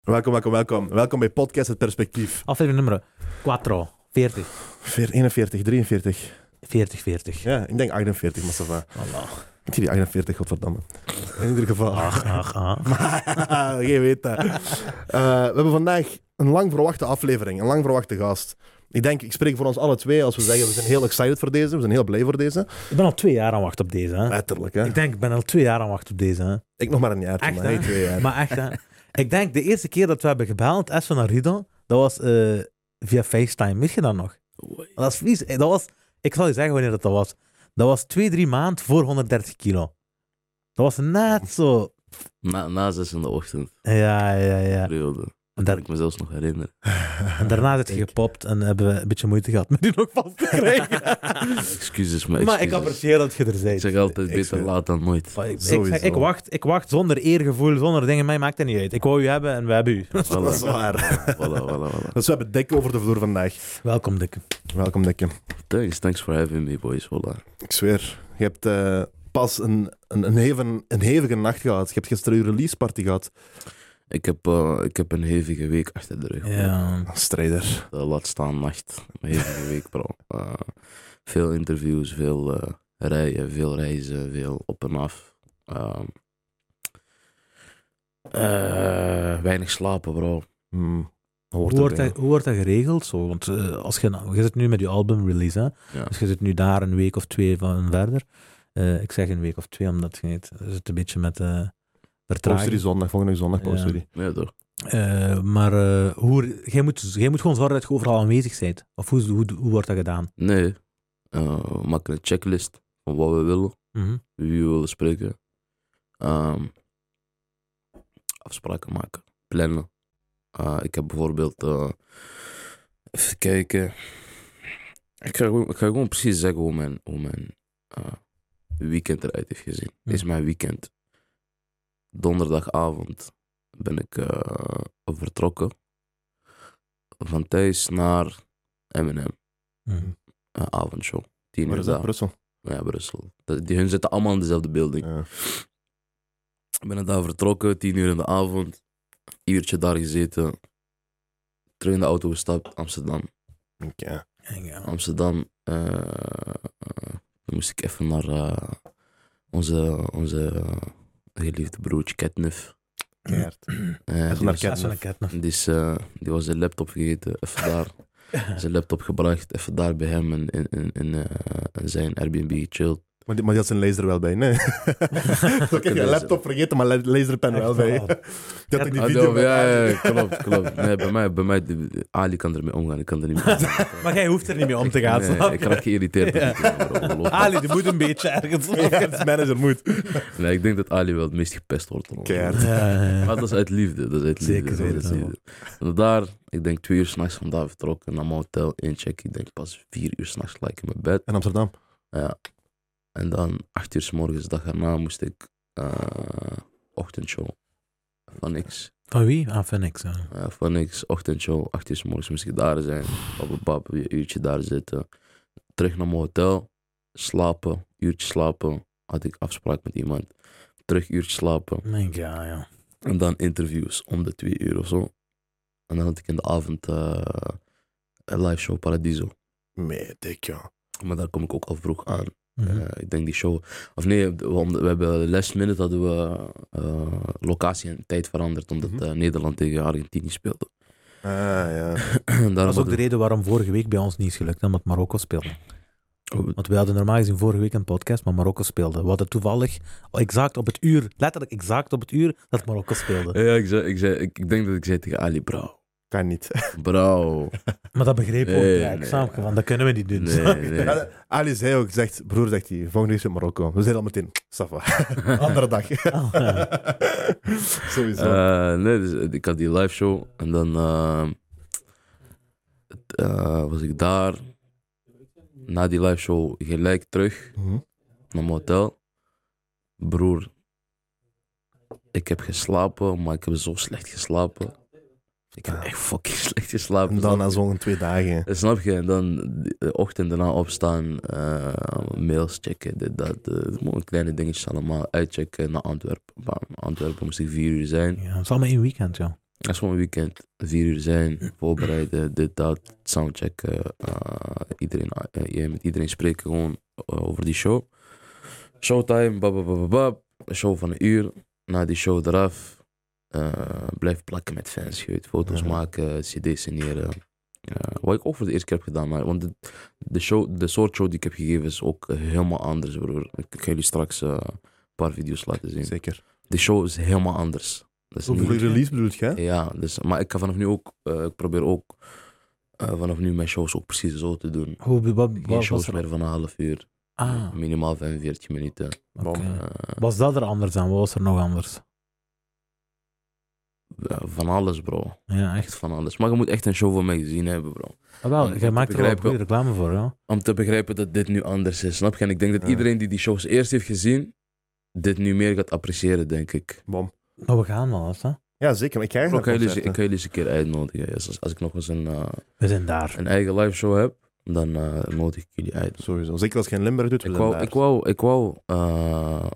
Welkom, welkom, welkom. Welkom bij Podcast Het Perspectief. Aflevering nummer 4, 40, Veer 41, 43. 40, 40. Ja, ik denk 48, maar ça va. Allah. Ik zie die 48, godverdamme. Ah. In ieder geval. Ach, ach, ach. Geen weet dat. Eh, we hebben vandaag een lang verwachte aflevering, een lang verwachte gast. Ik denk, ik spreek voor ons alle twee als we zeggen, we zijn heel excited voor deze, we zijn heel blij voor deze. Ik ben al twee jaar aan wacht op deze. Hè. Letterlijk, hè. Ik denk, ik ben al twee jaar aan wacht op deze. Hè. Ik nog maar een jaar, Echt, maar hè? hey, twee jaar. Maar echt, hè. ik denk, de eerste keer dat we hebben gebeld, Esso naar Rido, dat was eh, via FaceTime. Weet je dat nog? Dat is vies. Eh, Dat was, ik zal je zeggen wanneer dat, dat was. Dat was twee, drie maanden voor 130 kilo. Dat was net zo... Na, na zes in de ochtend, Ja, ja, ja. periode. En, Kan daar, ik me zelfs nog herinneren. en daarna is het gepopt en hebben we een beetje moeite gehad met die nog vast te krijgen. Excuses, maar, Maar ik excuses. apprecieer dat je er Ik bent. zeg altijd Ik beter zeg- laat dan nooit. Maar Ik, ik, Sowieso. zeg, ik, wacht, ik wacht zonder eergevoel, zonder dingen. Mij maakt het niet uit. Ik wou u hebben en we hebben u. Voilà. Dat is waar. Voilà, voilà, voilà. Dus we hebben Dikke over de vloer vandaag. Welkom, Dikke. Welkom, Dikke. Thanks, thanks for having me, boys. Voilà. Ik zweer, je hebt eh, pas een, een, een, heven- een hevige nacht gehad. Je hebt gisteren je release party gehad. Ik heb, eh, ik heb een hevige week achter de rug. Ja. Strijder. Eh, laat staan nacht. Een hevige week, bro. Eh, veel interviews, veel eh, rijden, veel reizen, veel op en af. Ehm, eh, weinig slapen, bro. Hmm. Hoort Hoe wordt, erbij. dat, hoe wordt dat geregeld? Zo? Want eh, als je, nou- je zit nu met je album release, hè? Ja. dus je zit nu daar een week of twee van verder. Eh, ik zeg een week of twee, omdat je het, je zit een beetje met eh Post jullie vertraging. zondag, zondag. volgende week zondag post Ja. jullie. Nee, toch? maar eh, hoe, jij, moet, jij moet gewoon zorgen dat je overal aanwezig bent. Of hoe, hoe, hoe wordt dat gedaan? Nee. Eh, we maken een checklist van wat we willen. Mhm. wie we willen spreken. Ehm, afspraken maken, plannen. Eh, ik heb bijvoorbeeld. eh, even kijken. Ik ga, gewoon, ik ga gewoon precies zeggen hoe mijn, hoe mijn eh, weekend eruit heeft gezien. Dit is Hm. mijn weekend. Donderdagavond ben ik eh, vertrokken. Van thuis naar MM, Mhm. eh, avondshow. Tien Waar uur is dat? daar. Brussel. Ja, Brussel. Dat- Die, hun zitten allemaal in dezelfde building. Ja. Ik ben daar vertrokken, tien uur in de avond. Uurtje daar gezeten. Terug in de auto gestapt, Amsterdam. Oké. Ja. Amsterdam. eh, eh, dan moest ik even naar eh, onze, onze eh, geliefde broertje Ketnuf. Keihard. Eh, Even die, naar was- Ja, zo'n ket nou. nog. die, is, eh, die was zijn laptop vergeten, even daar. zijn laptop gebracht, even daar bij hem in, in, in, in, eh, in zijn Airbnb gechilled. Maar, die, maar die had zijn laser wel bij, nee. Ik heb je laser. laptop vergeten, maar la- laserpen wel Echt bij. wel. Dat had ik die Ah, video no, ja, ja, met- ja, klopt, klopt. Nee, bij mij, bij mij, Ali kan ermee omgaan, ik kan er niet mee omgaan. Maar jij hoeft er niet mee om te gaan. Nee, snap ik je? raak geïrriteerd. Ja. Ah. Ja. Ali, die moet een beetje ergens. Ja, dat is manager moet. Nee, ik denk dat Ali wel het meest gepest wordt. van ons. Keihard. Eh, Maar dat is uit liefde. Dat is uit liefde. Zeker dat is uit weten, liefde. En daar, ik denk twee uur s'nachts vandaag vertrokken naar mijn hotel. Incheck, ik denk pas vier uur s'nachts lag ik in mijn bed. En Amsterdam. En dan acht uur s morgens, dag erna, moest ik eh, ochtendshow. Van niks. Van wie? Ah, van niks. ja. Eh, van niks, ochtendshow, acht uur s morgens moest ik daar zijn. Op een pap, weer een uurtje daar zitten. Terug naar mijn hotel, slapen, uurtje slapen. Had ik afspraak met iemand. Terug uurtje slapen. Denk ja, ja. En dan interviews om de twee uur of zo. En dan had ik in de avond eh, een live show Paradiso. Nee, dik, ja. Maar daar kom ik ook al vroeg aan. Mhm. Eh, ik denk die show. Of nee, de- om de- we hebben last minute hadden we eh, locatie en tijd veranderd. Omdat Mhm. eh, Nederland tegen Argentinië speelde. Ah, ja. Daarom Dat is ook de hadden- reden waarom vorige week bij ons niet is gelukt, hè, omdat Marokko speelde. Oh. Want we hadden normaal gezien vorige week een podcast, maar Marokko speelde. We hadden toevallig exact op het uur, letterlijk exact op het uur, dat Marokko speelde. Ja, ik, zei, ik, zei, ik, ik denk dat ik zei tegen Ali, bro. Kan niet. Bro. Maar dat begreep ook Nee, direct, nee. snap je, want dat kunnen we niet doen. Nee, nee. Ali zei ook, zegt, broer, zegt hij, volgende week is het Marokko. We zijn al meteen, Safa. Andere dag. Ah, ja. Sowieso. Eh, nee, dus ik had die live show en dan eh, het, eh, was ik daar. Na die live show gelijk terug Mhm. naar mijn hotel. Broer, ik heb geslapen, maar ik heb zo slecht geslapen. Ik heb echt fucking slecht geslapen. En dan snap na je? zo'n twee dagen. Eh, Snap je? En dan de ochtend daarna opstaan, eh, mails checken, dit, dat. eh, gewoon kleine dingetjes allemaal uitchecken naar Antwerpen. Bam, Antwerpen moest ik vier uur zijn. Ja, het is allemaal één weekend, ja. Dat is gewoon een weekend. Vier uur zijn, voorbereiden, dit, dat, soundchecken. eh, iedereen, eh, jij met iedereen spreken gewoon eh, over die show. Showtime, bababababab. Een show van een uur. Na die show eraf. eh, blijf plakken met fans, je weet. Foto's Ja. maken, cd's signeren. Eh, wat ik ook voor de eerste keer heb gedaan, maar, want de, de, show, de soort show die ik heb gegeven is ook helemaal anders, broer. Ik ga jullie straks eh, een paar video's laten zien. Zeker. De show is helemaal anders. Dat is Zo voor niet- je release bedoel je, hè? ja, dus, maar ik ga vanaf nu ook, eh, ik probeer ook eh, vanaf nu mijn shows ook precies zo te doen. Hoe, wat, wat, Geen wat shows was er? meer van een half uur, Ah, minimaal 45 minuten. oké. Bom. Eh, Was dat er anders dan? Wat was er nog anders? ja, van alles, bro. Ja, echt. Echt van alles. Maar je moet echt een show van mij gezien hebben, bro. Ah, wel, Om jij te maakt er wel begrijpen- goede reclame voor, ja. Om te begrijpen dat dit nu anders is, snap je? En ik denk dat Ja. iedereen die die shows eerst heeft gezien, dit nu meer gaat appreciëren, denk ik. Bom. Nou, we gaan wel eens, hè. Ja, zeker. Maar ik krijg Bro, ik dat kan jullie, ik concept, kan jullie eens een keer uitnodigen. Als, als ik nog eens een, eh, We zijn daar. een eigen live show heb, dan eh, nodig ik jullie uit. hè. Sowieso. Zeker als je in Limburg doet. we Ik zijn wou, daar. ik wou, ik wou eh,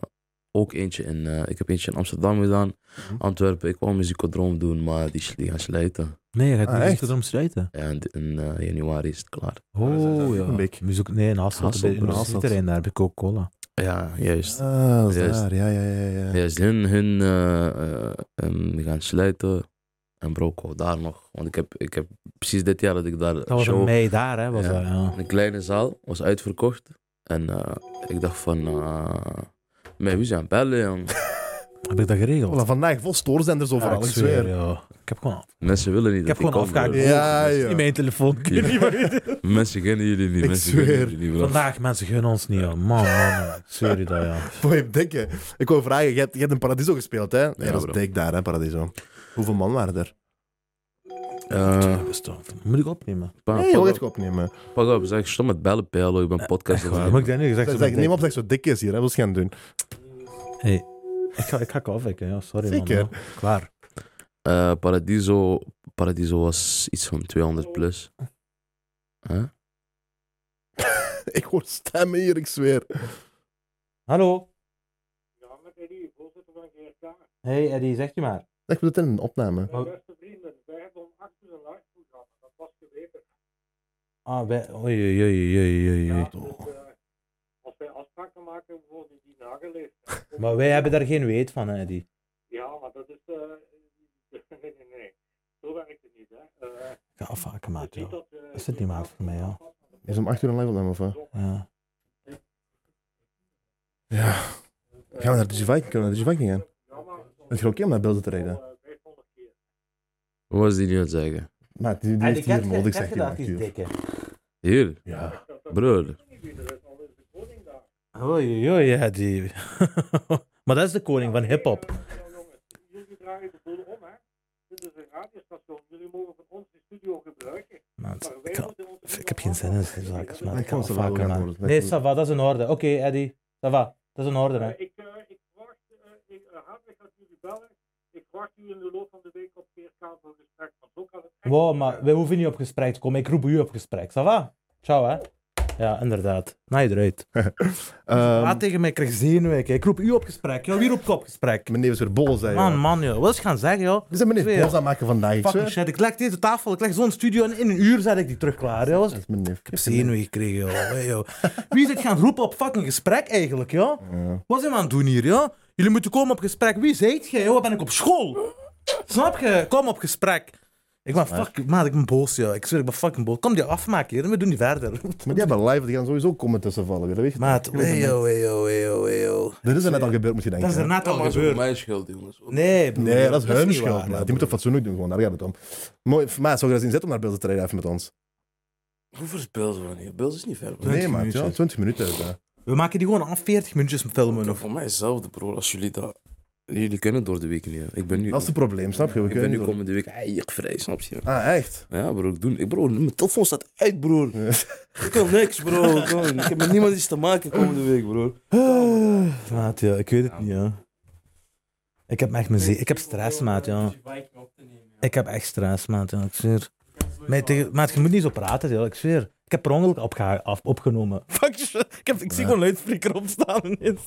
ook eentje in, eh, ik heb eentje in Amsterdam gedaan, Mhm. Antwerpen. Ik wou een muziekodroom doen, maar die, die gaan sluiten. Nee, je gaat Ah, niet echt? echt erom sluiten. Ja, En in eh, januari is het klaar. dat Oh, is ja. een beetje- Muziek, nee, in Hasselt. Hasselt, bij- In bro. het terrein daar heb ik ook cola. Ja, juist. Ah, dat is Juist. daar. Ja, ja, ja. ja. Juist, hun, hun eh, eh, ehm, die gaan sluiten. En bro, ik wou daar nog. Want ik heb, ik heb precies dit jaar dat ik daar Dat was een show, mei daar, hè. Was Ja. dat, ja. een kleine zaal, was uitverkocht. En eh, ik dacht van, eh met wie zijn bellen, jong? Heb ik dat geregeld? Voilà, vandaag vol stoorzenders Ja, overal, ik ik zweer. ja. Ik heb gewoon, Mensen willen niet ik dat heb gewoon ik kom, afgehaakt. bro. Ja, ja. In mijn telefoon. Ik weet Ja. niet wat je doet. Mensen kennen jullie niet, Ik mensen zweer. kennen jullie niet, bro. Vandaag, mensen gunnen ons niet, joh. Man, man, man. Ik zweer je dat, ja. Boy, dikke. Ik wou vragen, je hebt, je hebt in Paradiso gespeeld, hè? Ja, dat bro. is dik daar, hè, Paradiso. Hoeveel man waren er? Eh, Twee bestaan. Moet ik opnemen? pa- Nee, je wil pak, het op, opnemen. pak op, zeg, stop met bellen, Pelo, ik ben podcast. aan het Moet ik dat nu gezegd Zeg, hebben? zeg, neem op dat je zo dik is hier, hè? Wat is gaan doen? Hey, ik ga, ik ga afwekken, ja. Sorry, Zeker. man. ja. Klaar. maken. Eh, Paradiso, Paradiso was iets van 200 plus. Huh? ik hoor stemmen hier, ik zweer. Hallo. Ja, met Eddie, voorzitter van GRK. Hey Eddie, zeg je maar. Zeg, we zitten in een opname. Ah, wij... Oei, oei, oei, oei, oei, oei. Dus, eh, Als wij afspraken maken, worden die nageleefd. Maar wij hebben daar geen weet van, hè, Eddie. Ja, maar dat is. eh, nee, nee, nee. Zo werkt het niet, hè? Eh, het Ik ga afhaken, is maat, niet joh. dat, eh, Dat zit niet maat voor mij, ja. Is om 8 uur een live opname, of wat? Ja. Ja. Gaan we naar de Viking? Kunnen we naar de Viking gaan? Het is oké om naar beelden te rijden. Wat was die nu aan het zeggen? Maar die, Ah, die heeft hier nodig, zegt hij. natuurlijk. dikke. Hier, Ja. broer. Oei, oei, oei, Eddie. maar dat is de koning van hip-hop. eh, Jullie draaien de boel om, hè? Dit is een radiostation. Jullie mogen van ons de studio gebruiken. Maat, Maar wij ik, kan- moeten onze ik heb geen zin in deze zaken, man. Ik Ik kan kan ze wel afhaken, gaan man. horen. Nee, Sava, dat is in orde. Oké, Eddie. Sava, dat is in orde, hè. Eh, Ik, eh, ik wacht, eh, ik, eh, Hadwig gaat jullie bellen. Ik wacht u in de loop van de week op PRK voor gesprek. Want zo kan het echt Wow, niet maar zijn. we hoeven niet op gesprek te komen. Ik roep u op gesprek. Ça va? Ciao, hè? Ja, inderdaad. Naai eruit. Ehm, Laat tegen mij, ik krijg zenuwen. kijk. Ik roep u op gesprek. joh. wie roept op gesprek? Meneer is weer bol, zei Man, hij. man, joh. Wat is gaan zeggen, joh? We zijn meneer Zweer. boos aan het maken vandaag, ik Fucking zweer. shit. Ik leg deze tafel, ik leg zo'n studio en in een uur zet ik die terug klaar, joh. Ik Dat is mijn neef. heb zenuwen gekregen, joh. Hey, joh. Wie zit gaan roepen op fucking gesprek eigenlijk, joh? Ja. Wat zijn we aan het doen hier, joh? Jullie moeten komen op gesprek. Wie zijt jij, joh? Ben ik op school? Snap je? Kom op gesprek. Ik ben fucking... Maat, ik ben boos, joh. Ik zweer, ik ben fucking boos. Kom die afmaken hier en we doen die verder. Maar die hebben live, die gaan sowieso komen tussenvallen weer, dat weet je. Maat, eeuw, eeuw, eeuw, eeuw. Dat is er net al gebeurd, moet je denken. Dat is er hè? net al Dat is gebeurd. mijn schuld, jongens. Nee, broer, Nee, dat is hun niet schuld. waar, maar hè, Die moeten broer. fatsoenlijk doen, gewoon. daar gaat het om. Mooi, maar zou je dat zien zitten om naar beelden te rijden even met ons? Hoeveel speelt van hier? Beeld is niet ver. Nee, 20 maar minuten. 20 minuten. is dat. We maken die gewoon af 40 minuutjes filmen. Of... Voor mij hetzelfde, broer. Als jullie dat... Jullie kunnen door de week niet. hè. Ik ben nu... Dat is het probleem, snap je? We ik ben nu kunnen niet komende week eigenlijk vrij, snap je? door- Ah, echt? Ja, bro, ik doe... Ik, bro, mijn telefoon staat uit, broer. Ik kan niks, bro. Ik, kan- ik heb met niemand iets te maken komende week, bro. Maat, ja, ik weet het niet, ja. Ik heb echt mijn zee- Ik heb stress, maat, ja. Ik heb echt stress, maat, ja. Ik zweer. Maat, tegen- maat, je moet niet zo praten, ja. Ik zweer. Ik heb per ongeluk opgeha- af, opgenomen. Fuck, shit. ik, heb, ik zie gewoon luidspreker opstaan ineens.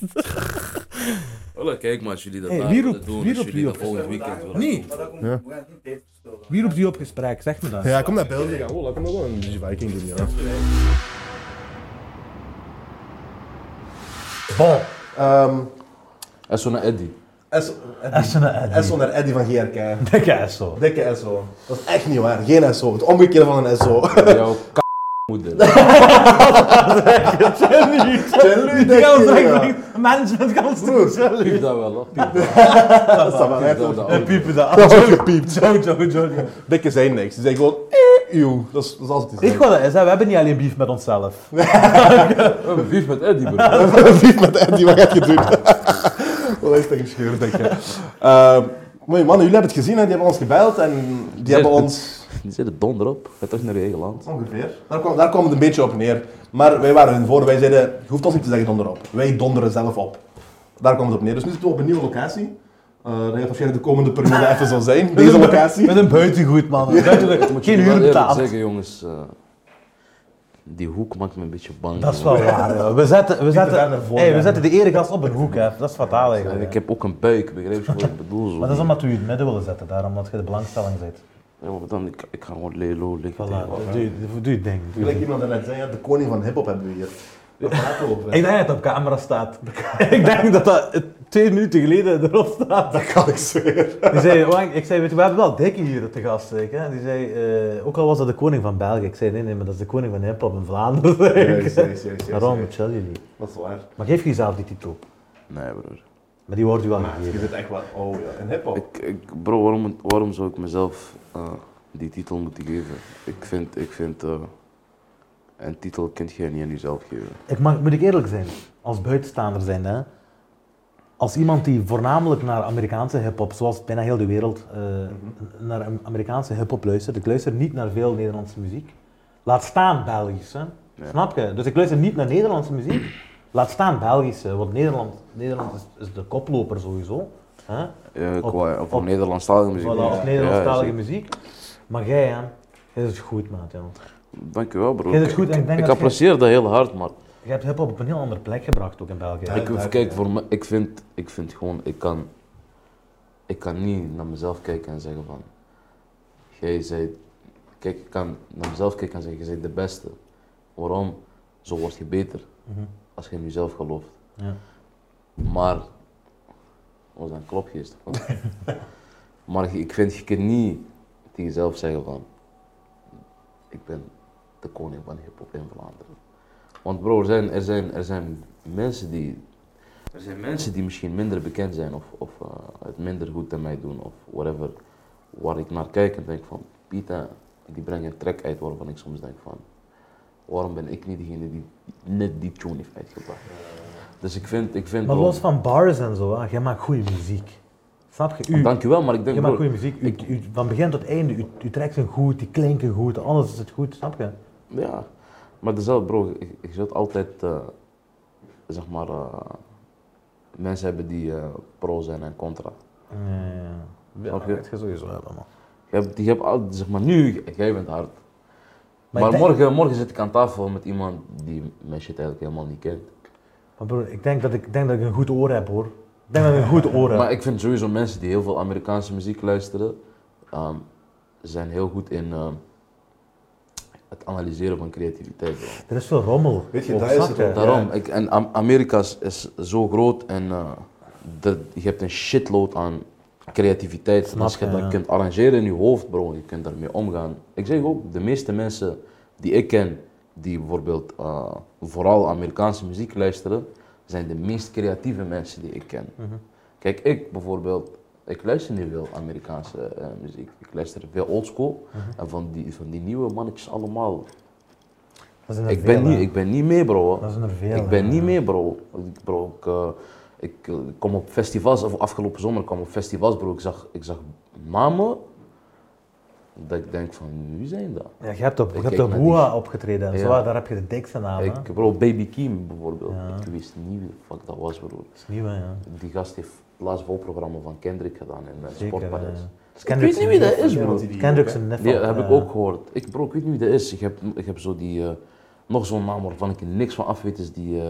Hola, kijk maar als jullie dat Hey, daar wie willen roept- doen, wie als roept jullie wie dat op? volgend weekend willen Nee. doen. Ja. Wie roept u op gesprek? Zeg me dat. Ja, kom naar België. Ja, oh, laat hem nog wel een Viking doen. Ja. Bon. ehm, En zo naar Eddie. S- Eddie. Essen en Eddie. SO naar Eddie van GRK. Dikke Esso. Dikke SO. Dat is echt niet waar. Geen SO. Het omgekeerde van een SO. Jouw k moeder. Die gaan ons direct van management gaan ons doen. Piep dat wel, hoor. Piep dat. Dat is dan wel Piep dat echt. wel. En piepen dat. oh. Dat wordt gepiept. Zo, zo, zo, zo. Dikke zijn niks. Die zijn gewoon... eh, Eeuw. Dat is, dat is altijd Weet je wat dat is? Hè? We hebben niet alleen beef met onszelf. We hebben beef met Eddie, bro. Vief met Eddie, wat gaat je doen? Wat is dat gescheurd, denk je? Eh, Mooie mannen, jullie hebben het gezien, hè? die hebben ons gebeld en die hebben ons... Die zitten donder op. Ga terug naar je eigen land. Ongeveer. Daar kwam, daar kwam het een beetje op neer. Maar wij waren hun voor, wij zeiden, je hoeft ons niet te zeggen donderop. Wij donderen zelf op. Daar kwam het op neer. Dus nu zitten we op een nieuwe locatie. Eh dat gaat waarschijnlijk de komende periode even zo zijn, deze locatie. Met een buitengoed, man. Een buitengoed. Geen huur Ik moet eerlijk betaald. zeggen, jongens. eh, die hoek maakt me een beetje bang. Dat is jongen. wel waar, joh. We zetten, we zetten, daar naar voren, hey, we hè. zetten de eregast op een hoek, hè. Dat is fataal En ik eigenlijk. hè. heb ook een buik, begrijp je wat ik bedoel? Zo. Maar dat is omdat we je in het midden willen zetten, daarom dat je de belangstelling zit. Ja, maar dan, ik, ik ga gewoon lelo liggen. Voilà, tegenwoordig. doe, je- doe je ding. doe je Gelijk ding. iemand daarnet zei, ja, de koning van hiphop hebben we hier. Wat praten we over? Ik denk dat het op camera staat. ik denk dat dat eh, twee minuten geleden erop staat. Dat kan ik zweren. Die zei, Wang, ik zei, weet je, we hebben wel dikke hier te gast. Zei ik, hè. Die zei, eh, ook al was dat de koning van België. Ik zei, nee, nee, maar dat is de koning van hip-hop in Vlaanderen. zei ik. Juist, juist, juist, juist, Daarom, juist. chill jullie. Dat is waar. Maar geef jezelf die titel. Nee, broer. Maar die wordt u wel Je gegeven. zit echt wel, oh ja, in hiphop. Ik, ik, bro, waarom, waarom zou ik mezelf eh, die titel moeten geven? Ik vind, ik vind eh, een titel kun je niet aan jezelf geven. Ik mag, moet ik eerlijk zijn, als buitenstaander zijn, hè, als iemand die voornamelijk naar Amerikaanse hip-hop, zoals bijna heel de wereld, eh, naar Am- Amerikaanse hip-hop luistert. Ik luister niet naar veel Nederlandse muziek. Laat staan Belgische. Snap je? Dus ik luister niet naar Nederlandse muziek. Laat staan Belgische, want Nederland, Nederland is, is de koploper sowieso. Hè? Ja, Op- qua, of op- Nederlandstalige Voilà, muziek. of Ja, Nederlandstalige ja, muziek. Maar jij, hè? Jij is het goed, maat. joh. Dankjewel, bro. Jij doet goed en ik denk ik dat apprecieer dat heel hard, maar Je hebt hip-hop op een heel andere plek gebracht, ook in België. Ja, ik, duidelijk, kijk, ja. voor me, ik, vind, ik vind gewoon, ik kan, ik kan niet naar mezelf kijken en zeggen van, jij zei, kijk, ik kan naar mezelf kijken en zeggen, je bent de beste. Waarom? Zo word je beter, Mhm. als je in jezelf gelooft. Ja. Maar, was dat een klopgeest? of wat? maar ik vind, je kan niet tegen jezelf zeggen van, ik ben de koning van hiphop in Vlaanderen. Want bro, er zijn, er zijn, er zijn mensen die, er zijn mensen die misschien minder bekend zijn of, of eh, het minder goed aan mij doen of whatever. Waar ik naar kijk en denk van, Pita, die brengt een track uit waarvan ik soms denk van, waarom ben ik niet degene die net die tune heeft uitgebracht? Dus ik vind, ik vind Maar bro, los van bars en zo, hè, jij maakt goede muziek. Snap je? U, Dankjewel, maar ik denk jij maakt broer, goede muziek. U, ik- u- van begin tot einde, u, u trekt zijn goed, die klinken goed, alles is het goed, snap je? Ja, maar dezelfde bro, ik, ik zult altijd, eh, zeg maar, eh, mensen hebben die eh, pro zijn en contra. Ja, Snap je? dat je sowieso hebben, man. Je hebt, die hebt al, zeg maar, nu, jij bent Maar, hard. Maar, ik denk, morgen, morgen zit ik aan tafel met iemand die mijn shit eigenlijk helemaal niet kent. maar broer, ik denk dat ik, ik denk dat ik een goed oor heb, hoor. Ik denk dat ik een goed oor heb. Maar ik vind sowieso mensen die heel veel Amerikaanse muziek luisteren, ehm, zijn heel goed in ehm, het analyseren van creativiteit. bro. Er is veel rommel. Weet je, ook, daar is snap het je? ook. Daarom, ik, en Am- Amerika is, is zo groot en eh, dat, je hebt een shitload aan creativiteit. En als Snap je je, ja. dat kunt arrangeren in je hoofd, bro, je kunt daarmee omgaan. Ik zeg ook, de meeste mensen die ik ken, die bijvoorbeeld eh, vooral Amerikaanse muziek luisteren, zijn de meest creatieve mensen die ik ken. Mhm. Kijk, ik bijvoorbeeld, ik luister niet veel Amerikaanse eh, muziek. Ik luister veel oldschool Mhm. en van die, van die nieuwe mannetjes allemaal. Dat zijn er Ik veel, ben, niet, hè. ik ben niet mee, bro. hè. Dat zijn er veel. Ik ben hè. niet mee, bro. Ik- bro ik, eh, ik eh, kom op festivals, of afgelopen zomer kwam ik op festivals, bro. Ik zag, ik zag namen dat ik denk van, wie zijn dat? Ja, je hebt op, je Ik hebt kijk op naar Boa opgetreden en Ja. zo, daar heb je de dikste naam. hè. Ik, bro, Baby Kim bijvoorbeeld. Ja. Ik wist niet wie de fuck dat was, bro. Dat is nieuw, hè, ja. Die gast heeft het laatste voorprogramma van Kendrick gedaan in het Zeker, hè. Sportpaleis. Dus Ik Kendrick weet niet wie dat is, bro. Die- Kendrick zijn nef. Die heb ik eh, ook gehoord. Ik, bro, ik weet niet wie dat is. Ik heb, ik heb zo die, eh, nog zo'n naam waarvan ik er niks van af weet, is die eh,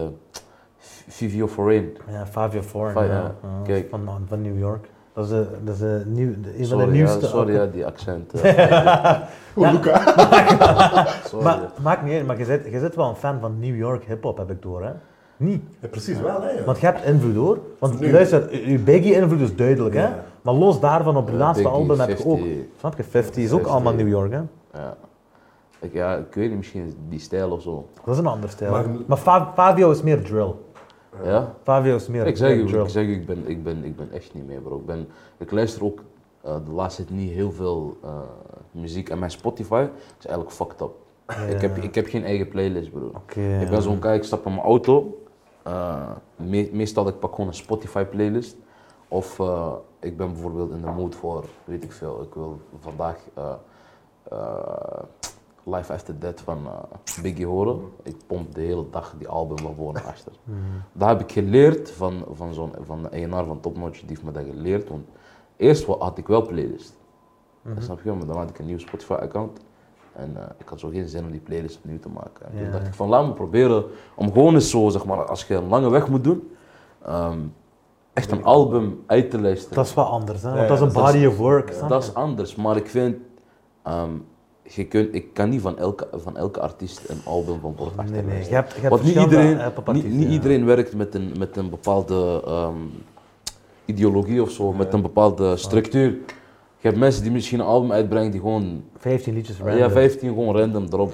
Vivio Foreign. Ja, Fabio Foreign. Fa- ja. ja. Ja, Kijk. Van, van New York. Dat is, de, dat is de nieuw, de, een van de Sorry, ja, nieuwste. sorry ja, die accent. eh. Oh, Luca. sorry. maar maakt niet uit, maar je zit, je zit wel een fan van New York hip-hop, heb ik door, hè? Niet. Ja, precies wel, hè. ja. Want je hebt invloed hoor. Want Nu. luister, u- uw Biggie-invloed is duidelijk, hè? Ja. Maar los daarvan, op je Ja, laatste Biggie, album heb je ook. 50. Snap je? 50 is ook 50. allemaal New York, hè? Ja. Ik, ja, ik weet niet, misschien die stijl of zo. Dat is een ander stijl. Maar, Maar- Fa- Fabio is meer drill. Ja? Fabio is meer Ik zeg, meer u, drill. ik, zeg u, ik, ben, ik, ben, ik ben echt niet mee, bro. Ik, ben, ik luister ook eh, de laatste tijd niet heel veel eh, muziek. En mijn Spotify is eigenlijk fucked up. Ik, heb, ik heb geen eigen playlist, bro. Oké, Ik ben zo'n guy, ik stap in mijn auto. eh, me- meestal ik pak gewoon een Spotify playlist. Of eh, ik ben bijvoorbeeld in de mood voor, weet ik veel, ik wil vandaag eh, eh, Life After Death van eh, Biggie horen. Ik pomp de hele dag die album van voor naar achter. Dat heb ik geleerd van, van zo'n van de ENR van Top Notch, die heeft me dat geleerd. Want eerst wa- had ik wel playlist. Snap je? Maar dan had ik een nieuw Spotify-account. En eh, ik had zo geen zin om die playlist opnieuw te maken. En Ja. toen dacht ik van, laat me proberen om gewoon eens zo, zeg maar, als je een lange weg moet doen, ehm, echt een album uit te luisteren. Dat is wat anders, hè? Want Ja, dat is een dat body is- of work. snap Dat je? is anders, maar ik vind, ehm, je kunt, ik kan niet van elke, van elke artiest een album van voor Nee, nee. Je achterlijsten. hebt, je hebt Want niet verschillende iedereen, hip-hop-artiesten, niet, niet ja. iedereen werkt met een, met een bepaalde ehm, ideologie of zo, met een bepaalde structuur. Je hebt mensen die misschien een album uitbrengen die gewoon 15 liedjes random. ja, 15 gewoon random erop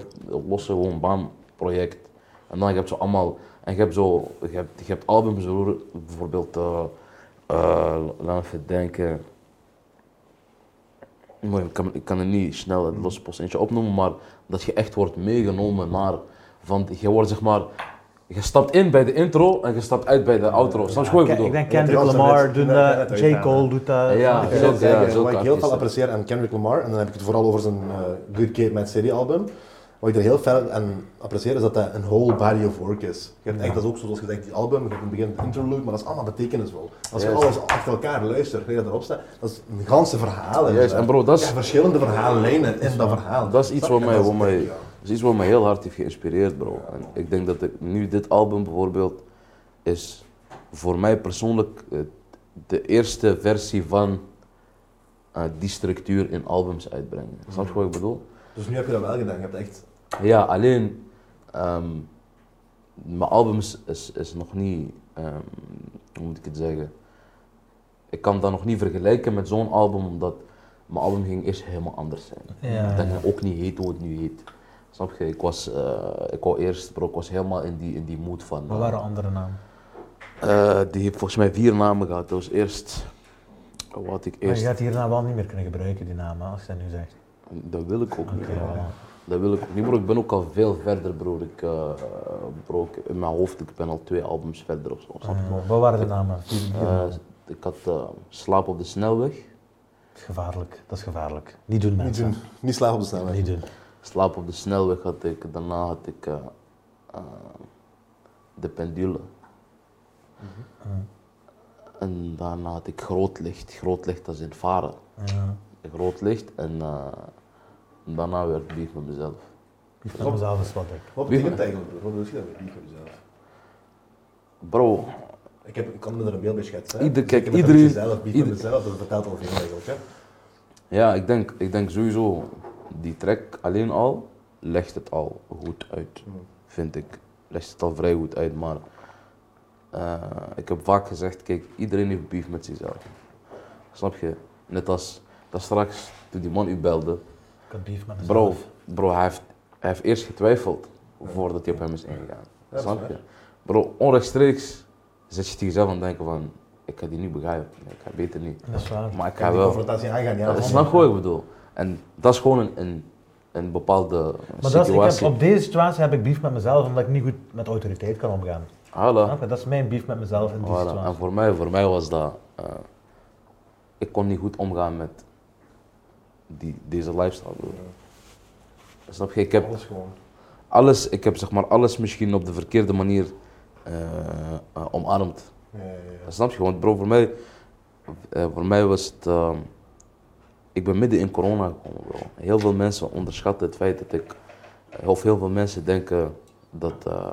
lossen, gewoon bam, project. En dan heb je zo allemaal, en je hebt zo, je hebt, je hebt albums hoor, bijvoorbeeld, eh eh, laat me even denken. Mooi, Ik kan, ik kan er niet snel het losse post eentje opnoemen, maar dat je echt wordt meegenomen naar, van, je wordt zeg maar, je stapt in bij de intro en je stapt uit bij de outro. Snap je Ja, wat Ah, ik Ken- bedoel? ik denk Ja, Kendrick dat is een Lamar wet. doet Ja, dat dat, weet J. ik, Cole ja. doet dat. Ja, Ik snap wil je? net ja, zeggen, zulke wat ik heel veel artiesten. apprecieer aan Kendrick Lamar, en dan heb ik het vooral over zijn eh, Good Kid, Mad City album. Wat ik er heel veel aan apprecieer is dat dat een whole body of work is. Je hebt echt, dat is ook zoals gezegd, die album, je hebt in het begin een interlude, maar dat is allemaal betekenisvol. Als je Juist. alles achter elkaar luistert, gelijk dat erop staat, dat is een ganse verhaal. Juist, en bro, dat is- Ja, verschillende verhaallijnen in dat verhaal. Dat is iets wat En mij, dat is wat mij, dik, ja. dat is iets wat mij heel hard heeft geïnspireerd, bro. En ik denk dat ik nu dit album bijvoorbeeld is voor mij persoonlijk eh, de eerste versie van eh, die structuur in albums uitbrengen. Snap je wat ik bedoel? Dus nu heb je dat wel gedaan, je hebt echt... Ja, alleen ehm, mijn albums is, is nog niet, ehm, hoe moet ik het zeggen? Ik kan dat nog niet vergelijken met zo'n album, omdat mijn album ging eerst helemaal anders zijn. Ja. Dat ging ook niet heet hoe het nu heet. Snap je? Ik was, eh, ik wou eerst, bro, ik was helemaal in die, in die mood van. Wat eh, waren andere namen? eh, die heeft volgens mij vier namen gehad. Dat was eerst, wat had ik Maar eerst, je gaat hierna wel niet meer kunnen gebruiken, die namen, als je dat nu zegt. dat wil ik ook niet. Oké, voilà. Dat wil ik ook niet, bro. Ik ben ook al veel verder, bro. Ik, eh, bro, ik- in mijn hoofd, ik ben al twee albums verder of zo. Snap je? Eh, wat waren de namen? Die- die- die- Eh, ik had eh, Slaap op de Snelweg, Dat is gevaarlijk, dat is gevaarlijk. Niet doen Niet, mensen. doen, niet slagen op de snelheid. Niet doen. Slaap op de Snelweg had ik, daarna had ik eh, eh, De Pendule. En daarna had ik Groot Licht, Groot Licht als in Varen. Ja. Groot Licht en eh, daarna werd Beef met mezelf. Dat was zelfs wat ik. Wat betekent het eigenlijk, bro? Wat bedoel je dat met jezelf? Bro, Ik, heb, ik kan me er een beeld bij schetsen. hè. Ieder- Dus kijk, ik heb het iedereen- met mezelf, niet ieder- met mezelf, dat vertelt al veel eigenlijk. Hè? ja, ik denk, ik denk sowieso, die track alleen al legt het al goed uit, vind ik. Legt het al vrij goed uit, maar eh, ik heb vaak gezegd, kijk, iedereen heeft beef met zichzelf. Snap je? Net als dat straks, toen die man u belde, Ik had beef met mezelf. Bro, bro hij, heeft, hij heeft eerst getwijfeld voordat hij op hem is ingegaan. dat is Snap je? waar. Bro, onrechtstreeks zit je tegen jezelf aan het denken van, ik ga die niet begrijpen. Nee, ik ga beter niet. Dat is waar. Maar ik Ja, ga die wel. confrontatie aangaan, ja. Dat is snap je wat ik bedoel? En dat is gewoon een, een, een bepaalde Maar dat is, ik heb, situatie. op deze situatie heb ik beef met mezelf, omdat ik niet goed met autoriteit kan omgaan. Voilà. Snap je? Dat is mijn beef met mezelf in die Voilà. En situatie. voor mij, voor mij was dat. eh, ik kon niet goed omgaan met die, deze lifestyle. Bro. Snap je? Ik heb, Alles gewoon. alles, ik heb zeg maar alles misschien op de verkeerde manier eh, eh, omarmd. Ja, ja, ja. Dat Snap je? Want bro, voor mij, eh, voor mij was het. ehm, ik ben midden in corona gekomen, bro. Heel veel mensen onderschatten het feit dat ik. eh, Of heel veel mensen denken dat eh,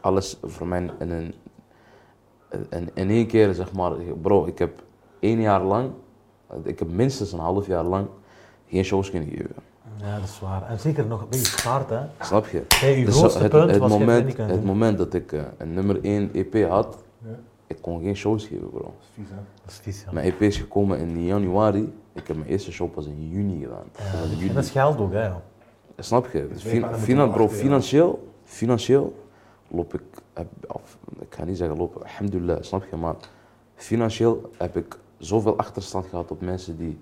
alles voor mij in een. In, in één keer zeg maar. Bro, ik heb één jaar lang, ik heb minstens een half jaar lang geen shows kunnen geven. Ja, dat is waar. En zeker nog een beetje spaard, hè. Snap je? Hey, uw Dus grootste het, punt het was geen moment, winnen kunnen Het doen. moment dat ik eh, een nummer 1 EP had, Ja. ik kon geen shows geven, bro. Dat is vies, hè? Dat is vies, ja. Mijn EP is gekomen in januari. Ik heb mijn eerste show pas in juni gedaan. Dat was in En juni. dat is geld ook, hè. joh. Snap je? Dus Fin- weet maar, dan moet finan- je bro, wachten, ja. financieel, financieel loop ik, heb, of, ik ga niet zeggen lopen, alhamdulillah, snap je? Maar financieel heb ik zoveel achterstand gehad op mensen die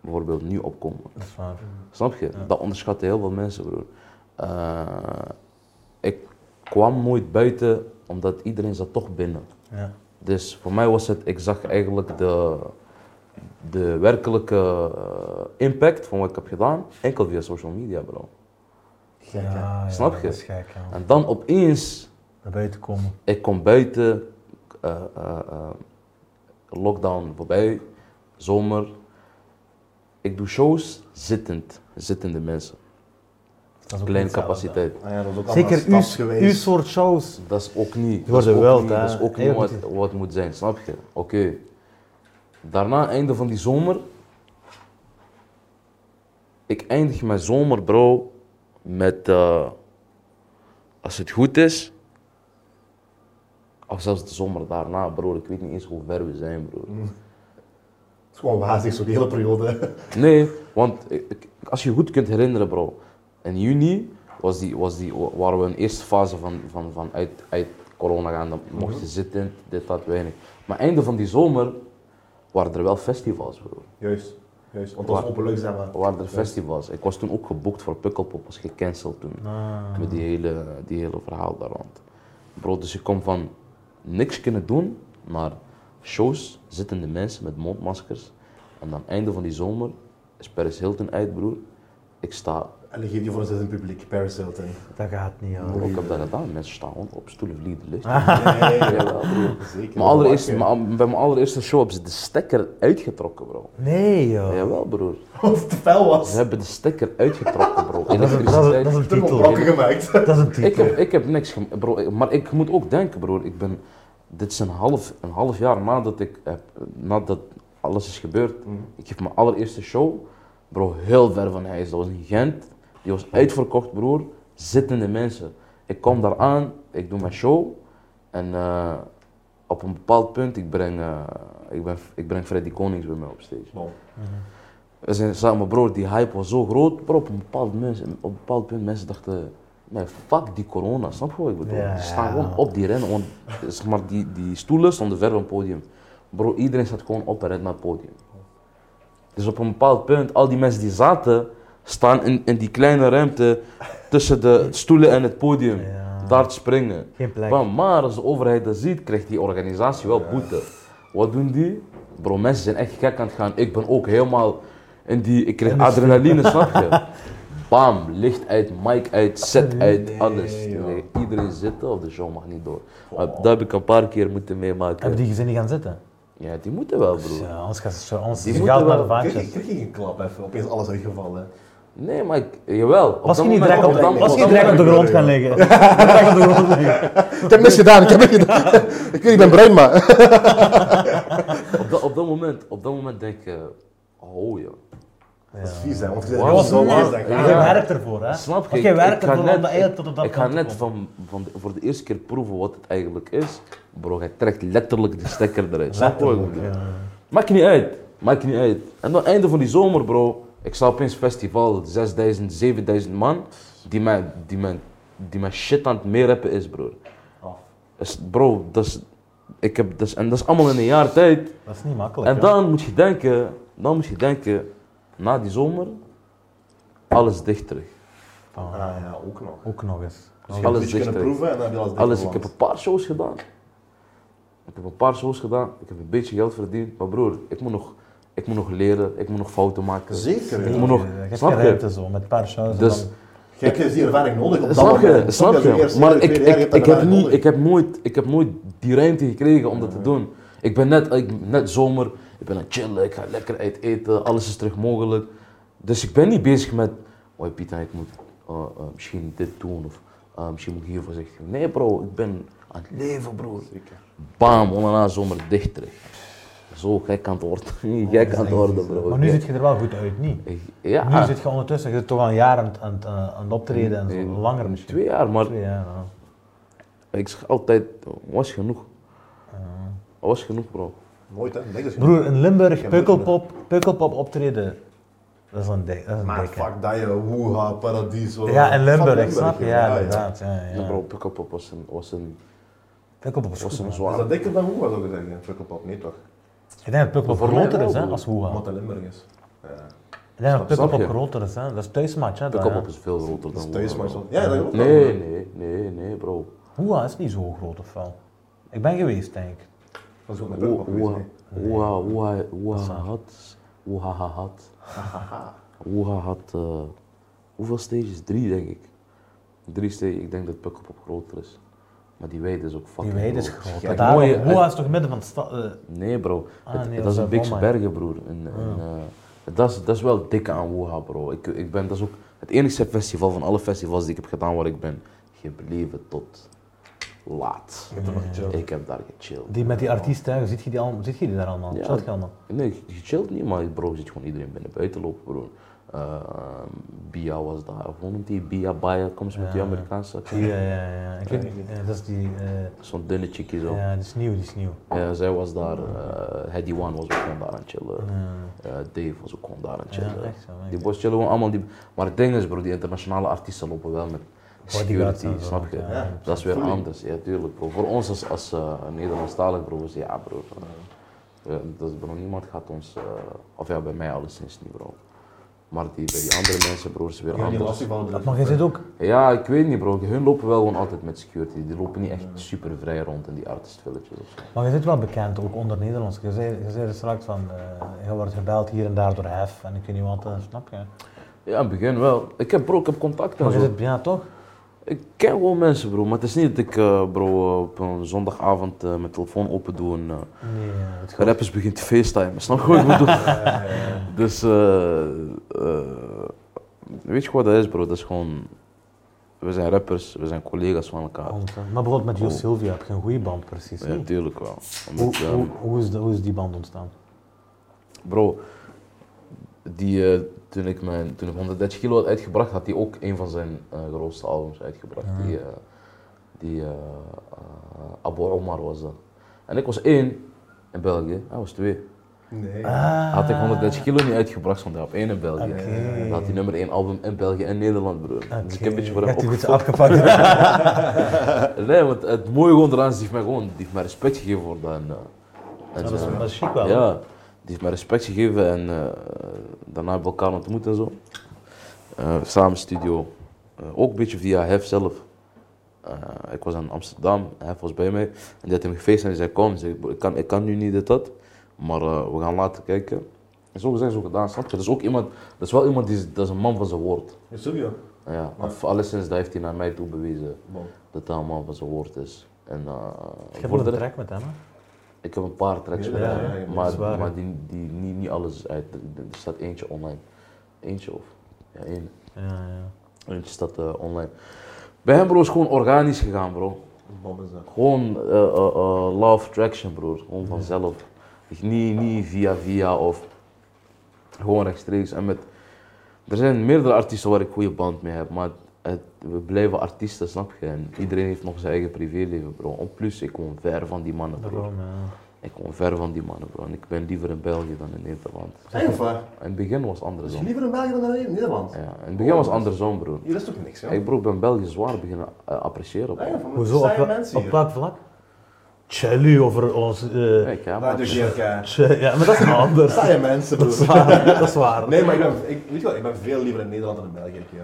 bijvoorbeeld nu opkomen. Dat is waar. Snap je? Dat onderschatten heel veel mensen, broer. Eh, ik kwam nooit buiten, omdat iedereen zat toch binnen. Ja. Dus voor mij was het, ik zag eigenlijk de, de werkelijke eh, impact van wat ik heb gedaan, enkel via social media, bro. Ja, ja, Snap je? Dat is gek, ja. En dan opeens, Naar buiten komen. ik kom buiten, eh, eh, eh, lockdown voorbij, zomer. Ik doe shows zittend, zittende mensen, Dat is ook kleine niet hetzelfde. capaciteit. Ah ja, dat is ook Zeker allemaal uw, stads geweest. uw soort shows. Dat is ook niet. wordt Dat is ook wild, niet, hè? dat is ook Heel niet wat, goed. wat moet zijn, snap je? Oké. Daarna, einde van die zomer. Ik eindig mijn zomer, bro, met. eh, als het goed is. Of zelfs de zomer daarna, bro. Ik weet niet eens hoe ver we zijn, bro. Het is gewoon wazig, zo die hele periode. Nee, want ik- ik- als je goed kunt herinneren, bro. In juni was die, was die, wa- waren we in de eerste fase van, van, van uit, uit corona gaan. Dan mocht je zitten, dit, dat, weinig. Maar einde van die zomer waren er wel festivals, bro. Juist, juist. Want dat is Waar- openlucht, zeg maar. Waren er festivals. Ik was toen ook geboekt voor Pukkelpop, was gecanceld toen. Ah, Met die hele, die hele verhaal daar rond. Bro, dus ik kom van niks kunnen doen naar shows, zittende mensen met mondmaskers. En aan het einde van die zomer is Paris Hilton uit, broer. Ik sta, En dan geef je voor een zin in het publiek, Paris Hilton. dat gaat niet, ja. bro, ik heb dat gedaan. Mensen staan gewoon op stoelen, vliegen de lucht. Nee, Jawel, broer. zeker. Mijn allereerste, mijn- bij mijn allereerste show hebben ze de stekker uitgetrokken, bro. Nee, joh. Jawel, broer. Of het te fel was. Ze hebben de stekker uitgetrokken, bro. Dat, is, dat, is, dat is een Te veel titel. brokken gemaakt. Dat is een titel. Ik heb, ik heb niks gem- bro, ik- maar ik moet ook denken, broer. Ik ben, dit is een half, een half jaar nadat ik heb, nadat alles is gebeurd. Ik heb mijn allereerste show, bro, heel ver van huis. Dat was in Gent. Die was uitverkocht, broer. Zittende mensen. Ik kom daar aan, ik doe mijn show. En eh, op een bepaald punt, ik breng, eh, ik, ben, ik breng Freddy Konings bij mij op stage. Wow. We zijn samen, broer, die hype was zo groot. Bro, op een bepaald, mens, op een bepaald punt mensen dachten, nee, fuck die corona, snap je wat ik bedoel? Ja, Ze staan ja. gewoon op die rennen, want zeg maar, die, die stoelen stonden ver van het podium. Bro, iedereen staat gewoon op en rent naar het podium. Dus op een bepaald punt, al die mensen die zaten, staan in, in die kleine ruimte tussen de stoelen en het podium. Ja. Daar te springen. Geen plek. Bam, maar als de overheid dat ziet, krijgt die organisatie wel boete. Wat doen die? Bro, mensen zijn echt gek aan het gaan. Ik ben ook helemaal in die... Ik krijg adrenaline, snap je? Bam, licht uit, mic uit, set uit, alles. joh. Nee, iedereen zitten of de show mag niet door. Maar dat heb ik een paar keer moeten meemaken. Hebben Oh. die gezinnen gaan zitten? Ja, die moeten wel, broer. Ja, anders gaat ze anders Die ze moeten gaat naar de wel- Kreeg je- vaantjes. kreeg je een klap even, opeens alles uitgevallen. Nee, maar ik, jawel. Op Was je dat niet moment- direct op, op dat was je niet moment- direct op de grond gaan liggen? Direct op de grond liggen. Ik heb niks gedaan, ik heb niks gedaan. Ik weet, ik ben bruin, maar... Op dat, op dat moment, op dat moment denk ik, eh, oh ja. Dat is vies, hè, want je Wow. was zo Wow. wazig. Ja. Je werkt ervoor, hè? Snap je? Want jij Ik- werkt ik ga ervoor om net- dat eigenlijk tot op dat Ik ga punt te net komen. van, van de- voor de eerste keer proeven wat het eigenlijk is. Bro, hij trekt letterlijk de stekker eruit. Snap je wat ik bedoel? Ja. Maakt niet uit. Maakt niet uit. En dan einde van die zomer, bro. Ik sta opeens festival, 6000, 7000 man. Die mijn, die mijn, die mijn shit aan het meerappen is, bro. Oh. Is- bro, dat is, ik heb, dat is, en dat is allemaal in een jaar tijd. Dat is niet makkelijk. En ja. dan moet je denken, dan moet je denken, na die zomer, alles dicht terug. Van, Ah ja, ook nog. Ook nog eens. Dus je hebt Alles een beetje kunnen dichter. proeven en dan heb je alles Alles, ik dichter heb een paar shows gedaan. Ik heb een paar shows gedaan, ik heb een beetje geld verdiend. Maar broer, ik moet nog, ik moet nog leren, ik moet nog fouten maken. Zeker, Ik ja. moet nog, Je hebt geen snap je? ruimte zo, met een paar shows. en Dus, dan- Je hebt die ervaring nodig op dat snap je, moment. snap Als je? eerste, Maar tweede ik, jaar, je ik, hebt ik, heb ervaring niet, nodig. ik, heb nooit, ik heb nooit die ruimte gekregen om dat te doen. Ik ben net, ik, net zomer, ik ben aan het chillen, ik ga lekker uit eten, alles is terug mogelijk. Dus ik ben niet bezig met, oh Pieter, ik moet eh, eh, misschien dit doen of eh, misschien moet ik hier voorzichtig zijn." Nee bro, ik ben aan het leven broer. Bam, onderna zomer dicht terug. zo gek aan het worden. gek aan het worden, bro. Oh, Maar nu Gek. zit je er wel goed uit, niet? Ik- Nu Ja, zit je ondertussen, je zit toch al een jaar aan het, aan het, eh, aan het optreden en zo, Nee, langer misschien. twee jaar, maar Twee jaar, ja. ik zeg altijd, was genoeg. Ah. Was genoeg, bro. Nooit, hè? Denk dat je- Broer, in Limburg, heb pukkelpop, pukkelpop optreden, dat is een dik, dat is een Maar dikke. fuck dat je, woeha, paradies. hoor. Ja, in Fuck Limburg, snap je? joh. Ja, inderdaad. Ja, ja. Ja. Bro, Pukkelpop was een, was een, Pukkelpop is was goed, een man. Is zwaar. dat dikker dan woeha, zou ik zeggen? Pukkelpop, nee toch? Ik denk dat Pukkelpop Voor mij groter wel, is hè, broer. als Woeha. Omdat het in Limburg is. Ja, Ik denk dat Pukkelpop snap je? groter is, hè. dat is thuismatch. Hè, dan, Pukkelpop hè. is veel groter dan thuis maar Woerden, zo. Ja, dat bro. klopt. Nee, nee, nee, nee, bro. Woeha is niet zo groot of wel? Ik ben geweest, denk ik. Dat is ook met Pukkelpop geweest, Woeha, nee. woeha, woeha, woeha had, woeha ha had. Woeha had, eh, hoeveel stages? Drie, denk ik. Drie stages, ik denk dat Pukkelpop groter is. Maar die weide is ook fucking Die weide is groot. groot. Ja, Daarom- mooie- Woeha is toch midden van de stad? eh, Nee, bro. Ah, het, nee, dat dat is is een bij Bikse Bomma. Bergen, broer. En, en, eh, dat, is, dat is wel dik aan Wuha, bro. Ik, ik ben, dat is ook het enige festival van alle festivals die ik heb gedaan waar ik ben gebleven tot laat. Ik heb er nog gechilled. Ik heb daar gechilled. die met die artiesten, hè. ziet je die, allemaal, ziet je die daar allemaal? Ja. Zat je allemaal? Nee, gechilled niet, maar bro, je ziet gewoon iedereen binnen buiten lopen, bro. Eh, Bia was daar, hoe noemt die? Bia, Bia, kom eens met die Ja. Amerikaanse. Die, eh, ja, ja, ja. Ik weet niet, eh, dat is die, eh, Zo'n dunne chickie zo. ja, die is nieuw, die is nieuw. Ja, zij was daar, eh Hedy One was ook gewoon daar aan het chillen. Ja. Eh, Dave was ook gewoon daar aan het Ja, chillen. echt zo, echt. die boys chillen gewoon allemaal. Die... Maar het ding is, bro, die internationale artiesten lopen wel met Bodyguards security, en zo, snap je? ja, ja, dat is weer absoluut. anders, ja, tuurlijk, bro. Voor ons als, als eh, Nederlandstalig, bro, is ja, bro. eh, eh, dat is, bro, niemand gaat ons, eh, of ja, bij mij alleszins niet, bro. Maar die, bij die andere mensen, bro, is weer Ik heb die anders. lastig van de- Maar jij zit ook, Ja, ik weet niet, bro. Hun lopen wel gewoon altijd met security. Die lopen niet echt super vrij rond in die artist villages of zo. maar jij zit wel bekend, ook onder Nederlands. Je zei, je zei er straks van, eh, je wordt gebeld hier en daar door hef en ik weet niet wat, eh, snap je? Ja, in het begin wel. Ik heb, bro, ik heb contacten. Maar en je zo. zit, ja toch? Ik ken gewoon mensen, bro, maar het is niet dat ik, eh, bro, eh, op een zondagavond eh, mijn telefoon open doe en eh, Nee, eh, het de rappers begint te facetimen. Snap je wat ik bedoel? dus, eh, eh, weet je wat dat is, bro? Dat is gewoon, we zijn rappers, we zijn collega's van elkaar. komt, hè. Maar bijvoorbeeld met Jo Silvia heb je een goede band precies. Oh. Ja, niet? natuurlijk wel. Omdat, Hoe, eh, hoe, hoe, is de- hoe is die band ontstaan? Bro, die, eh, toen, ik mijn, toen ik 130 kilo had uitgebracht, had hij ook een van zijn eh, grootste albums uitgebracht. Die, eh, die eh, eh, Abu Omar was dat. En ik was één in België, hij was twee. Nee. Had ik 130 kilo niet uitgebracht, stond hij op één in België. Ah. Oké. Dan had hij nummer één album in België en Nederland, broer. Dus ik heb een beetje voor Je hem hebt die opgefokt. beetje afgepakt. Nee, want het mooie gewoon eraan is, die heeft mij gewoon die heeft mij respect gegeven voor dat. En, eh, en Dat is, zo. dat is chic wel. hè? Ja, die heeft mij respect gegeven en eh, daarna hebben we elkaar ontmoet en zo. Eh, samen studio. Eh, ook een beetje via Hef zelf. Eh, ik was in Amsterdam, Hef was bij mij. En die had hem gefeest en hij zei: Kom, zei, ik, kan, ik kan nu niet dit, dat. Maar eh, we gaan later kijken. En zo gezegd, zo gedaan, snap je? Dat is ook iemand, dat is wel iemand die, is- dat is een man van zijn woord. Is Silvio? Ja, of alleszins, dat heeft hij naar mij toe bewezen dat hij een man van zijn woord is. En, eh, Ik voor heb wel de een rest- track met hem. hè. ik heb een paar tracks Ja, met ja, hem, ja, ja, dat maar, is waar, maar ja. die, die, niet, niet alles is uit. Er er staat eentje online. Eentje of? Ja, één. Ja, ja. Eentje staat eh, online. Bij hem, bro, is gewoon organisch gegaan, bro. Bob is dat. Gewoon eh, eh, eh, love traction, bro. Gewoon vanzelf. Dus Niet, niet via via of gewoon rechtstreeks. En met, er zijn meerdere artiesten waar ik goede band mee heb, maar het- we blijven artiesten, snap je? En iedereen heeft nog zijn eigen privéleven, bro. En plus, ik woon ver van die mannen, bro. Daarom, ja. Ik kom ver van die mannen, bro. En ik ben liever in België dan in Nederland. Echt waar? In het begin was het Dus andersom. liever in België dan in Nederland? Ja, in het begin was het andersom, bro. Hier is toch niks, joh? Ik, bro, ik ben België zwaar beginnen eh, appreciëren, bro. Hoezo? Op, Zijn wel- mensen op hier. welk vlak? Chelly over ons. eh, Kijk, ja, Maar maar... dus je- tje- ja, maar dat is anders. dat Saaie mensen, is broer. waar. Dat is waar. Nee, maar ik ben, ik, weet je wel, ik ben veel liever in Nederland dan in België, joh.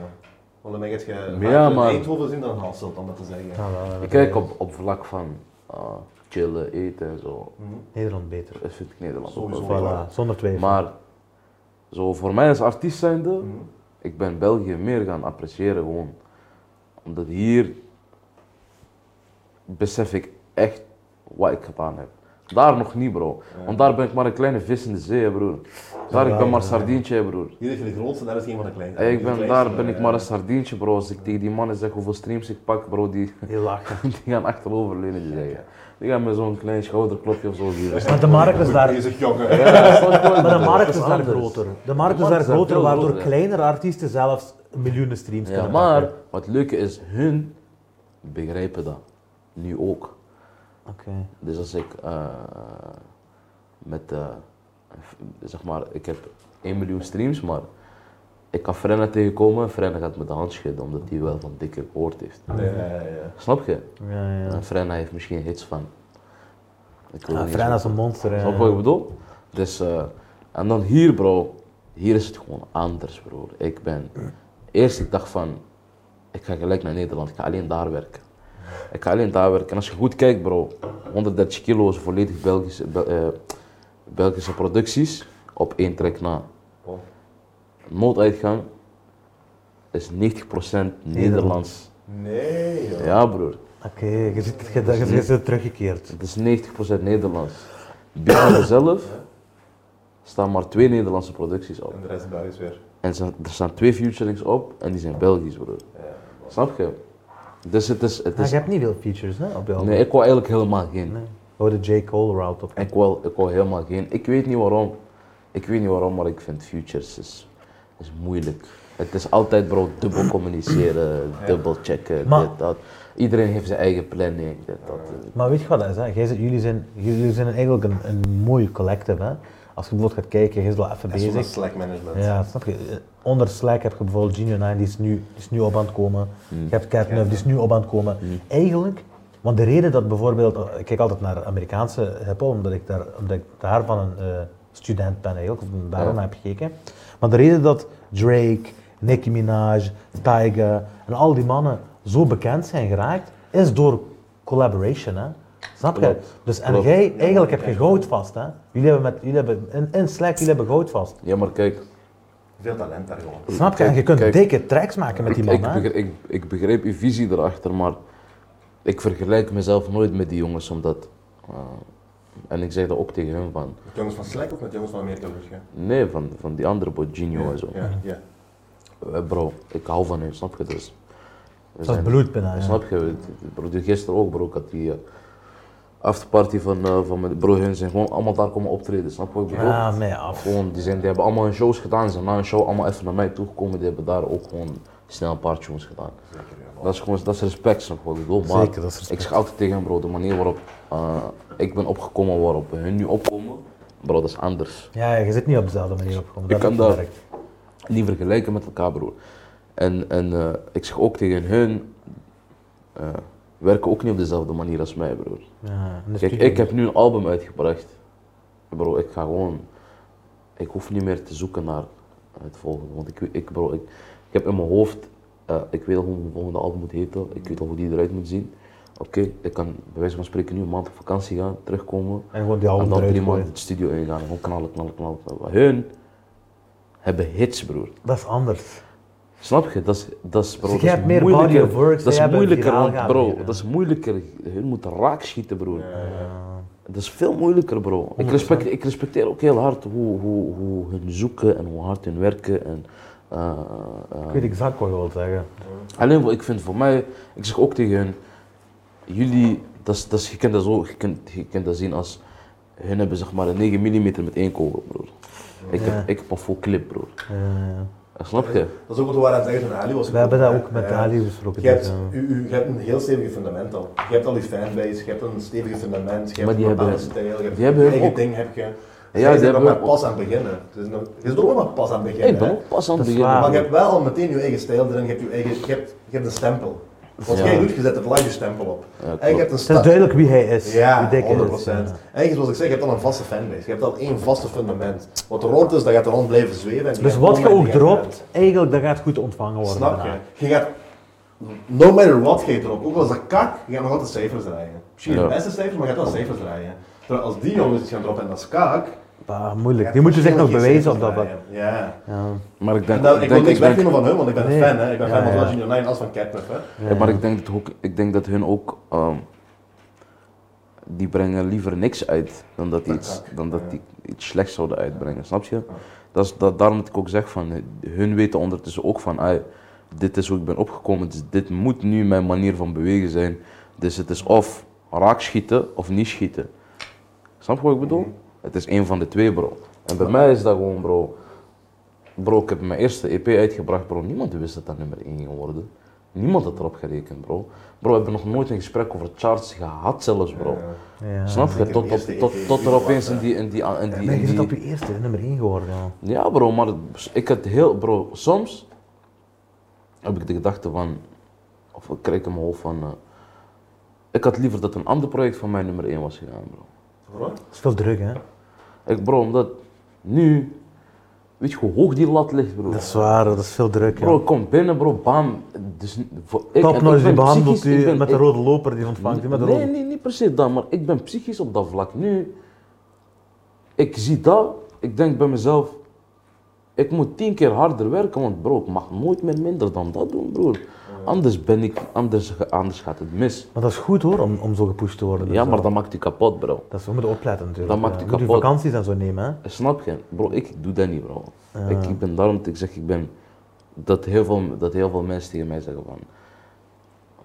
Want dan ben ik het ge... Ja, vaker in maar- Eindhoven zien dan in Hasselt, om het te zeggen. Ja, wel, wel. Ik kijk op, op vlak van eh, chillen, eten en zo. Nederland beter. Dat vind ik Nederland ook Hmm. Sowieso. wel. Voilà, zonder twijfel. Maar, zo voor mij als artiest zijnde, ik ben België meer gaan appreciëren gewoon. Omdat hier besef ik echt wat ik gedaan heb. Daar nog niet, bro. Want daar ben ik maar een kleine vis in de zee, hè, broer. Daar, ik ben maar een sardientje, hè, broer. Hier heb je de grootste, daar is geen van de kleinste. Hey, De ik ben, kleinste, daar ben ik eh, maar een sardientje, bro. Als ik tegen die mannen zeg hoeveel streams ik pak, bro, die, Heel lachen. die gaan achteroverleunen. Die zeggen. Ik heb me zo'n klein schouderklopje of zo. hier. Maar de markt is daar, Bezig joggen. Ja, snap je? maar de markt is Dat daar anders. groter. De markt is markt daar is daar groter, veel waardoor groter, ja. kleinere artiesten zelfs miljoenen streams Ja, kunnen maar pakken. wat leuke is, hun begrijpen dat. Nu ook. Oké. Dus als ik eh, met, eh, zeg maar, ik heb 1 miljoen streams, maar ik kan Frenna tegenkomen. Frenna gaat met de hand schudden, omdat hij wel van dikke gehoord heeft. Ja, ja, ja. Snap je? Ja, ja. En Frenna heeft misschien hits van. Ik weet Ja, niet Frenna eens- is een monster. hè. Snap wat ik bedoel? Dus, eh, en dan hier, bro. Hier is het gewoon anders, bro. Ik ben... Eerst ik dacht van... Ik ga gelijk naar Nederland. Ik ga alleen daar werken. Ik ga alleen daar werken. En als je goed kijkt, bro. 130 kilo is volledig Belgische, Bel- eh, Belgische producties. Op één trek na. Nooduitgang is 90% Nederlands. Nee, joh. Ja, broer. Oké, je zit- je- je je zit teruggekeerd. Het is 90% Nederlands. Binnen zelf staan maar twee Nederlandse producties op. En de rest Belgisch weer. En ze- er staan twee featurings op en die zijn Belgisch, broer. Snap je? Dus het is... Het Ja, is je hebt niet veel features hè, op je album. nee, ik wou eigenlijk helemaal geen. Nee. Oh, de J. Cole route op. Ik, wou, ik wou helemaal geen. Ik weet niet waarom. Ik weet niet waarom, maar ik vind features is, is moeilijk. Het is altijd, bro, dubbel communiceren, dubbel checken, Maar- dit, dat. Iedereen heeft zijn eigen planning, dit, dat. Maar weet je wat dat is? Hè? Jij zit- jullie, zijn, jullie zijn eigenlijk een, een mooi collective. Hè? Als je bijvoorbeeld gaat kijken, jij is wel even Dat is bezig. slack management. Ja, snap je? Eh, Onder Slack heb je bijvoorbeeld Genio 9, die is nu, die is nu op aan het komen. Mm. Je hebt Catnuf, die is nu op aan het komen. Eigenlijk, want de reden dat bijvoorbeeld, eh, ik kijk altijd naar Amerikaanse hiphop, omdat ik daar, omdat ik daar van een eh, student ben eigenlijk, of daarom heb gekeken. Maar de reden dat Drake, Nicki Minaj, Tyga en al die mannen zo bekend zijn geraakt, is door collaboration, hè? Snap je? Dus en Klopt. jij, eigenlijk heb je goud vast, hè? Jullie hebben met, jullie hebben, in, in Slack, jullie hebben goud vast. Ja, maar kijk, Veel talent daar gewoon. Snap je? Kijk, en je kunt kijk. dikke tracks maken met die man, ik, hè? begrijp, ik, ik begrijp uw visie erachter, maar ik vergelijk mezelf nooit met die jongens, omdat... eh, en ik zeg dat ook tegen hem van... Met jongens van Slack of met jongens van Amerika? bedoel je? Nee, van, van die andere boy, Gino en zo. Ja, ja. Eh, bro, ik hou van hem, snap je? Dus, we Dat is zijn- bloed bijna, ja. Snap je? Bro, die gisteren ook, bro. Ik had die eh, afterparty van, eh, van mijn broer. Hun zijn gewoon allemaal daar komen optreden, snap je wat ik bedoel? Ja, nee, af. Gewoon, die, zijn, die hebben allemaal hun shows gedaan. Ze zijn na een show allemaal even naar mij toegekomen. Die hebben daar ook gewoon snel een paar tunes gedaan. Dat is gewoon dat is respect, snap je wat ik bedoel? Maar Zeker, dat is respect. ik zeg altijd tegen hem, bro, de manier waarop eh, ik ben opgekomen, waarop hun nu opkomen, bro, dat is anders. Ja, je zit niet op dezelfde manier opgekomen. Dat Ik kan heb dat gemerkt. niet vergelijken met elkaar, broer. En, en eh, ik zeg ook tegen hun, eh, werken ook niet op dezelfde manier als mij, broer. Ja, dus in de Kijk, studio. ik heb nu een album uitgebracht. Bro, ik ga gewoon. Ik hoef niet meer te zoeken naar het volgende. Want ik, weet- ik, bro, ik, ik heb in mijn hoofd. eh, ik weet al hoe mijn volgende album moet heten. Ik weet al hoe die eruit moet zien. Oké, ik kan bij wijze van spreken nu een maand op vakantie gaan, terugkomen. En gewoon die album En dan eruit drie gooien. maanden de studio ingaan. Gewoon knallen, knallen, knallen. knallen. Hun hebben hits, broer. Dat is anders. Snap je? Dat is, dat is, bro, Dus dat jij is hebt meer body moeilijker. of work, zij dat is hebben moeilijker, viraal want, gaan bro. beginnen. Dat is moeilijker. Hun moeten raak schieten, broer. Dat is veel moeilijker, bro. Ik, respect, ik respecteer ook heel hard hoe, hoe, hoe hun zoeken en hoe hard hun werken. En, eh, eh, Ik weet exact wat je wilt zeggen. Alleen wat ik vind voor mij, ik zeg ook tegen hun, jullie, dat is, dat is, je, kunt dat zo, je, kunt, je kunt dat zien als, hun hebben zeg maar een 9 mm met één kogel, broer. Ik, Ja. heb, ik heb een full clip, broer. Ja, ja, ja. Snap je? Dat is ook wat we waren aan het zeggen van Ali. Was We hebben dat ook met Ali besproken. Je hebt, dus, nou- ja. u, u- je hebt een heel stevig fundament al. Je hebt al die fanbase, je hebt een stevig fundament, je Maar hebt die een hebben- bepaalde stijl, je hebt die je hebben hun eigen ook. ding. Heb je. die Jij bent hebben nog hun maar ook. pas aan het beginnen. Het is, nog, je is er ook maar pas aan het beginnen. ik ben hè. ook Ah. pas aan het Dat is beginnen. waar. Maar je hebt wel al meteen je eigen stijl erin, je hebt, je eigen, je hebt, je hebt een stempel. Wat Ja. jij doet, je zet er live je stempel op. en je klopt. hebt een Het is stad. duidelijk wie hij is. Ja, wie dik 100%. hij is. Eigenlijk zoals ik zeg, je hebt al een vaste fanbase. Je hebt al één vaste fundament. Wat er rood is, dat gaat er rond blijven zweven. en Dus gaat wat je online ook gaan dropt, eigenlijk dat gaat goed ontvangen worden. Snap daarna. je? Je gaat, no matter what, ga je erop. Ook al is dat kak, je gaat nog altijd cijfers draaien. Misschien Ja. de beste cijfers, maar je gaat wel cijfers draaien. Terwijl als die jongens iets gaan droppen en dat is kak... Bah, Ah, moeilijk. gaat Die moeten zich dus nog waarschijnlijk geen bewijzen op dat. cijfers vlak. draaien. Ja. Ja. Maar ik En denk, dat, ik ik wil denk, ik niks denk, wegnemen van hun, want ik ben Nee. fan. Hè. Ik ben Ja, fan van ja. zowel Junior 9 als van Catnip. Hè. ja, maar ik denk, dat ook, ik denk dat hun ook, ehm, die brengen liever niks uit dan dat die iets, dan dat die iets slechts zouden uitbrengen, snap je? Dat is, dat, daarom dat ik ook zeg van, hun weten ondertussen ook van, "Ah, "Ai, dit is hoe ik ben opgekomen, dus dit moet nu mijn manier van bewegen zijn. Dus het is of raak schieten of niet schieten. Snap je wat ik bedoel? Het is één van de twee, bro. En bij mij is dat gewoon, bro. Bro, ik heb mijn eerste EP uitgebracht, bro. Niemand wist dat dat nummer 1 ging worden. Niemand had erop gerekend, bro. Bro, we hebben nog nooit een gesprek over charts gehad, zelfs, bro. Ja. Snap je? Zeker Tot, de tot, eerste tot, E EP tot er was, opeens hè. in die. In die, in die, Ben in je dit die op je eerste nummer 1 geworden? Ja. ja, bro, maar het- ik had heel, bro, soms heb ik de gedachte van, of ik kreeg in mijn hoofd van, eh, ik had liever dat een ander project van mij nummer 1 was gegaan, bro. Het is veel druk, hè? Ik, bro, omdat nu, weet je hoe hoog die lat ligt, bro. Dat is waar, dat is veel druk. Bro, Ja. ik kom binnen, bro, bam. Dus, voor, ik, en ik Topnotch, die ben behandelt psychisch- ik u ben- met de ik- rode loper, die ontvangt u met de Nee, rode... nee, niet per se dat, maar ik ben psychisch op dat vlak. Nu, ik zie dat, ik denk bij mezelf, ik moet tien keer harder werken, want bro, ik mag nooit meer minder dan dat doen, broer. Anders ben ik, anders, anders gaat het mis. Maar dat is goed hoor, om, om zo gepusht te worden. Ja, Dus, maar eh, dat maakt je kapot, bro. Dat is, we moeten opletten natuurlijk. Dat maakt ja. u Moet u kapot. vakanties en zo nemen, hè? Snap je? Bro, ik doe dat niet, bro. Ik, ik ben daarom, dat ik zeg, ik ben, dat heel veel, dat heel veel mensen tegen mij zeggen van,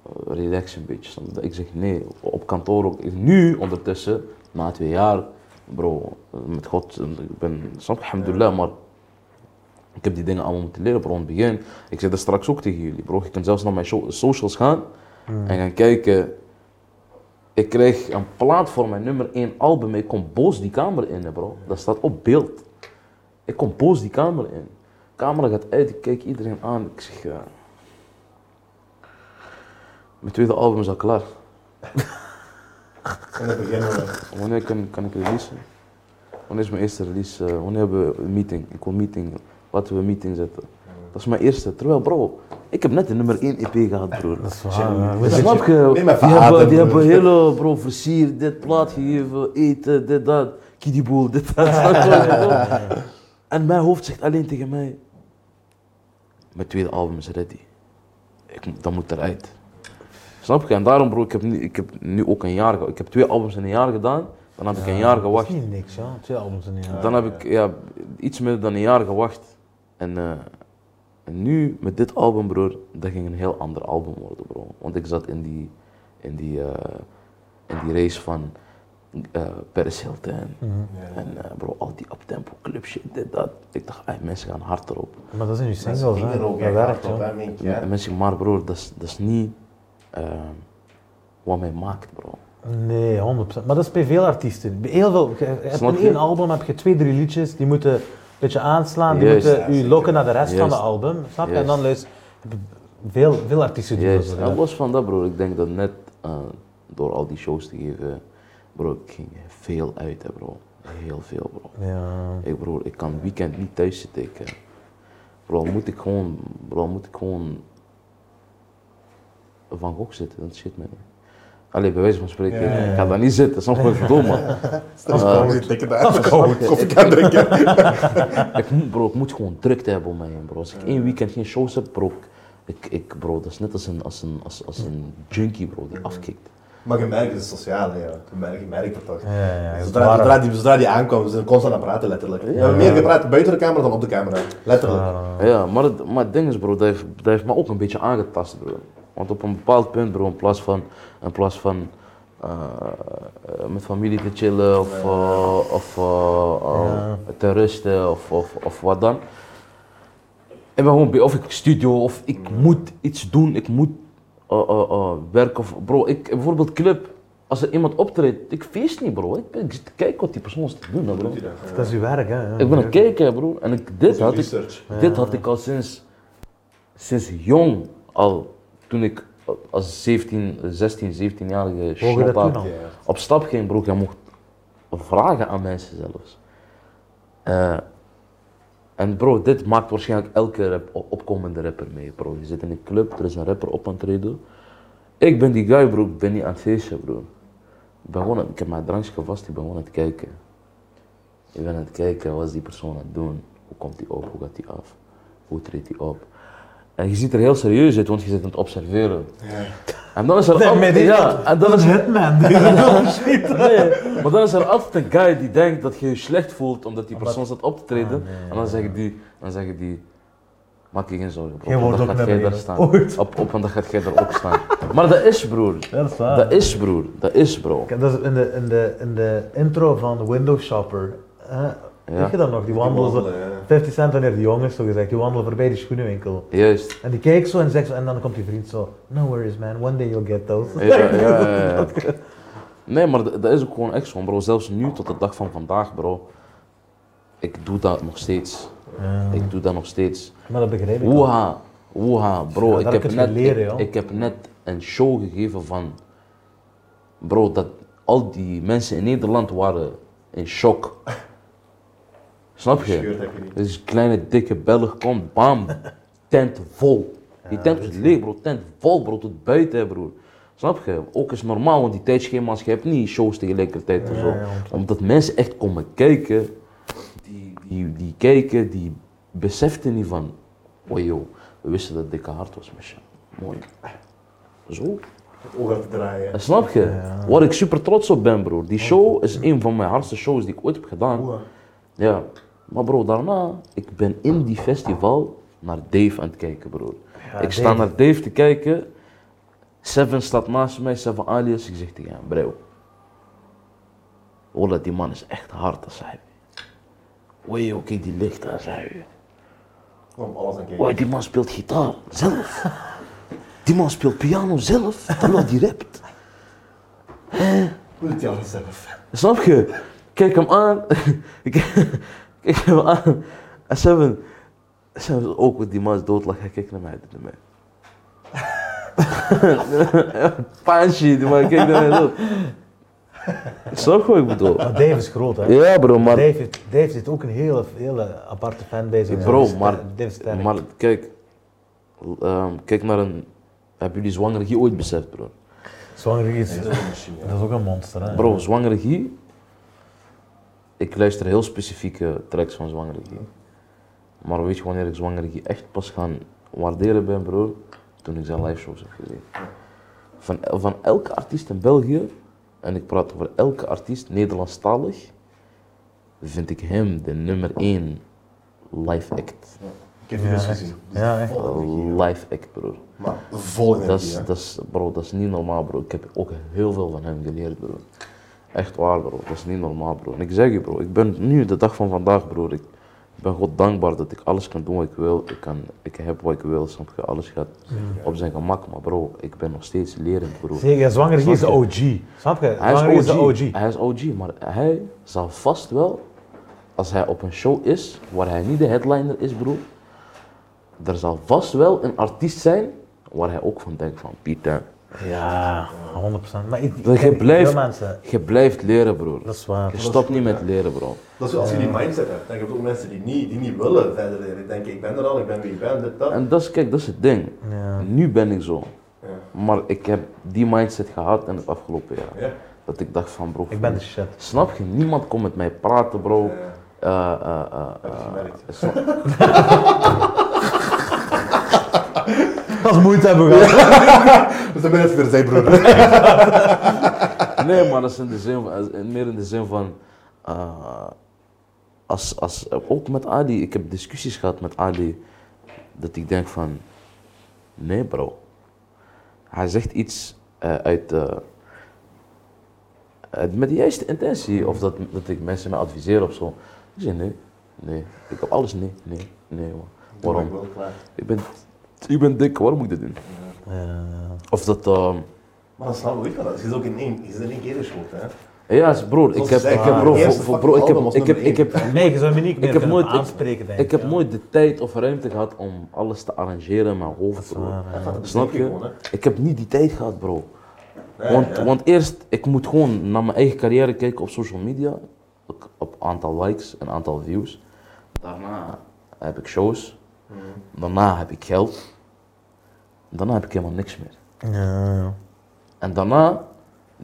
eh, relax een beetje. snap je? Ik zeg, nee, op kantoor ook. Ik- Nu ondertussen, na twee jaar, bro, eh, met God, ik ben, snap je, alhamdulillah, maar ik heb die dingen allemaal moeten leren, bro, in het begin. Ik zeg dat straks ook tegen jullie, bro. Je kunt zelfs naar mijn so- socials gaan en gaan kijken. Ik kreeg een plaat voor mijn nummer 1 album. Ik kom boos die kamer in, hè, bro. Dat staat op beeld. Ik kom boos die kamer in. Camera gaat uit, ik kijk iedereen aan. Ik zeg, ja. Mijn tweede album is al klaar. En dan beginnen we. Wanneer kan, kan ik releasen? Wanneer is mijn eerste release? Eh, wanneer hebben we een meeting? Ik wil meeting. Laten we een meeting zetten. Dat is mijn eerste. Terwijl, bro, ik heb net de nummer 1 EP gehad, broer. Dat is waar. ja. We zitten- Snap je? Nee, maar Die vader, hebben, die broer. hebben hele bro, versier, dit plaat gegeven, eten, dit, dat, kiddieboel, dit, dat. snap je wat ik bedoel? en mijn hoofd zegt alleen tegen mij: Mijn tweede album is ready. Ik, moet- dat moet eruit. Snap je? En daarom, bro, ik heb nu, ik heb nu ook een jaar. ge- Ik heb twee albums in een jaar gedaan. Dan heb ik een jaar Dat is gewacht. niet niks, ja. Twee albums in een jaar. Dan heb ik ja, iets meer dan een jaar gewacht. En, eh, en nu, met dit album, broer, dat ging een heel ander album worden, bro. Want ik zat in die, in die, eh, in die race van eh Paris Hilton. En eh, bro, al die uptempo club shit, dit, dat. Ik dacht, ey, mensen gaan hard erop. Maar dat zijn nu Ze singles, hè? gingen er ook Dat echt werkt, hard op, ja. hè, Mink, En ja. mensen zeggen, maar broer, dat is- dat is niet eh, wat mij maakt, bro. Nee, 100%. Maar dat is bij veel artiesten. Bij heel veel. Je hebt Snap in je? één album heb je twee, drie liedjes die moeten een beetje aanslaan. Die Juist. moeten Ja, u zeker. lokken naar de rest van de Juist. album. Snap je? En Juist. dan luister heb je veel, veel artiesten die dat Juist, zo en doen. los van dat broer, ik denk dat net eh, door al die shows te geven, bro, ik ging veel uit hè bro. Heel veel bro. Ja. Ik broer, ik kan weekend niet thuis zitten. Ik, eh, bro, moet ik gewoon, bro, moet ik gewoon van gok zitten, dat shit man. Allee, bij wijze van spreken, Ja, ja, ja. ik ga daar niet zitten, snap je wat ik bedoel man. Afkomen zit lekker daar. Koffie kan drinken. Ik moet, bro, ik moet gewoon drukte hebben om mij heen, bro. Als ik één weekend geen shows heb, bro, ik, ik, bro dat is net als een, als een, als, als een junkie, bro, die afkikt. Maar je merkt het sociale, ja. Je merkt, je merkt het toch. Ja, ja, ja. Zodra, zodra, die, zodra die aankwam, ze zijn constant aan het praten, letterlijk. We hebben meer gepraat buiten de camera dan op de camera. Letterlijk. Ja, maar het, maar het ding is, bro, dat heeft, dat heeft me ook een beetje aangetast, bro. Want op een bepaald punt, bro, in plaats van, in plaats van eh, eh, met familie te chillen of, eh, of eh, eh, te rusten of, of, of wat dan. Ik ben gewoon, be- of ik studio, of ik moet iets doen, ik moet eh, eh, eh, werken. Of, bro, ik, bijvoorbeeld club. Als er iemand optreedt, ik feest niet, bro. Ik, ik zit te kijken wat die persoon is te doen, hè, bro. Dat is uw werk, hè? ja. Ik ben een kijker, bro. En ik, dit, had ik, research. dit had ik al sinds, sinds jong al. Toen ik als 17, 16, 17-jarige Mogen dat snottaard toen al? op stap ging, bro. Jij mocht vragen aan mensen zelfs. Eh, en bro, dit maakt waarschijnlijk elke rap, opkomende rapper mee, bro. Je zit in een club, er is een rapper op aan het treden. Ik ben die guy, bro. Ik ben niet aan het feesten, bro. Ik, ben gewoon, aan- ik heb mijn drankje vast, ik ben gewoon aan het kijken. Ik ben aan het kijken, wat is die persoon aan het doen? Hoe komt die op? Hoe gaat die af? Hoe treedt die op? En je ziet er heel serieus uit, want je zit aan het observeren. En dan is er... al- maar dit- Oh, ja, en dan Dat is is er Hitman. die dat doen. Nee, maar dan is er altijd een guy die Ah, denkt dat je je slecht voelt omdat die persoon staat op te treden. En dan zeggen die, dan zeggen die, Maak je geen zorgen, bro. Jij want wordt ook dan gaat naar jij daar beneden. staan. Ooit. Op, op, want dan gaat jij daar ook staan. Maar dat is, broer. Dat is waar. Dat is, broer. Dat is, bro. Kijk, Dat is in de, in de, in de intro van Windows Shopper. hè? Weet je dat nog? Die wandelen, zo- wandelen, ja. 50 cent wanneer die jongens zo gezegd, die wandelen voorbij die schoenenwinkel. Juist. En die kijkt zo en zegt zo, en dan komt die vriend zo, no worries man, one day you'll get those. Ja, ja, ja, ja. Nee, maar dat, dat is ook gewoon echt zo, bro. Zelfs nu, tot de dag van vandaag, bro. Ik doe dat nog steeds. Ja, Ik doe dat nog steeds. maar dat begrijp ik wel. Woeha, woeha, bro. Ja, ik, daar heb kun je net, leren, ik, joh. ik heb net een show gegeven van. Bro, dat al die mensen in Nederland waren in shock. Snap je? Gescheurd heb je niet. Dus een kleine dikke Belg komt, bam, tent vol. Die tent was leeg, bro. Tent vol, bro, tot buiten, bro. Snap je? Ook is normaal, want die tijdschema's, je hebt niet shows tegelijkertijd en zo. Omdat mensen echt komen kijken, die, die, die kijken, die beseften niet van, oh joh, we wisten dat het dikke hart was, mesje. Mooi. Zo. Oog even draaien. En Snap je? Waar ik super trots op ben, broer. Die show is een van mijn hardste shows die ik ooit heb gedaan. eh, Ja. Maar bro, daarna, ik ben in die festival naar Dave aan het kijken, broer. ik sta Dave. naar Dave te kijken. Seven staat naast mij, Seven Alias. Ik zeg tegen hem, bro. Hola, die man is echt hard, als hij. Wee, oké, die licht, als hij. Kom, alles aan kijken. Wow, die man speelt gitaar zelf. Die man speelt piano zelf, terwijl die rapt. Doe het alles zelf. Snap je? Kijk hem aan. Kijk kijk hem aan. En Seven. Seven is ook wat die man is doodlag. Hij kijkt naar mij. doet naar mij. Pansje, die man kijkt naar mij. dood. Snap je wat ik bedoel? Maar Dave is groot hè. Ja, bro, maar. Dave, heeft, Dave heeft ook een hele, hele aparte fanbase. Bro, maar, Dave is sterk. maar kijk, ehm, kijk naar een. Hebben jullie zwangergie ooit beseft, bro? Zwanger is, dat is ook een monster hè. Bro, zwangergie. Ik luister heel specifieke tracks van zwangergie. Maar weet je wanneer ik zwangergie echt pas gaan waarderen ben, bro? Toen ik zijn live shows heb gezien. Van, el- van elke artiest in België, en ik praat over elke artiest, Nederlandstalig, vind ik hem de nummer één live act. Ik heb die dus gezien. Dus Ja, echt. vol energie. Live act, bro. Maar vol energie. Oh, Dat is, hè. dat is, bro, dat is niet normaal, bro. Ik heb ook heel veel van hem geleerd, bro. Echt waar, bro. Dat is niet normaal, bro. En ik zeg je, bro, ik ben nu de dag van vandaag, bro. Ik ben God dankbaar dat ik alles kan doen wat ik wil. Ik, kan, ik heb wat ik wil, snap je? Alles gaat op zijn gemak. Maar bro, ik ben nog steeds lerend, bro. Zeker, zwanger is de Snap OG. Snap je? Hij Zwanger is is de OG. OG. Hij is OG, maar hij zal vast wel, als hij op een show is waar hij niet de headliner is, bro, er zal vast wel een artiest zijn waar hij ook van denkt van Pieter. Ja, 100%. Maar ik, Dat je ken blijft, veel mensen. je blijft leren, broer. Dat is waar. Je stopt niet met leren, bro. Dat is als je die mindset hebt. Dan heb je ook mensen die niet, die niet willen verder leren. Die denken, ik ben er al, ik ben wie ik ben, dit, dat. En dat is, kijk, dat is het ding. Ja. Nu ben ik zo. Ja. Maar ik heb die mindset gehad in het afgelopen jaar. Ja. Dat ik dacht van, bro, Ik ben de shit. snap je? Niemand kon met mij praten, bro. Ja. Eh, eh, eh, Heb je gemerkt. eh, snap- Als moeite hebben gehad. Dus dan ben je het weer zijn broer. Nee, maar dat is in de zin van, eh, meer in de zin van. eh, als, als, ook met Ali, ik heb discussies gehad met Ali. Dat ik denk van. Nee, bro. Hij zegt iets eh, uit. eh, uit- met de juiste intentie. Of dat, dat ik mensen me adviseer of zo. Ik zeg nee, nee. Ik heb alles nee, nee, nee. man. Waarom? Ik ben, ik ben dik, waarom moet ik dit doen? Of dat. ehm, Maar dat snap ik ook wel. Het is ook in één, het is in één keer geschoten, hè. ja, broer, ik Zoals heb, ze zeggen, ik heb, bro, de voor- eerste voor- bro, ik heb, album was ik heb, nummer ik heb, Nee, je zou me niet meer Ik heb kunnen nooit- ik- aanspreken, denk ik. Ik heb ja. nooit de tijd of ruimte gehad om alles te arrangeren in mijn hoofd, bro. Snap bedenken je? gewoon, Ik heb niet die tijd gehad, bro. Want, want eerst, ik moet gewoon naar mijn eigen carrière kijken op social media. Ook Op aantal likes en aantal views. Daarna heb ik shows. Daarna heb ik geld. Daarna heb ik helemaal niks meer. Ja, ja. En daarna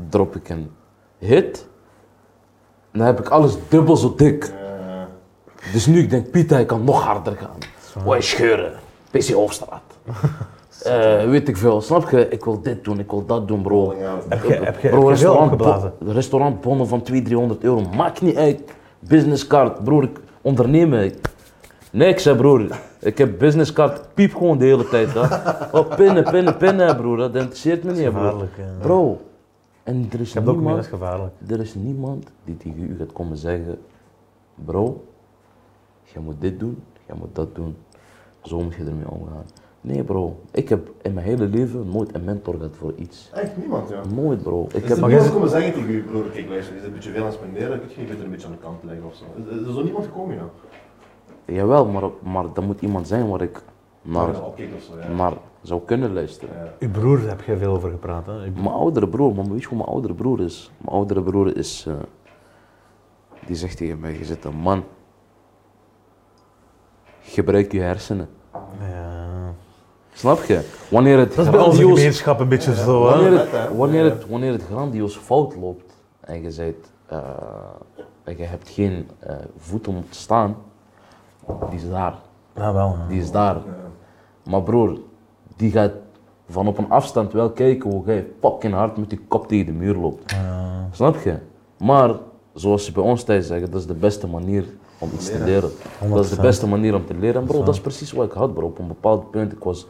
drop ik een hit. En dan heb ik alles dubbel zo dik. Dus nu ik denk, Pieter, ik kan nog harder gaan. Wij scheuren. PC Hoofdstraat. Eh, weet ik veel, snap je? Ik wil dit doen, ik wil dat doen, bro. Heb je, heb je, heb je Bro, veel restaurant, opgeblazen? restaurantbonnen van 200, 300 euro, maakt niet uit. Businesscard, broer, ik ondernemen. Niks hè broer. Ik heb businesscard, piep gewoon de hele tijd. Hè. Oh, pinnen, pinnen, pinnen, broer. Dat interesseert me niet, broer. Gevaarlijk. eh. Bro, en er is, Ik heb dat ook meer niemand, dat is gevaarlijk. er is niemand die tegen u gaat komen zeggen: Bro, jij moet dit doen, jij moet dat doen. Zo moet je ermee omgaan. Nee, bro, ik heb in mijn hele leven nooit een mentor gehad voor iets. Echt niemand, ja. Nooit, bro. Ik Ik heb heb er maar niemand jij- komen zeggen tegen je broer, kijk luister, is dit een beetje veel aan het spenderen, kun je beter een beetje aan de kant leggen of zo. Is, is er zo niemand gekomen, ja? Jawel, maar, maar dat moet iemand zijn waar ik Maar naar, dan opkijkt of zo, ja. naar zou kunnen luisteren. Ja. Uw broer heb je veel over gepraat. Hè? Ik- Mijn oudere broer, maar weet je hoe mijn oudere broer is? Mijn oudere broer is. eh, die zegt tegen mij: Je zit een man. Gebruik je hersenen. Ja. Snap je? Wanneer het Dat is bij onze grandioos, gemeenschap een beetje zo. Hè? wanneer Ja, net, het, hè. wanneer, het, wanneer het grandioos fout loopt en je, zijt, eh, en je hebt geen eh, voet om te staan, die is daar. Ja, wel. hè. Die is daar. Maar broer, die gaat van op een afstand wel kijken hoe jij fucking hard met die kop tegen de muur loopt. Snap je? Maar zoals ze bij ons thuis zeggen, dat is de beste manier om iets te leren. Dat is de 100%. beste manier om te leren. En bro, dat is precies wat ik had bro. Op een bepaald punt, ik was,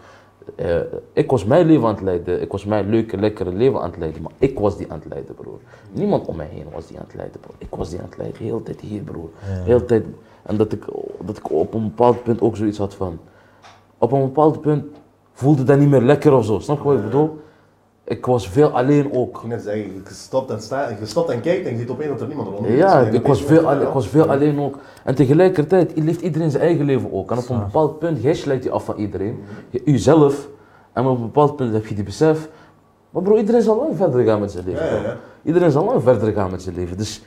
eh, ik was mijn leven aan het leiden. Ik was mijn leuke, lekkere leven aan het leiden. Maar ik was die aan het leiden broer. Niemand om mij heen was die aan het leiden broer. Ik was die aan het leiden. Heel de tijd hier broer. Heel de tijd. En dat ik, dat ik op een bepaald punt ook zoiets had van op een bepaald punt voelde dat niet meer lekker of zo. Snap je wat ik bedoel? Ik was veel alleen ook. Ik ging net zeggen, je stopt en, sta, je stopt en kijkt en je ziet opeens dat er niemand rond is. Ja, En je ik was, denkt, veel, ja, al- ik was veel alleen ook. En tegelijkertijd leeft iedereen zijn eigen leven ook. En op een bepaald punt, jij sluit je af van iedereen. Je- Jezelf. En op een bepaald punt heb je die besef. Maar bro, iedereen zal lang verder gaan met zijn leven. Ja, ja, bro. ja. Iedereen zal lang verder gaan met zijn leven. Dus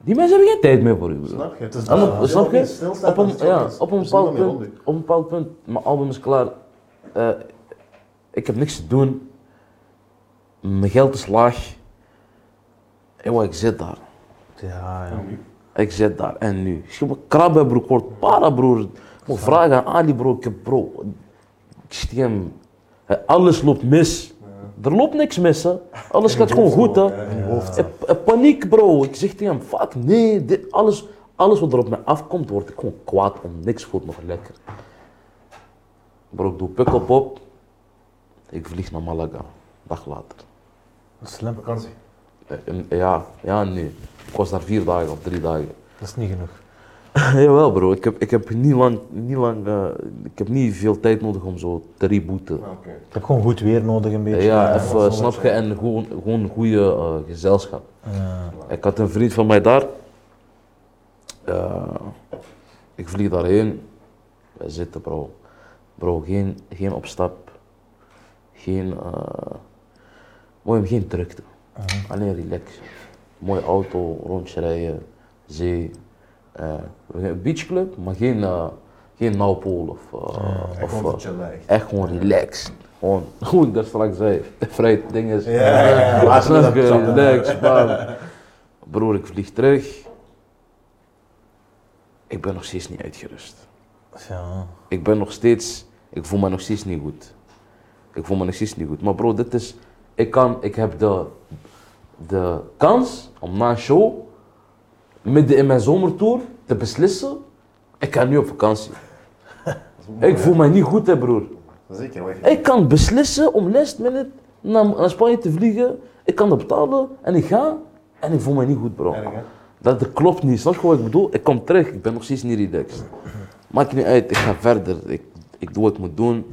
die mensen hebben geen tijd meer voor u. bro. Snap je? Het is En op- dat je Ah, snap opeens je? stilstaat Op een, en het ja, is- op, een er is niemand bepaald meer punt, rond je. op een bepaald punt, mijn album is klaar. Eh, ik heb niks te doen. Mijn geld is laag. Ewa, ik zit daar. Ja, ja. Ik zit daar. En nu? Ik heb een krabbe, broer. Ik word para, broer. Ik moet vragen aan Ali, bro. Ik heb, bro. Ik stem. Hè, Alles loopt mis. Er loopt niks mis, hè. Alles gaat gewoon goed, hè. Ja, in je hoofd. Ik- ik paniek, bro. Ik zeg tegen hem, fuck, nee. Dit, alles, alles wat er op mij afkomt, word ik gewoon kwaad om. Niks voelt nog lekker. Bro, ik doe pick-up op. Ik vlieg naar Malaga. dag later. Slim. Vakantie. Eh, en- Ja, ja, nee. Ik was daar vier dagen of drie dagen. Dat is niet genoeg. Jawel bro, ik heb, ik heb niet lang, niet lang eh, ik heb niet veel tijd nodig om zo te rebooten. Ah, oké. Ik heb gewoon goed weer nodig een beetje. Ja, Eh, even, snap je, en gewoon, gewoon een goede eh, gezelschap. Ik had een vriend van mij daar. Eh, ik vlieg daarheen. Wij zitten bro. Bro, geen, geen opstap. Geen, eh, mooi, geen drukte. Uh-huh. Alleen relax. Mooie auto, rondje rijden, zee. Eh, een beachclub, maar geen, eh geen nauwpool of... eh, Ik of vond eh, het chill echt. echt gewoon relaxed. Gewoon, hoe ik dat straks zei, de vrije ding is. Ja, ja, ja. Laten we Snap je, dat klappen. eh, relaxed, bam. Broer, ik vlieg terug. Ik ben nog steeds niet uitgerust. Ja. Ik ben nog steeds, ik voel me nog steeds niet goed. Ik voel me nog steeds niet goed. Maar bro, dit is, ik kan, ik heb de, de kans om na een show, midden in mijn zomertour, te beslissen, ik ga nu op vakantie. Ik voel me niet goed hè broer. Zeker, weet je. Ik kan beslissen om last minute naar, naar Spanje te vliegen. Ik kan dat betalen en ik ga. En ik voel me niet goed, bro. Erg, hè? Dat, dat klopt niet. Snap je wat ik bedoel? Ik kom terug, ik ben nog steeds niet relaxed. Maakt niet uit, ik ga verder. Ik, ik doe wat ik moet doen.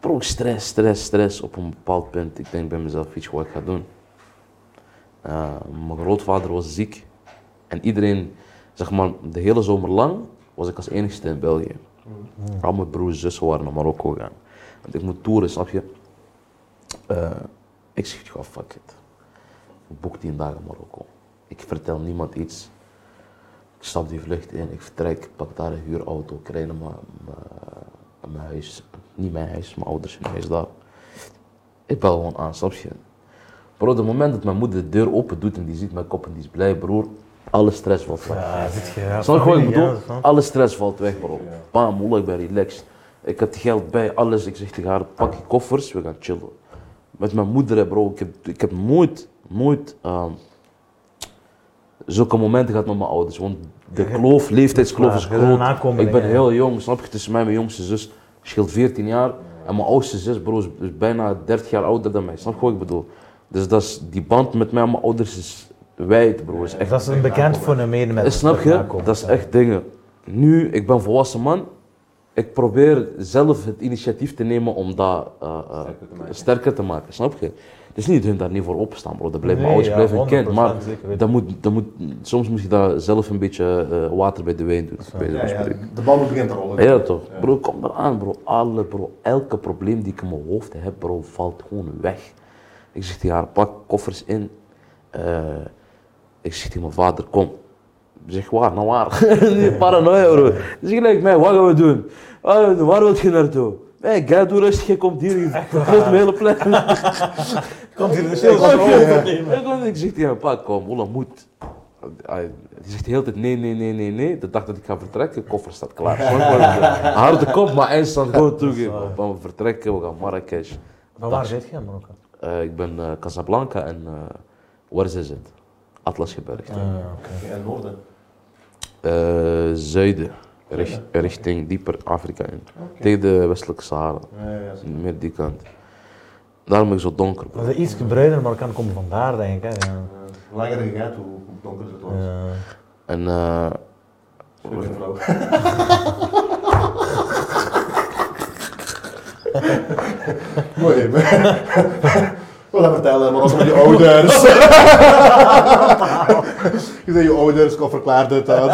Bro, stress, stress, stress op een bepaald punt. Ik denk bij mezelf, weet je wat ik ga doen? Eh, mijn grootvader was ziek. En iedereen, zeg maar, de hele zomer lang was ik als enigste in België. Al mijn broers en zussen waren naar Marokko gegaan. Want ik moet toeren, snap je? Eh, ik zeg, ja, fuck it. Ik boek tien dagen Marokko. Ik vertel niemand iets. Ik stap die vlucht in, ik vertrek, ik pak daar een huurauto, ik rijd naar mijn, mijn, mijn huis. Niet mijn huis, mijn ouders hun huis daar. Ik bel gewoon aan, snap je? Bro, het moment dat mijn moeder de deur open doet en die ziet mijn kop en die is blij, broer, alle stress wordt weg. Ja, zit je. ja, Snap je wat ik familie, bedoel? ja, snap. Alle stress valt weg, bro. Bam, moeilijk, ik ben relaxed. Ik had geld bij, alles. Ik zeg tegen haar, pak je koffers, we gaan chillen. Met mijn moeder, hè, bro. Ik heb, ik heb nooit, nooit ehm, zulke momenten gehad met mijn ouders. Want de kloof, leeftijdskloof is Klaar, je bent een groot. aankomeling, Ik ben hè. heel jong, snap je? Tussen mij en mijn jongste zus scheelt 14 jaar. En mijn oudste zus, bro, is, is bijna 30 jaar ouder dan mij. Snap je wat ik bedoel? Dus dat is, die band met mij en mijn ouders is wijd, bro. Is echt, Ah, Dat is een bekend fenomeen met Eh, snap met je? nakomen. Dat is echt dingen. Nu, ik ben volwassen man. Ik probeer zelf het initiatief te nemen om dat eh, eh, sterker, te maken. Snap je? Het is niet hun daar niet voor opstaan, bro. Dat blijft Nee, mijn ouders, ja, blijven een kind. 100% Maar zeker weten. dat moet, dat moet, soms moet je daar zelf een beetje eh, water bij de wijn doen. bij de Ja, ja, spreken. de bal begint te rollen. Ja, toch? Bro, kom maar aan, bro. Alle, bro. Elke probleem die ik in mijn hoofd heb, bro, valt gewoon weg. Ik zeg tegen haar, pak koffers in. Eh, ik zeg tegen mijn vader, kom. Zeg waar, nou waar? Die paranoia, bro. Dus ik denk, mij, wat gaan we doen? Wat gaan we doen? Waar wil je naartoe? Hé, ga doe rustig, je komt hier, je verkloot mijn hele plek. Komt hier dus de Ik stil. kom- Ik zeg tegen mijn pa, kom, Ola moet. Hij hij zegt de hele tijd nee, nee, nee, nee, nee. De dag dat ik ga vertrekken, koffer staat klaar. Gewoon voor de Harde kop, maar eindstand gewoon toegeven. We gaan vertrekken, we gaan Marrakesh. Van waar zit je in Marokko? Eh, ik ben eh, Casablanca en eh, waar is het? Atlasgebergte. Ah, oké. In het noorden. Eh, zuiden, richt- richting dieper Afrika in. Tegen de westelijke Sahara, Ja, ja, ja. meer die kant. Daarom ben ik zo donker. bro. Dat is iets bruiner, maar kan komen vandaar, denk ik. Hè? Ja. Hoe langer je gaat, hoe hoe donkerder het wordt. Ja. En eh, Stuk een vrouw. Mooi, maar. Wat gaan vertellen, maar als met je ouders. je zei je ouders, kom verklaar dit. dat.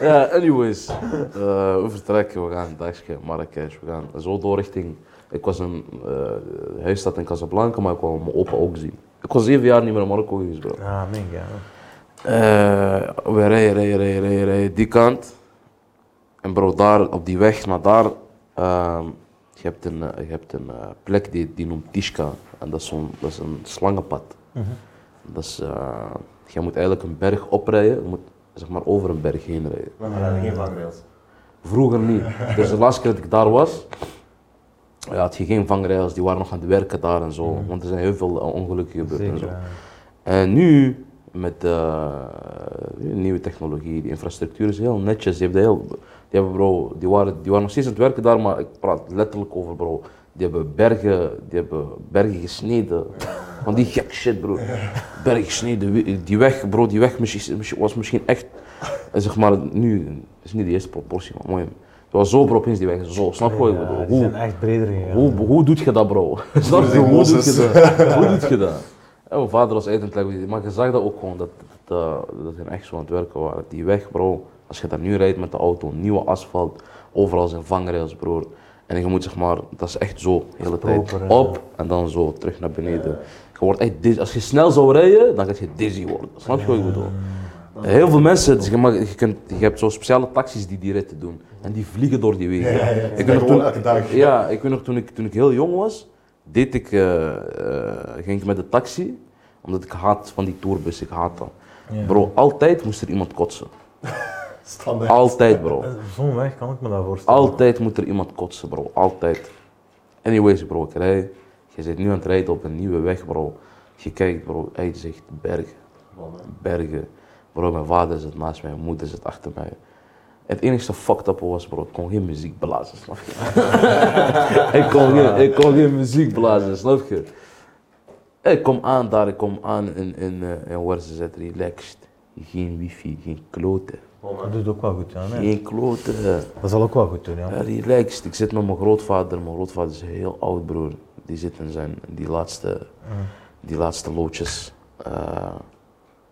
Ja, anyways. Eh, we vertrekken, we gaan een dagje Marrakesh. We gaan zo door richting... Ik was een eh huis staat in Casablanca, maar ik kwam mijn opa ook zien. Ik was zeven jaar niet meer in Marokko geweest, bro. Ah, mink, ja. Eh, we rijden, rijden, rijden, rijden, rijden, die kant. En bro, daar, op die weg naar daar, ehm, je hebt een, eh, je hebt een eh, plek die, die noemt Tishka. En dat is, zo'n- dat is een slangenpad. Dat is, eh, je moet eigenlijk een berg oprijden, je moet zeg maar over een berg heen rijden. Maar we hadden geen vangrails. Vroeger niet. Dus de laatste keer dat ik daar was, ja, had je geen vangrails, die waren nog aan het werken daar en zo. Want er zijn heel veel eh, ongelukken gebeurd en zo. Zeker. ja. En nu, met eh, nieuwe technologie, die infrastructuur is heel netjes. Die hebben, heel, die hebben bro, die waren, die waren nog steeds aan het werken daar, maar ik praat letterlijk over bro. Die hebben bergen, die hebben bergen gesneden. Van die gek shit bro. Bergen gesneden, wie- die weg bro, die weg misschien- misschien- was misschien echt, eh, zeg maar nu, is niet de eerste proportie, maar mooi. Het was zo bro opeens die weg, zo, snap je wat ik bedoel? Ja, die Eh, Hoe- zijn echt breder gegaan. hoe, hoe doet je dat, bro? Snap je? Losing Hoe doet Moses. je dat? Hoe doet je dat? En mijn vader was uit aan het leggen, maar je zag dat ook gewoon, dat, dat, dat hun echt zo aan het werken waren. Die weg, bro, als je daar nu rijdt met de auto, nieuwe asfalt, overal zijn vangrails, broer. En je moet zeg maar, dat is echt zo, de hele tijd Proper, hè? op en dan zo terug naar beneden. Je wordt echt dizzy. Als je snel zou rijden, dan gaat je dizzy worden. Snap je wat ik bedoel? Heel veel mensen, dus je, mag- je, kunt, je hebt zo speciale taxis die die ritten doen. En die vliegen door die wegen. ja, ja. Ik Dat weet nog gewoon elke dag. ja, ik weet nog, toen ik, toen ik heel jong was, deed ik, eh, eh, ging ik met de taxi, omdat ik haat van die tourbus, ik haat dat. Bro, altijd moest er iemand kotsen. Standaard. Altijd, bro. Zo'n weg kan ik me dat voorstellen. Altijd moet er iemand kotsen, bro. Altijd. Anyways, bro, ik rij. Je zit nu aan het rijden op een nieuwe weg, bro. Je kijkt, bro, uitzicht, bergen. Bergen. Bro, mijn vader zit naast mij, mijn moeder zit achter mij. Het enige fucked up was, bro, ik kon geen muziek blazen, snap je? ik, kon geen, ik kon geen muziek blazen, snap je? Ik kom aan daar, ik kom aan in, in, eh, in waar ze zit, relaxed. Geen wifi, geen kloten. Dat doet ook wel goed, ja. nee. Geen kloten. Dat zal ook wel goed doen, ja. Ja, relaxed. Ik zit met mijn grootvader. Mijn grootvader is heel oud, broer. Die zit in zijn in die laatste, die laatste loodjes. Eh,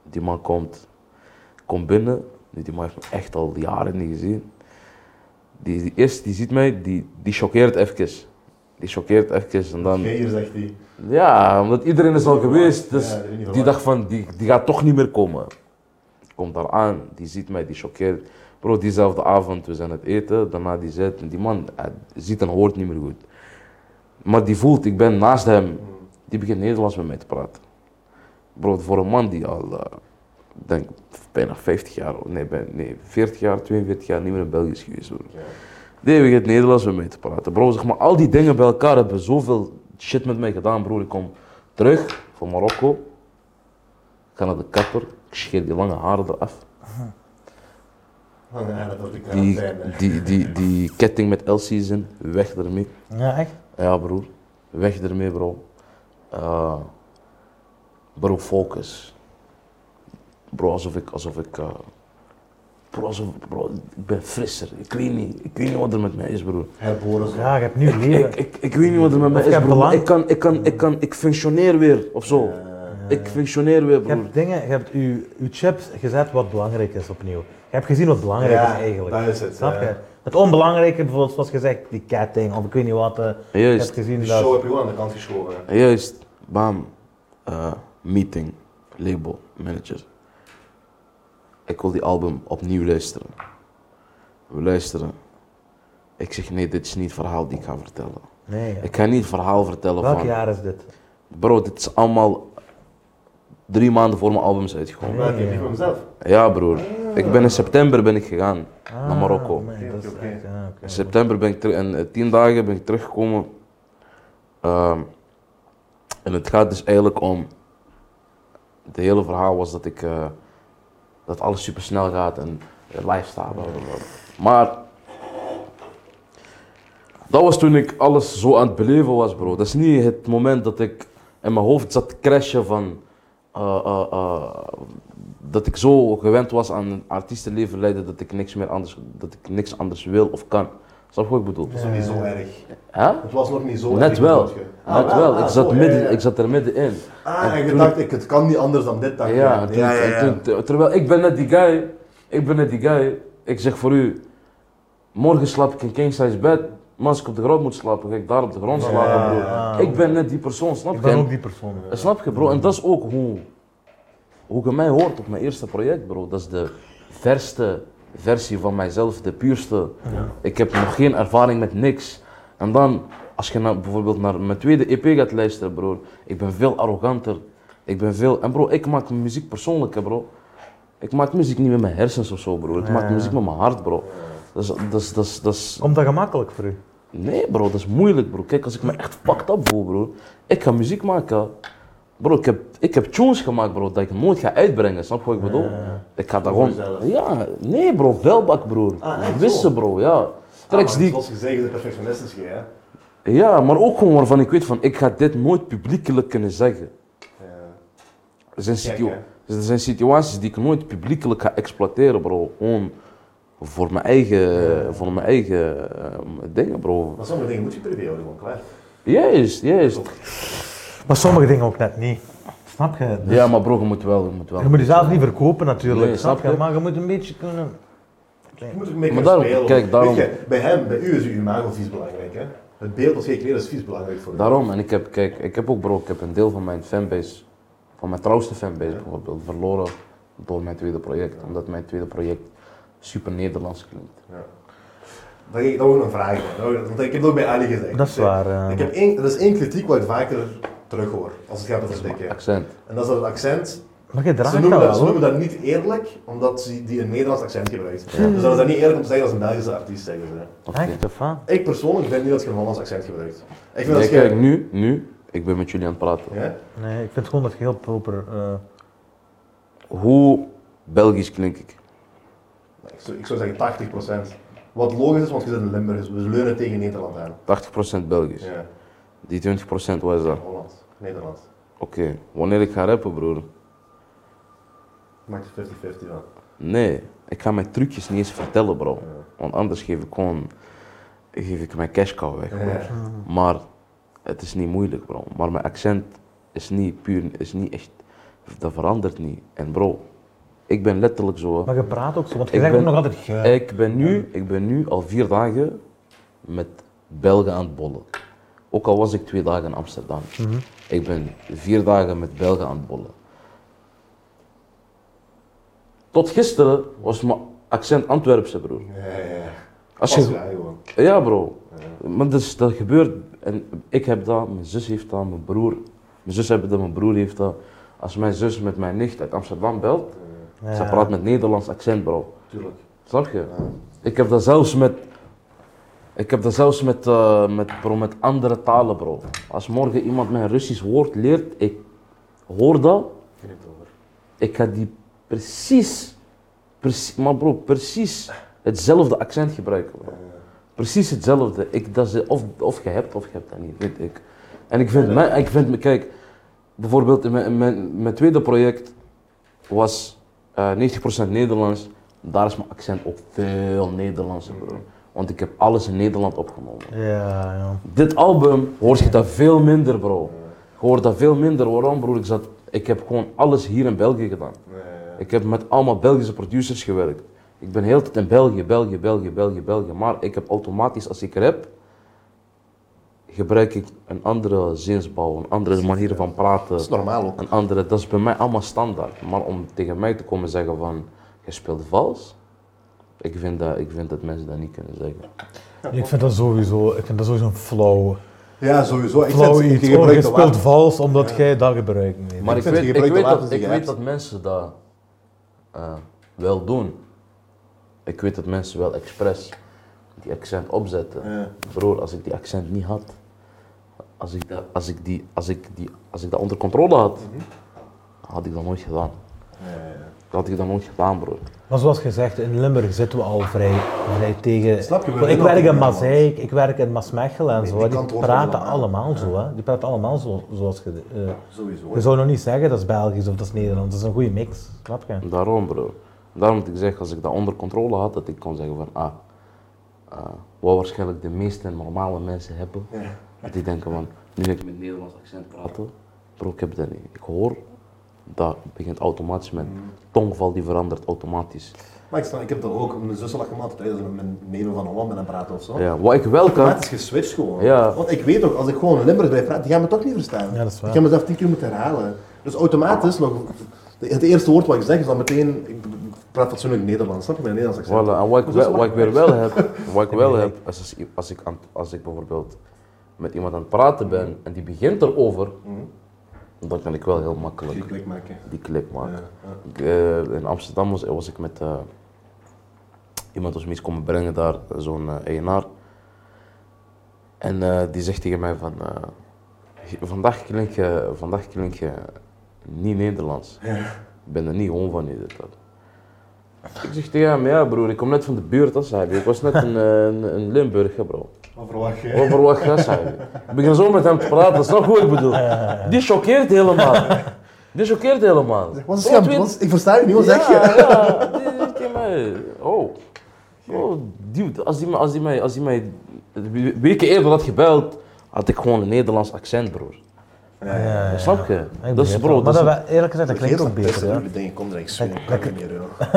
die man komt, komt binnen. Die die man heeft me echt al jaren niet gezien. Die, die eerste die ziet mij, die, die choqueert even. Die choqueert even en dan... Geier, zegt hij. Ja, omdat iedereen is al geweest. Dus Ja, iedereen is al die waar. dacht van, die, die gaat toch niet meer komen. Komt daar aan, die ziet mij, die choqueert. Bro, diezelfde avond, we zijn aan het eten. Daarna die zit, en die man hij ziet en hoort niet meer goed. Maar die voelt, ik ben naast hem. Die begint Nederlands met mij te praten. Bro, voor een man die al, eh, denk bijna 50 jaar, nee, bijna, nee, 40 jaar, 42 jaar niet meer in België is geweest. Bro. Nee, we gaan het Nederlands met mij te praten. Bro, zeg maar, al die dingen bij elkaar hebben zoveel shit met mij gedaan, broer. Ik kom terug van Marokko. Ik ga naar de kapper. Ik scheer die lange haren eraf. Ja, dat was die Die, quarantaine. die, die, die ketting met L-season, weg ermee. Ja, echt? Ja, broer. Weg ermee, bro. Eh, bro, focus. Bro, alsof ik. Alsof ik eh, bro, alsof, bro, ik ben frisser. Ik weet niet. Ik weet niet wat er met mij is, broer. Herboren. zo. Ja, je hebt nu Ik, leven. ik, ik weet niet wat er met mij Of je is, hebt broer. maar belang. Ik kan, ik kan, ik kan, ik functioneer weer, of zo. Ik functioneer weer, Je broer. hebt dingen, je hebt je, je chips gezet wat belangrijk is opnieuw. Je hebt gezien wat belangrijk Ja, is eigenlijk. dat is het, Snap ja. je? Het onbelangrijke, bijvoorbeeld, zoals gezegd, die ketting of ik weet niet wat. eh, je Juist. hebt gezien Die show dat. heb je wel aan de kant geschoven. Juist, bam. Eh, meeting, label, manager. Ik wil die album opnieuw luisteren. We luisteren. Ik zeg nee, dit is niet het verhaal die ik ga vertellen. Nee, ja. Ik ga niet het verhaal vertellen Welk van... jaar is dit? Bro, dit is allemaal drie maanden voor mijn album is uitgekomen. Maar ik heb niet voor mezelf. Ja broer, ik ben in september ben ik gegaan naar Marokko. Ah, man, dat is Oké, echt- ah, oké. In september ben ik terug, en eh, tien dagen ben ik teruggekomen. Ehm, en het gaat dus eigenlijk om. Het hele verhaal was dat ik. eh, dat alles super snel gaat en eh, lifestyle. bla, bla, bla. Maar. Dat was toen ik alles zo aan het beleven was, bro. Dat is niet het moment dat ik in mijn hoofd zat te crashen van. eh, eh, eh, dat ik zo gewend was aan een artiestenleven leiden dat ik niks meer anders, dat ik niks anders wil of kan. Snap je wat ik bedoel? Het was nog niet zo erg. Hè? Het was nog niet zo Net erg. wel. bedoel je. Net Ah, wel. ah, Ik ah, zat, zo, ja, ja. midden, ik zat er middenin. Ah, en je toen- dacht, ik, het kan niet anders dan dit. dacht Ja, ik. en toen- en toen- ter- terwijl ik ben net die guy. Ik ben net die guy. Ik zeg voor u, morgen slaap ik in king size bed. Maar als ik op de grond moet slapen, ga ik daar op de grond slapen, ja, broer. ja. Ik ben net die persoon, snap je? Ah. Ik ben En- ook die persoon. Eh, Snap je, bro? En dat is ook hoe, hoe je mij hoort op mijn eerste project, bro. Dat is de verste versie van mijzelf, de puurste. Ik heb nog geen ervaring met niks. En dan, als je nou bijvoorbeeld naar mijn tweede EP gaat luisteren, bro. Ik ben veel arroganter. Ik ben veel... En bro, ik maak mijn muziek persoonlijk, hè, bro. Ik maak muziek niet met mijn hersens of zo, bro. Ik maak muziek met mijn hart, bro. Dat is, dat is, dat is, dat is Komt dat gemakkelijk voor u? Nee bro, dat is moeilijk bro. Kijk, als ik me echt fucked up voel bro, ik ga muziek maken. Bro, ik heb, ik heb tunes gemaakt bro, dat ik nooit ga uitbrengen, snap je wat ik bedoel? Ik ga daar gewoon... Ja, nee bro, welbak bro. Ah, echt Wissen zo? bro, ja. Tracks Tracks die... Ah, Zoals gezegd, de perfectionist is jij, hè? Ja, maar ook gewoon waarvan ik weet van, ik ga dit nooit publiekelijk kunnen zeggen. Er zijn, situ- Gek, er zijn situaties die ik nooit publiekelijk ga exploiteren bro. Gewoon voor mijn eigen, voor mijn eigen eh, dingen bro. Maar sommige dingen moet je privé houden, gewoon klaar. Juist, juist. Maar sommige dingen ook net niet. Snap je? Dus Ja, maar bro, je moet wel. Je moet wel. Je moet jezelf niet verkopen natuurlijk, Nee, snap snap je? je? Maar je moet een beetje kunnen... Je moet er mee Maar kunnen daarom- spelen. kijk, daarom- Weet je, bij hem, bij u is uw imago vies belangrijk, hè? Het beeld dat je creëert is vies belangrijk voor u. Daarom, en ik heb, kijk, ik heb ook bro, ik heb een deel van mijn fanbase, van mijn trouwste fanbase bijvoorbeeld, verloren door mijn tweede project. Omdat mijn tweede project super Nederlands klinkt. Dat heb ik dat ook een vraag, man. Dat- Want ik heb het ook bij Ali gezegd. Dat is waar, eh. ja. Ik heb één, er is één kritiek wat ik vaker terughoor, als het gaat over dikke. Accent. En dat is dat het accent. Maar je draagt dat Ze noemen dat, wel, ze hoor. Hmm. noemen dat niet eerlijk, omdat ze die een Nederlands accent gebruikt. Dus dat is dan niet eerlijk om te zeggen als een Belgische artiest, zeggen ze. Oké. Echt, of wat? Ik persoonlijk vind niet dat je een Hollands accent gebruikt. Ik vind Nee, dat je... kijk, nu, nu, ik ben met jullie aan het praten. Ja? Nee, ik vind gewoon dat je heel proper... eh, Hoe Belgisch klink ik? Ik zou, ik zou zeggen 80%. Wat logisch is, want je zit in Limburg, dus we leunen tegen Nederland aan. 80% Belgisch. Ja, Die 20% was dat. Oké, Holland, Nederland. wanneer ik ga rappen, broer. Maak er 50-50 van. Nee, ik ga mijn trucjes niet eens vertellen, bro. Want anders geef ik gewoon. geef ik mijn cash cow weg, bro. Maar het is niet moeilijk, bro. Maar mijn accent is niet puur. is niet echt. dat verandert niet. En bro, ik ben letterlijk zo. hè. Maar je praat ook zo, want je Ik zegt ook ben- nog altijd... "Gij." Ik ben, nu, ik ben nu al vier dagen met Belgen aan het bollen. Ook al was ik twee dagen in Amsterdam. Ik ben vier dagen met Belgen aan het bollen. Tot gisteren was mijn accent Antwerpse, broer. Ja, ja, ja. Als Pas je, ja, gewoon. ja, bro. Maar dus, dat gebeurt. En ik heb dat, mijn zus heeft dat, mijn broer. Mijn zus heeft dat, mijn broer heeft dat. Als mijn zus met mijn nicht uit Amsterdam belt, ze praat met Nederlands accent, bro. Tuurlijk. Snap je? Ik heb dat zelfs met. Ik heb dat zelfs met, eh, met, bro, met andere talen, bro. Als morgen iemand mijn Russisch woord leert, ik hoor dat. Ik heb het over. Ik ga die precies Precie- maar bro, precies hetzelfde accent gebruiken. Bro. Precies hetzelfde. Ik, dat ze of, of je hebt of je hebt dat niet, weet ik. En ik vind, mijn, ik vind me- kijk, bijvoorbeeld in mijn, in mijn, mijn tweede project was eh, 90% Nederlands. Daar is mijn accent ook veel Nederlandser, bro. Want ik heb alles in Nederland opgenomen. Ja, ja. Dit album hoort je dat veel minder, bro. Je hoort dat veel minder. Waarom, broer? Ik, zat, ik heb gewoon alles hier in België gedaan. Ik heb met allemaal Belgische producers gewerkt. Ik ben heel de tijd in België, België, België, België, België. Maar ik heb automatisch, als ik rap, gebruik ik een andere zinsbouw, een andere manier van praten. Dat is normaal ook. Een andere, dat is bij mij allemaal standaard. Maar om tegen mij te komen zeggen van, je speelt vals, ik vind dat, ik vind dat mensen dat niet kunnen zeggen. Ik vind dat sowieso, ik vind dat sowieso een flow, Ja, sowieso. Ik flow zet- iets. je Oh, gebruikt je de speelt waar- vals omdat jij dat gebruikt. Nee, Maar ik, vind weet, je ik, gebruikt de weet, dat, wapens die ik je weet hebt. dat mensen dat eh, wel doen. Ik weet dat mensen wel expres die accent opzetten. Ja. Broer, als ik die accent niet had, als ik dat, als ik die, als ik die, als ik dat onder controle had, Mhm. had ik dat nooit gedaan. Had ik dat nooit gedaan, broer. Maar zoals gezegd, in Limburg zitten we al vrij, vrij tegen. Snap je, we Want ik willen werk dat in niet, Mazeik, ik werk in Maasmechel en zo. hè. kant Die hoort praten allemaal. allemaal zo, hè. Die praten allemaal zo, zoals je. eh, Sowieso. je zou nog niet zeggen dat is Belgisch of dat is Nederlands. Dat is een goede mix, snap je? Daarom, broer. Daarom moet ik zeggen, als ik dat onder controle had, dat ik kon zeggen van, ah, eh, wat waarschijnlijk de meeste normale mensen hebben. Dat die denken van, nu ik met Nederlands accent praten, bro, ik heb dat niet. Ik hoor, dat begint automatisch met tongval, die verandert automatisch. Maar ik, sta, ik heb dat ook, mijn zus lag gemaakt tijdens dat ik met mijn neven van Holland ben aan het praten of zo. Ja, wat ik wel kan, Automatisch geswitcht gewoon. Ja. Want ik weet toch, als ik gewoon in Limburg blijf praten, die gaan me toch niet verstaan. Ja, dat is waar. Ik ga mezelf tien keer moeten herhalen. Dus automatisch nog, de- het eerste woord wat ik zeg is dan meteen, ik praat fatsoenlijk Nederlands, snap je, mijn Nederlands accent. Voilà, en wat ik, Maar zo wel, wat ik weer slagen wel heb, wat ik wel heb, is als, i- als, ik aan, als ik bijvoorbeeld met iemand aan het praten ben en die begint erover, dan kan ik wel heel makkelijk Ik klik maken. die clip maken. Ja, Ik, eh, in Amsterdam was, was ik met eh, iemand was me iets komen brengen daar, zo'n eh ENR. En eh, die zegt tegen mij van, eh, vandaag klink je, vandaag klink je niet Nederlands. Ik ben er niet gewoon van in dit dat. Ik zeg tegen hem, ja broer, ik kom net van de buurt, dat zei hij. Ik was net in, eh, in, in Limburg, hè, bro. Wat verwacht je? Over wat gas hij. Ik begin zo met hem te praten, snap je wat ik bedoel? Die choqueert helemaal. Die choqueert helemaal. Wat is het Oh, Wat is- Ik versta je niet, wat ja, zeg je? Ja, die zegt tegen mij. Oh. Oh, dude, als die, me- als die mij, als die mij we- weken eerder had gebeld, had ik gewoon een Nederlands accent, broer. Ja, ja. Snap je? Ik Dat is begrijp bro. wel. Maar Dat is, dat, we- eerlijk gezegd, dat klinkt ook beter. ja. Ja. Ik denk, kom er, ik zweer, ik kan niet meer, joh.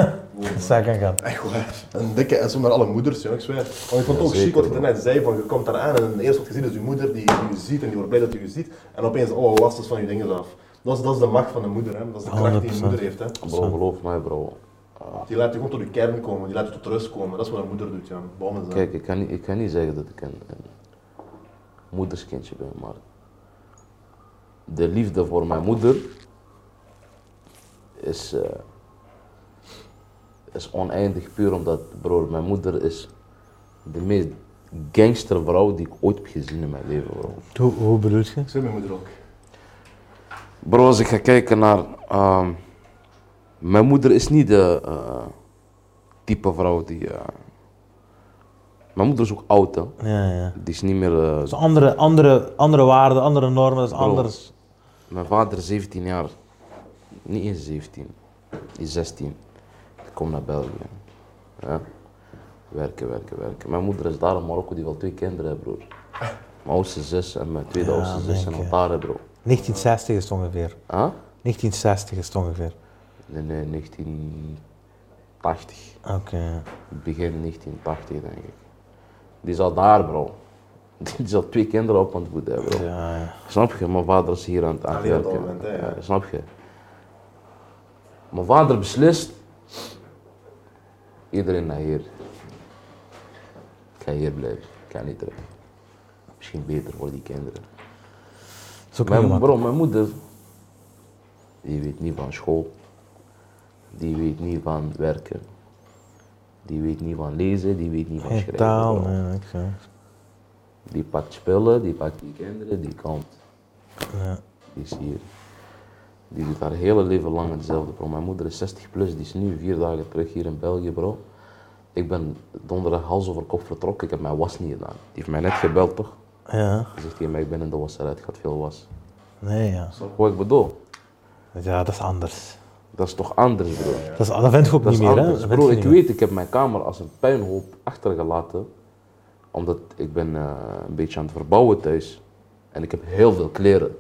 Dat zou ik aan gaan. Echt waar. Een dikke SO naar alle moeders, joh, ik zweer. Want ik vond het ook zeker, chic wat je bro. daarnet zei, van je komt eraan en het eerste wat je ziet is je moeder die je ziet en die wordt blij dat je je ziet. En opeens alle last is van je dingen af. Dat is, dat is de macht van de moeder, hè. dat is de kracht die je 100%. moeder heeft. Hè. bro, geloof mij, bro. Die laat je gewoon tot je kern komen, die laat je tot rust komen. Dat is wat een moeder doet, ja. Bommen zijn. Kijk, ik kan niet, ik kan niet zeggen dat ik een, een moederskindje ben, maar de liefde voor mijn moeder is, eh, is oneindig puur omdat, broer, mijn moeder is de meest gangster vrouw die ik ooit heb gezien in mijn leven, bro. Hoe, hoe bedoel je? Ik zweer mijn moeder ook. Bro, als ik ga kijken naar. ehm, mijn moeder is niet de eh, type vrouw die. eh, mijn moeder is ook oud, hè. Ja, ja. Die is niet meer. eh, Dat is andere, andere, andere waarden, andere normen, dat is Bro, anders. Mijn vader is 17 jaar. Niet eens 17. Hij is 16. Ik kom naar België. Ja. Werken, werken, werken. Mijn moeder is daar in Marokko, die wil twee kinderen heeft, broer. Mijn oudste zus en mijn tweede Ja, oudste zus zijn denk al je. daar, hè, bro. 1960 is het ongeveer. Huh? 1960 is het ongeveer. Nee, nee, 1980. Oké. Begin 1980, denk ik. Die is al daar, bro. Die zal twee kinderen op aan het voeden, hebben, bro. Ja, ja. Snap je? Mijn vader is hier aan het aan het Alleen op dat werken. moment, hè, ja. Ja, snap je? Mijn vader beslist. Iedereen naar hier. Ik ga hier blijven. Ik ga niet terug. Misschien beter voor die kinderen. Zo kan je Mijn, maar. bro, mijn moeder, die weet niet van school. Die weet niet van werken. Die weet niet van lezen, die weet niet van Geen schrijven. taal, bro. nee, niks, hè. Die pakt spullen, die pakt die kinderen, die komt. Ja. Die is hier. Die doet haar hele leven lang hetzelfde, bro. Mijn moeder is 60 plus, die is nu vier dagen terug hier in België, bro. Ik ben donderdag hals over kop vertrokken, ik heb mijn was niet gedaan. Die heeft mij net gebeld, toch? Ja, Hij zegt tegen mij, ik ben in de wasserij, het gaat veel was. nee, ja. Wat ik bedoel, Ja, dat is anders. dat is toch anders, bro? Dat, is, dat vind ik ook Dat niet is meer, hè? anders. Dat vind Bro, je ik niet meer. weet, ik heb mijn kamer als een puinhoop achtergelaten. Omdat ik ben eh, een beetje aan het verbouwen thuis. En ik heb heel veel kleren.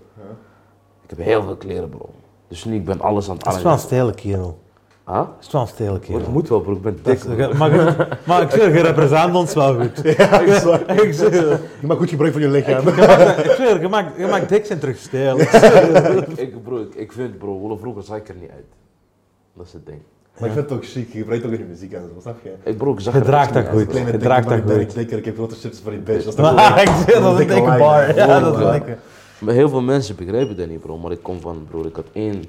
Ik heb heel veel kleren, bro. Dus nu, ik ben alles aan het Dat is wel een aanleggen. stele kerel. Huh? Dat is wel een stele Bro, Het kerel. moet wel, bro. Ik ben Dat dik. is- Maar, je- maar ik zweer, je represent ons wel goed. Ja, dat is waar. Ik zweer, Je maakt goed gebruik van je lichaam. ik zweer, je maakt, je maakt dik zijn terug stijl. ik, ik, bro, ik, ik vind, bro, hoe vroeger zag ik er niet uit. Dat is het ding. Maar ik vind het ook chic, je gebruikt ook in je muziek en zo, snap je? Ik, bro, ik zag Je er draagt echt dat niet goed. uit, bro. Je Kleine draagt dikke man, dat ik ben goed. een klikker, ik heb grote chips voor die bitch. Dat is toch Maar ik zweer, dat is een dikke lijn, bar. hè. Ja, Oh, dat is Ja. lekker. Maar heel veel mensen begrijpen dat niet, bro. Maar ik kom van, broer, ik had één...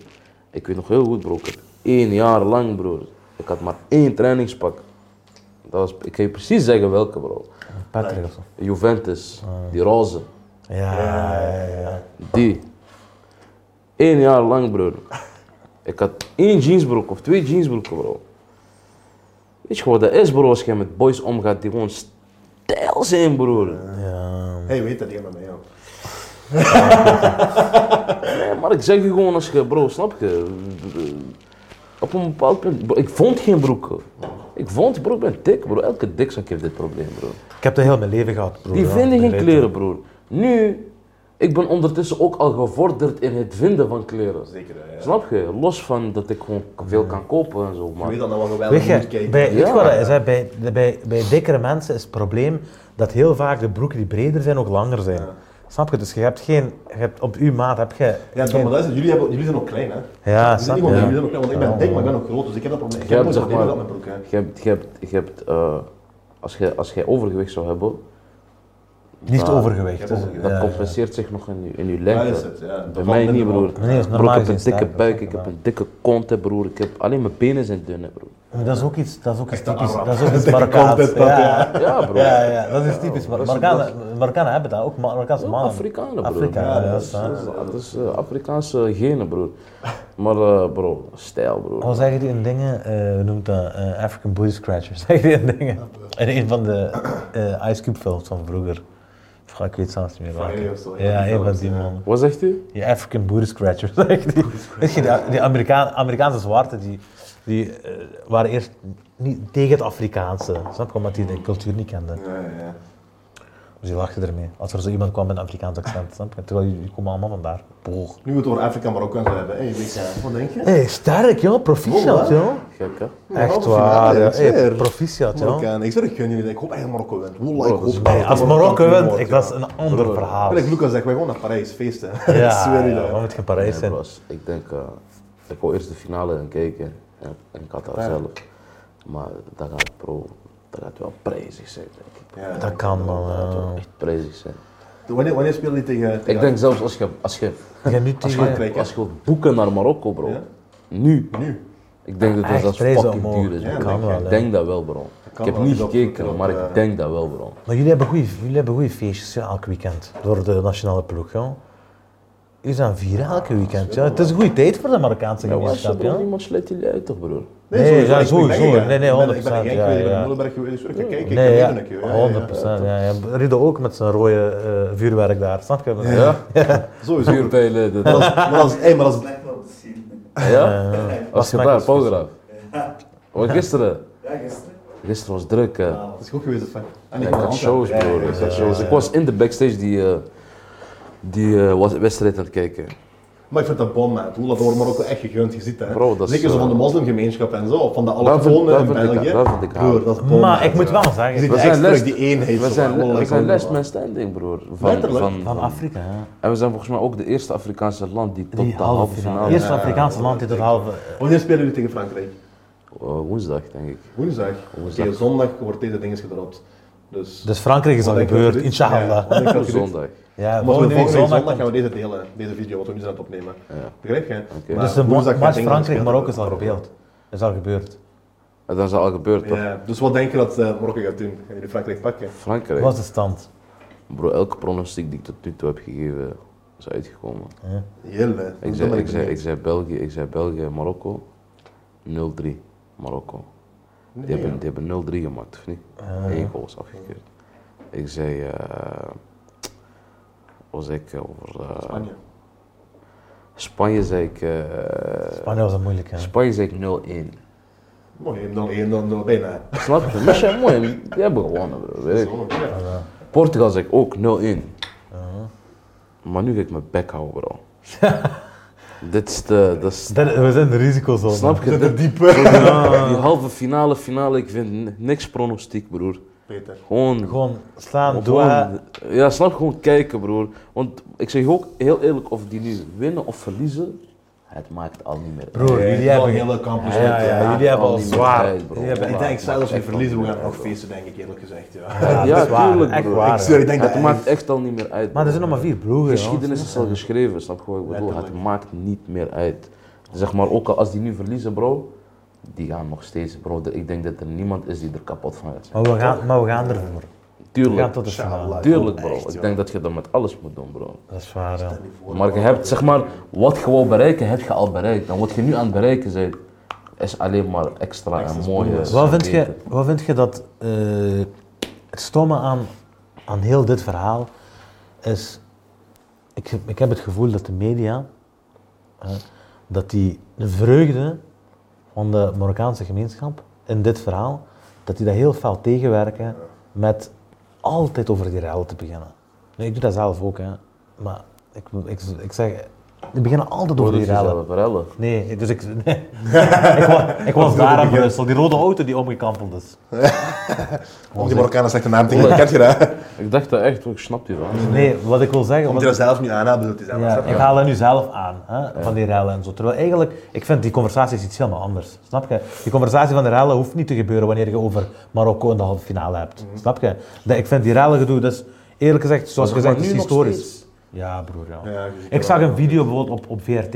Ik weet nog heel goed, bro. Ik had één jaar lang, broer. Ik had maar één trainingspak. Dat was, ik kan je precies zeggen welke, bro. Patrick of zo. Juventus, die roze, Ja, ja, ja. die. Eén jaar lang, broer. Ik had één jeansbroek of twee jeansbroeken, bro. Weet je wat dat is, bro, als je met boys omgaat die gewoon stijl zijn, broer. Hey, weet dat, die gaat met mij, joh. Nee, maar ik zeg je gewoon als je, bro, snap je? Op een bepaald punt, bro, ik vond geen broeken. Ik vond, bro, ik ben dik, bro. Elke dikzak heeft dit probleem, bro. Ik heb dat heel mijn leven gehad, broer. Die ja. vinden Ik geen weet kleren, broer. Nu, ik ben ondertussen ook al gevorderd in het vinden van kleren. Zeker, hè, ja. Snap je? Los van dat ik gewoon veel kan kopen en zo, Je weet maar... dat nou wel Weet geweldig moet je, kijken. bij, Bij... weet je Ja. wat dat is, hè? Bij, de- bij, bij dikkere mensen is het probleem dat heel vaak de broeken die breder zijn ook langer zijn. Snap je? Dus je hebt geen, je hebt, op uw maat heb je. Ja, geen- Tom, maar luister, jullie, hebben, jullie zijn nog klein, hè? Ja, Jullie zijn snap niet je? gewoon- Ja. jullie zijn nog klein, want ik ben dik, maar ik ben nog groot, dus ik heb dat probleem. Ik Je heb hebt, nooit zeg problemen maar, gehad met broeken, je hè. hebt, je hebt, je hebt, eh, als jij als jij overgewicht zou hebben, Niet overgewicht. Ja, dus- overgewicht. dat ja. compenseert zich nog in je, in je Ja, lengte. dat is het, ja. Bij mij niet, broer. Nee, dat is normaal broer, ik heb gezien een dikke sterk, buik, dat ik is heb normaal. een dikke kont, hè, broer. Ik heb, alleen mijn benen zijn dunne, broer. Maar dat is ook iets, dat is ook iets de typisch. Arab. Dat is ook iets Dikke kant Marokkaans. is dat, Ja, ja. Ja, broer. ja, ja, dat is typisch. dat is- Marokkanen Marokkanen hebben dat ook, Marokkaanse Ook mannen. Afrikanen, broer. Afrikanen, Ja, ja, dat dat is- is waar. dat is- Dat is eh, Afrikaanse genen, broer. Maar, eh, bro, stijl, broer. Wat zeggen die in dingen? eh hoe noemt dat? eh, African Booty Scratchers. Zeggen die in dingen? In een van de eh, Ice Cube films van vroeger. Of, ik weet het zelfs niet meer Friday welke. of zo, een van Ja, die een van films, die ja. mannen. Wat zegt u? Die African Booty Scratchers. zegt die. Weet je, die, die Amerikaan, Amerikaanse zwarten die, die eh, waren eerst niet tegen het Afrikaanse. Snap je? Omdat die de cultuur niet kenden. Ja, ja, ja. Dus die lachten ermee. Als er zo iemand kwam met een Afrikaans accent. Snap je? Terwijl jullie komen allemaal vandaar. Boog. Nu we het over Afrika en Marokko en zo hebben. Hey, weet je, wat denk je? Hé, hey, sterk joh, proficiat Wow, hè? joh. Gek, hè? Echt halve finale, waar. joh. ik Hey, zweer. proficiat joh. Marokkaan. Ik zeg, ik gun jullie dat. Ik hoop echt dat Marokko wint. Wallah, ik Bro, hoop dat Nee, dat als Marokko Marokko kampioen wint, wordt, ik, dat is ja. een ander verhaal. Wil ik Lucas zeggen, wij gaan naar Parijs feesten. ik Ja, zweer ja, je we dat. moeten in Parijs Nee, zijn. bro, als- ik denk, eh, ik wou eerst de finale gaan kijken. En, en ik had daar zelf. Maar dat gaat, bro, dat gaat wel prijzig zijn, denk ik. Ja. Dat kan man. eh. Dat gaat wel ja. echt prijzig zijn. Wanneer, wanneer spelen die tegen... tegen Ik denk zelfs als je, als je, Je gaat nu als tegen... Frankrijk. je, als je wilt boeken naar Marokko, bro. Ja. Nu. Nu. Ah, Ik denk dat Echt, dat zelfs prijzen fucking omhoog. duur is. Ja, bro. kan wel, hè. ik denk dat wel, bro. Ik kan heb wel. niet Ik loop- ik gekeken, loop, maar eh, ik denk dat wel, bro. Maar jullie hebben goede jullie hebben goeie feestjes ja, elk weekend. Door de nationale ploeg joh. Jullie zijn vieren elke weekend. Ja. Het is een goede tijd voor de Marokkaanse Ja, maar gemeenschap. Ja. bro, niemand sluit jullie uit, toch, broer? Nee, sowieso. ja, Ik ben sowieso. meegegaan. Nee, nee, Ik ben- 100%, Ik ben naar Genk geweest, ik ben ja, naar ja. Molenberg geweest. Dus ik kijk, ik Nee, heb ja, meegedaan, ik, joh. Ja, ja, 100 Ja, ja. Riedel ook met zijn rode eh, vuurwerk daar. Snap je? Ja? ja. Sowieso. Vuurpijlen, dit. Maar als, maar als, hey, maar als, lijkt wel op de scene. Ja? was Was je mijn daar, excuus. Pauwgraaf? Maar gisteren? Ja, gisteren. Gisteren was druk, hè. is ik ook geweest, dat En Ja, ik had shows, broer. Ik had shows. Ik was in de backstage die, eh, die eh, was- wedstrijd aan het kijken. Maar ik vind dat bom, man. Hoe dat wordt Marokko echt gegund, je ziet dat. hè. Bro, dat is, Zeker zo van de eh, moslimgemeenschap en zo, van de dat vind- allochtonen dat in vind ik- België. dat vind ik Broer, hard. dat is bom, Maar man. ik moet wel Je ziet zeggen... We echt zijn terug last- die eenheid. We zo, zijn, man. we zijn Wallah, last man. man standing, broer. Van, Letterlijk. van, Van van- Afrika, ja. en we zijn volgens mij ook de eerste Afrikaanse land die tot Die de halve finale... Eerste Afrikaanse land die tot halve... Wanneer spelen jullie tegen Frankrijk? Eh, woensdag, denk ik. Woensdag. Oké, zondag wordt deze ding gedropt. Dus... Dus Frankrijk is al Wat denk je gebeurd, dat je doet? inshallah. Ja, wat denk je dat je doet? Zondag. Ja, Maar volgende week zondag zondag komt- gaan we deze delen, deze video wat we nu zijn aan het opnemen. Ja. Begrijp je? Maar Dus de Ah, woensdag gaat match Frankrijk, Engeland spelen. Marokko is al gebeeld. Is al gebeurd. En dat is al gebeurd, toch? Ja, dus wat denk je dat eh, Marokko gaat doen? Gaan jullie Frankrijk pakken? Frankrijk. Wat is de stand? Bro, elke pronostiek die ik tot nu toe heb gegeven, is uitgekomen. Heel hè. Ik zei, ik, zei, ik zei België, ik zei België, Marokko. 0-3, Marokko. Die hebben, die hebben 0-3 gemaakt, of niet? Eén goal is afgekeurd. Ik zei, eh, wat was ik over... eh, Spanje. Spanje zei ik... eh, Spanje was dat moeilijk, hè? Spanje zei ik 0-1. Mooi, 0-1, dan bijna. Snap je? Maar ja, mooi, die hebben gewonnen, bro. Weet ik. Portugal zeg ik ook 0-1. Uh-huh. Maar nu ga ik mijn bek houden, bro. Dit is de. Dat is, Dat- we zijn de risicozone. snap je? De Dit- diepe. Die halve finale, finale, ik vind ni- niks pronostiek, broer. Peter. Gewoon. Gewoon slaan, gewoon- doa. ja, snap je? gewoon kijken, broer. Want ik zeg je ook heel eerlijk, of die nu winnen of verliezen, het maakt al niet meer. uit. Broer, jullie Wel een hebben... hele campus. Ja, ja, Het jullie maakt hebben al niet meer zwaar. uit, bro. Jullie hebben Ik Het denk zelfs maakt als we echt al verliezen, we niet gaan meer nog uit. feesten, denk ik eerlijk gezegd. Ja. dat Ja, is waar. tuurlijk, Echt bro. waar. Ik zweer, ik denk dat Het maakt echt al niet meer uit. Maar er bro. zijn nog maar vier ploegen, joh. Geschiedenis is al geschreven, snap je wat ik bedoel? Het Letterlijk. maakt niet meer uit. Zeg maar, ook al als die nu verliezen, bro, die gaan nog steeds, bro. de- Ik denk dat er niemand is die er kapot van gaat zijn. Maar we gaan, maar we gaan ervoor. We gaan Tuurlijk, tot de finale. tuurlijk, bro. Echt, ik denk dat je dat met alles moet doen, bro. Dat is waar, ja. Maar je hebt, zeg maar, wat je wou bereiken, heb je al bereikt. En wat je nu aan het bereiken bent, is alleen maar extra en mooier. Wat vind je, wat vind je dat eh, het stomme aan, aan heel dit verhaal is, ik, ik heb het gevoel dat de media, eh, dat die de vreugde van de Marokkaanse gemeenschap in dit verhaal, dat die dat heel fel tegenwerken met altijd over die rel te beginnen. Nu, ik doe dat zelf ook, hè, maar ik, ik, ik zeg, die beginnen altijd over die rellen. rellen. Nee, dus ik. nee. ik, wa- ik was daar aan Brussel, die rode auto die omgekampeld is. Om die Marokkanen slechte naam te geven. Kent je dat? Ik dacht dat echt, ik snap je wel. Nee, wat ik wil zeggen. Om Wat, die dat zelf niet aan hebben, bedoelt hij zelf. ja, snap je? ik haal dat nu zelf aan, hè, van die rellen en zo. Terwijl eigenlijk, ik vind die conversatie is iets helemaal anders. Snap je? Die conversatie van de rellen hoeft niet te gebeuren wanneer je over Marokko in de halve finale hebt. Mhm. Snap je? Dat, ik vind die rellen gedoe, dus eerlijk gezegd, zoals Maar gezegd, nu is nog historisch. steeds. Ja, broer. Ja. Ja, dus ik ik zag een video bijvoorbeeld op, op VRT,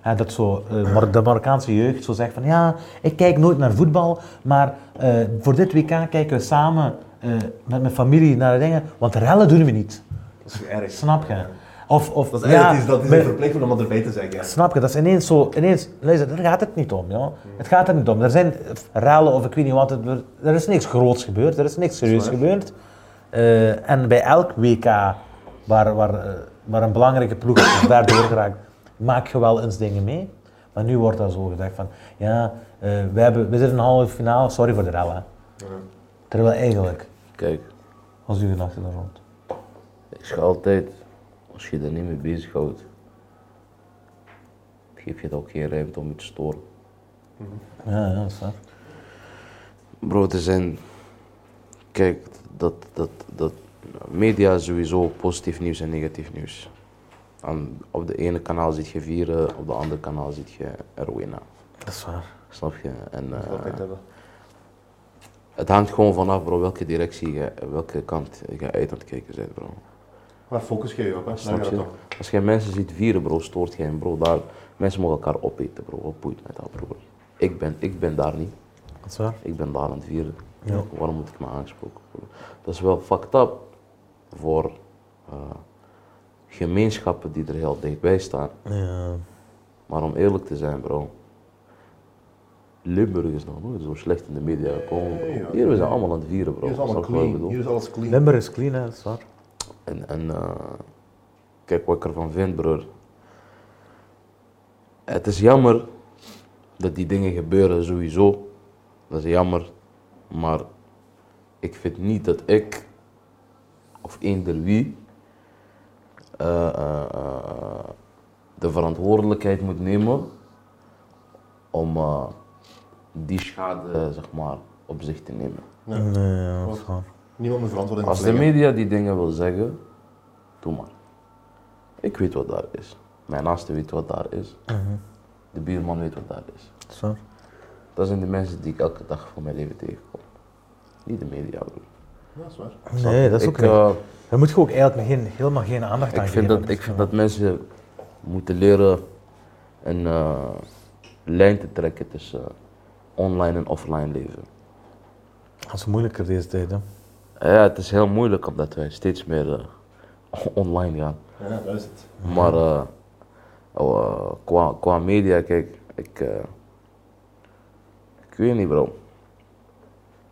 hè, dat zo, eh, Mar- de Marokkaanse jeugd zo zegt van ja, ik kijk nooit naar voetbal, maar eh, voor dit WK kijken we samen eh, met mijn familie naar de dingen, want rellen doen we niet. Dat is erg. Snap je? Of, of Dat is eigenlijk ja, iets dat is maar- een verplicht voor om erbij te zeggen. Snap je? Dat is ineens zo, ineens, luister, daar gaat het niet om, joh. Het gaat er niet om. Er zijn rellen of ik weet niet wat, het, wordt- er is niks groots gebeurd, er is niks serieus gebeurd. Eh, en bij elk WK waar, waar, eh, waar een belangrijke ploeg is daardoor geraakt, maak je wel eens dingen mee. Maar nu wordt dat zo gedacht van, ja, eh we, hebben, we zitten in de halve finale, sorry voor de rellen. hè. Terwijl eigenlijk, Kijk, wat is uw gedachte daar rond? ik zeg altijd, als je er niet mee bezighoudt, geef je het ook geen ruimte om je te storen. Ja, ja, dat is waar. Bro, er zijn. Kijk, dat, dat, dat. Media is sowieso positief nieuws en negatief nieuws. Aan- op de ene kanaal zit je vieren, op de andere kanaal zit je Erwina. Dat is waar. Snap je? En, eh, Dat weet hebben. het hangt gewoon vanaf, bro, welke directie je, welke kant je uit aan het kijken bent, bro. Waar focus je je op? hè? Snap Snap je je? dat toch? Als jij mensen ziet vieren, bro, stoort jij hem, bro. Daar, mensen mogen elkaar opeten, bro. Wat boeit mij dat, bro? Ik ben, ik ben daar niet. Dat is waar. Ik ben daar aan het vieren. Waarom moet ik me aangesproken voelen? Dat is wel fucked up voor eh, gemeenschappen die er heel dichtbij staan. Ja. Maar om eerlijk te zijn, bro. Limburg is nog nooit zo slecht in de media gekomen. bro. Nee, ja. Hier we zijn allemaal aan het vieren, bro. Hier is Snap allemaal je wat ik clean. bedoel? Hier is alles clean. Limburg is clean, hè, dat is waar. En, en eh, kijk wat ik ervan vind, broer. Het is jammer dat die dingen gebeuren, sowieso. Dat is jammer. Maar ik vind niet dat ik, of eender wie, eh, eh, eh, de verantwoordelijkheid moet nemen om eh, die schade, zeg maar, op zich te nemen. Nee, ja, eh, dat is waar. Niemand moet verantwoording Als de afleggen. media die dingen wil zeggen, doe maar. Ik weet wat daar is. Mijn naaste weet wat daar is. Mhm. De buurman weet wat daar is. Dat is waar. Dat zijn de mensen die ik elke dag van mijn leven tegenkom. Niet de media, broer. Ja, dat is waar. Nee, dat is ook ik, niet. eh, Daar moet je ook eigenlijk geen, helemaal geen aandacht aan ik, geven. vind dat, ik vind dat mensen moeten leren een eh, lijn te trekken tussen online en offline leven. Dat is moeilijker deze tijd, hè. Ja, het is heel moeilijk omdat wij steeds meer eh, online gaan. Ja, dat is het. Maar Mhm. eh, oh, eh, qua, qua media, kijk, ik, eh, ik weet niet, bro.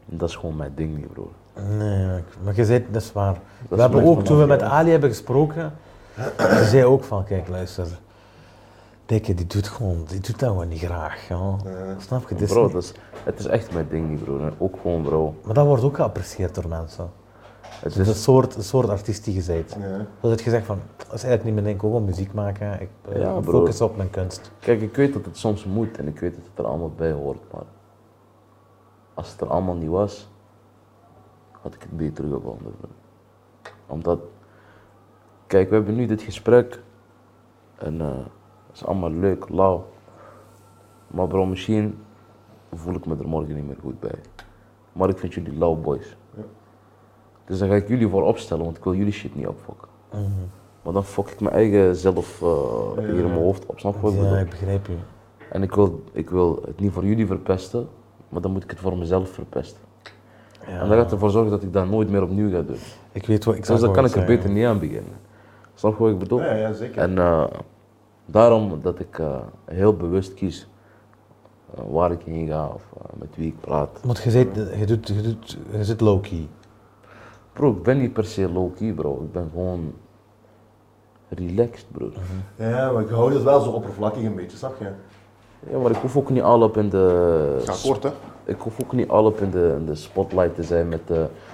Dat is gewoon mijn ding niet, bro. Nee, ik- maar je zei, dat is waar. is we hebben mijn ook, toen we met verhaal, Ali hebben gesproken, ze zei ook van, kijk, luister. Dikke, die doet gewoon, die doet dat gewoon niet graag. Ja. Snap je? Het is Bro, niet- dat is, het is echt mijn ding niet, bro. En Ook gewoon, bro. Maar dat wordt ook geapprecieerd door mensen. Het Het is is, een soort, een soort artiest die je bent. Ja. Dat het gezegd van, dat is eigenlijk niet mijn ding, ik wil gewoon muziek maken. Ik eh, Ja, bro. focus op mijn kunst. kijk, ik weet dat het soms moet en ik weet dat het er allemaal bij hoort, maar als het er allemaal niet was, had ik het beter gevonden. bro. Omdat, kijk, we hebben nu dit gesprek en eh het is allemaal leuk, lauw. Maar bro, misschien voel ik me er morgen niet meer goed bij. Maar ik vind jullie lauw boys. Dus dan ga ik jullie voor opstellen, want ik wil jullie shit niet opfokken. Maar dan fok ik mijn eigen zelf eh, hier in mijn hoofd op, snap je wat ik bedoel? Ja, ik begrijp je. En ik wil, ik wil het niet voor jullie verpesten, maar dan moet ik het voor mezelf verpesten. En dat gaat ervoor zorgen dat ik dat nooit meer opnieuw ga doen. Ik weet wat ik Dus zou daar kan ik gewoon er beter zeggen. niet aan beginnen. Snap je wat ik bedoel? Ja, ja, zeker. En eh, daarom dat ik eh, heel bewust kies eh, waar ik heen ga of eh, met wie ik praat. Want je, zit, je, doet, je, doet, je zit low-key. Bro, ik ben niet per se low-key, bro. Ik ben gewoon relaxed, bro. Ja, maar ik hou dat wel zo oppervlakkig een beetje, snap je? Ja, maar ik hoef ook niet al op in de Ja, kort hè? Ik hoef ook niet al op in de, in de spotlight te zijn met eh,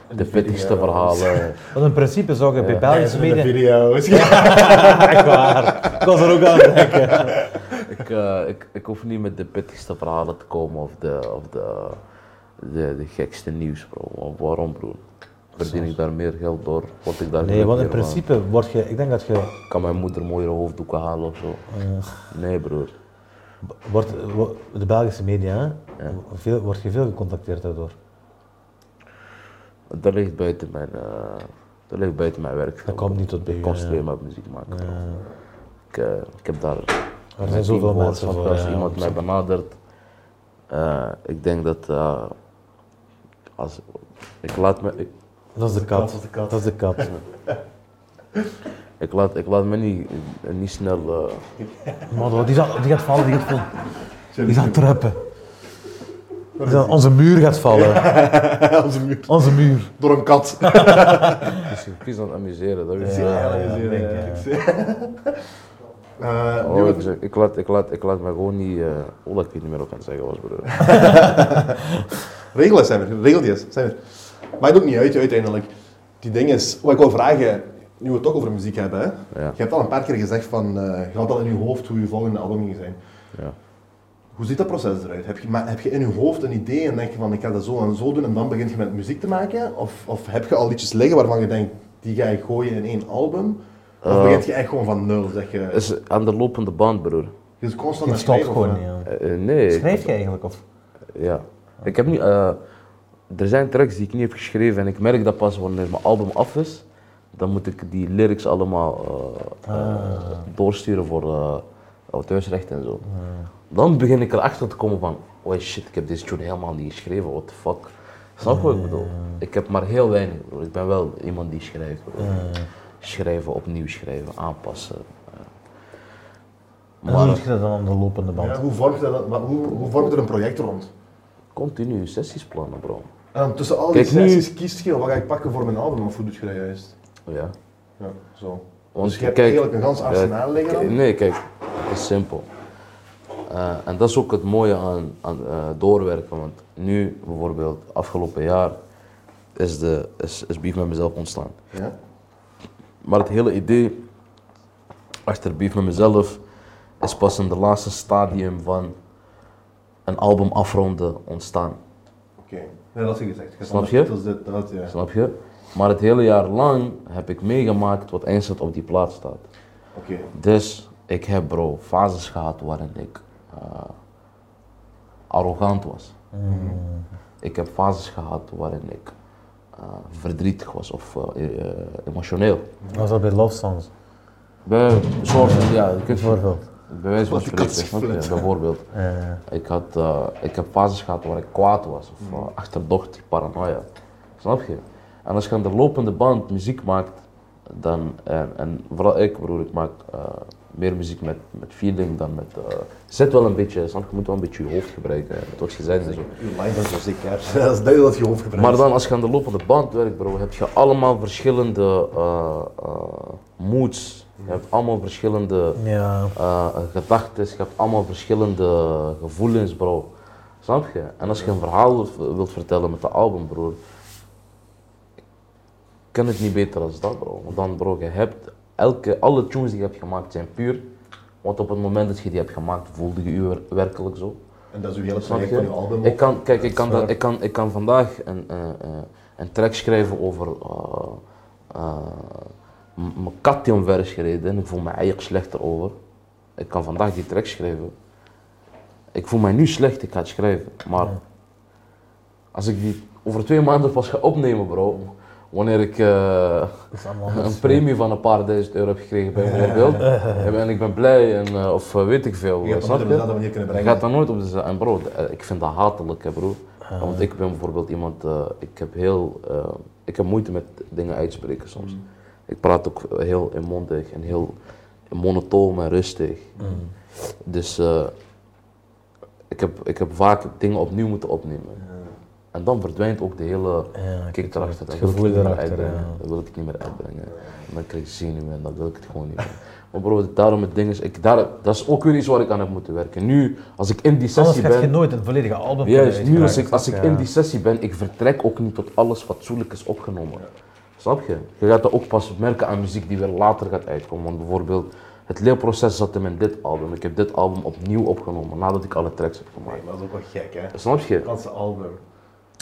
de, de vettigste video's. verhalen. Want in principe zou je bij Belgische media... video's. Ja. Echt waar. Ik was er ook aan het denken. ik, eh, ik, ik hoef niet met de pittigste verhalen te komen of de, of de, de, de gekste nieuws, bro. Wa- Waarom, bro? Verdien ik daar meer geld door? Word ik daar Nee, want in gelukkiger van? principe word je... Ik denk dat je... Kan mijn moeder mooiere hoofddoeken halen of zo? Eh. Nee, broer. Wordt, wo- de Belgische media, hè, veel, word je veel gecontacteerd daardoor. Dat ligt buiten mijn, eh, dat ligt buiten mijn werk. Dat komt niet tot bij Ik u, concentreer ja. me op muziek maken, bro. Ik, eh, ik heb daar Er Mijn zijn zoveel team voor, mensen snap je, voor. Als ja, iemand mij benadert, eh, ik denk dat eh, als ik laat me ik, Dat is de kat. Dat is de kat. ik laat ik laat me niet, niet snel. eh, Man, die, zal, die gaat vallen, die gaat vallen. Die gaat trappen. Die zal- onze muur gaat vallen. Onze muur. Onze muur. Door een kat. die zich vies aan het amuseren. Dat weet je. ja, Ja, ja, denk ja. ik, Eh, Oh, nu ik, wat- zeg, ik, laat, ik, laat, ik laat me gewoon niet. eh oh, dat ik het niet meer op kan zeggen was, broer. Regel eens, Samir. Regel die eens, Samir. Maakt ook niet uit, uiteindelijk. Die ding is, wat ik wil vragen, nu we het toch over muziek hebben, hè? Ja. Je hebt al een paar keer gezegd van, eh, je had al in je hoofd hoe je volgende album ging zijn. Ja. Hoe ziet dat proces eruit? Heb je, maar heb je in je hoofd een idee en denk je van, ik ga dat zo en zo doen en dan begin je met muziek te maken? Of, of heb je al liedjes liggen waarvan je denkt, die ga ik gooien in één album? Of Eh. begint je echt gewoon van nul, zeg je? Het is aan de lopende band, broer. Je is constant Die aan stopt schrijven, of gewoon wat? niet. ja. Eh, eh, nee. ik- Schrijf je eigenlijk? Of? Ja. Ik heb nu... eh, er zijn tracks die ik niet heb geschreven en ik merk dat pas wanneer mijn album af is. Dan moet ik die lyrics allemaal eh, eh, doorsturen voor eh auteursrecht en zo. Dan begin ik erachter te komen van... Oh shit, ik heb deze tune helemaal niet geschreven, what the fuck. Snap je wat ik bedoel? Ik heb maar heel weinig, bro. Ik ben wel iemand die schrijft, bro. Schrijven, opnieuw schrijven, aanpassen. eh. En hoe Maar doe je dat dan aan de lopende band? Ja, hoe vormt dat- wat- hoe- hoe vormt er een project rond? continu sessies plannen, bro. En tussen al die Kijk, nu- sessies kiest je wat ga ik pakken voor mijn album of hoe doe je dat juist? Ja. Ja, zo. Want dus je hebt kijk, eigenlijk een gans eh, arsenaal liggen dan? Nee, kijk, het is simpel. Eh, en dat is ook het mooie aan, aan eh, doorwerken. Want nu, bijvoorbeeld, afgelopen jaar is, de, is, is Beef met mezelf ontstaan. Ja? Maar het hele idee achter Beef met mezelf is pas in de laatste stadium van een album afronden ontstaan. Oké. Nee, dat is gezegd. Je Snap je? Dat is dit, dat, ja. Snap je? Maar het hele jaar lang heb ik meegemaakt wat eindelijk op die plaats staat. Oké. Dus ik heb bro fases gehad waarin ik eh, arrogant was. Mm. Ik heb fases gehad waarin ik eh, verdrietig was of eh, eh, emotioneel. Was dat bij Love Songs? Bij soort, ja, je kunt Bijvoorbeeld. bij wijze van Wat ik had spreken, snap je? geflipt. bijvoorbeeld. Eh, Ik, had, eh, ik heb fases gehad waar ik kwaad was, of Mm. eh, achterdochtig, paranoia. Snap je? En als je aan de lopende band muziek maakt, dan, en, en vooral ik, broer, ik maak eh, meer muziek met, met feeling dan met. eh, zet wel een beetje, snap je, je moet wel een beetje je hoofd gebruiken, het wordt gezegd en zo. Live is zo ziek, hè. Dat is duidelijk dat je hoofd gebruikt. Maar dan als je aan de lopende band werkt, bro, heb je allemaal verschillende eh, eh, moods. Mm. Je hebt allemaal verschillende Ja. Eh, gedachten, je hebt allemaal verschillende gevoelens, bro. Snap je? En als je een verhaal wilt- wilt vertellen met de album, broer, kan het niet beter als dat, bro. Want dan, bro, je hebt elke, alle tunes die je hebt gemaakt zijn puur. Want op het moment dat je die hebt gemaakt, voelde je je werkelijk zo. En dat is uw hele Snap traject je? van je album. Ik kan, kijk, ik kan, waar. dat, ik kan, ik kan vandaag een, eh, eh, een track schrijven over eh, eh, m- mijn kat die omver is gereden en ik voel me eigenlijk slechter over. Ik kan vandaag die track schrijven. Ik voel mij nu slecht, ik ga het schrijven. Maar als ik die over twee maanden pas ga opnemen, bro, wanneer ik eh, Dat is allemaal een premie van een paar duizend euro heb gekregen, bijvoorbeeld, en ik ben blij en, eh, of eh, weet ik veel. Je hebt snap dat op je? dezelfde manier kunnen Ik brengen. gaat daar nooit op de za- En bro, eh, ik vind dat hatelijk, hè, bro. Want ik ben bijvoorbeeld iemand, eh, ik heb heel, eh, ik heb moeite met dingen uitspreken soms. Ik praat ook heel inmondig en heel monotoom en rustig. Dus eh, ik, heb, ik heb vaak dingen opnieuw moeten opnemen. En dan verdwijnt ook de hele Ja, kick erachter. Dat het wil ik gevoel niet meer erachter, uitbrengen. ja. Dat wil ik niet meer uitbrengen. En dan krijg ik zenuwen en dan wil ik het gewoon niet meer. Maar bro, daarom het ding is, ik, daar, dat is ook weer iets waar ik aan heb moeten werken. Nu, als ik in die Anders sessie gaat je ben... nooit een volledige album Juist, kunnen nu als uitdragen, ik, als ik snap je? in die sessie ben, ik vertrek ook niet tot alles fatsoenlijk is opgenomen. Snap je? Je gaat dat ook pas merken aan muziek die weer later gaat uitkomen. Want bijvoorbeeld, het leerproces zat hem in dit album. Ik heb dit album opnieuw opgenomen, nadat ik alle tracks heb gemaakt. Nee, maar dat is ook wel gek, hè. Snap je? Franse album.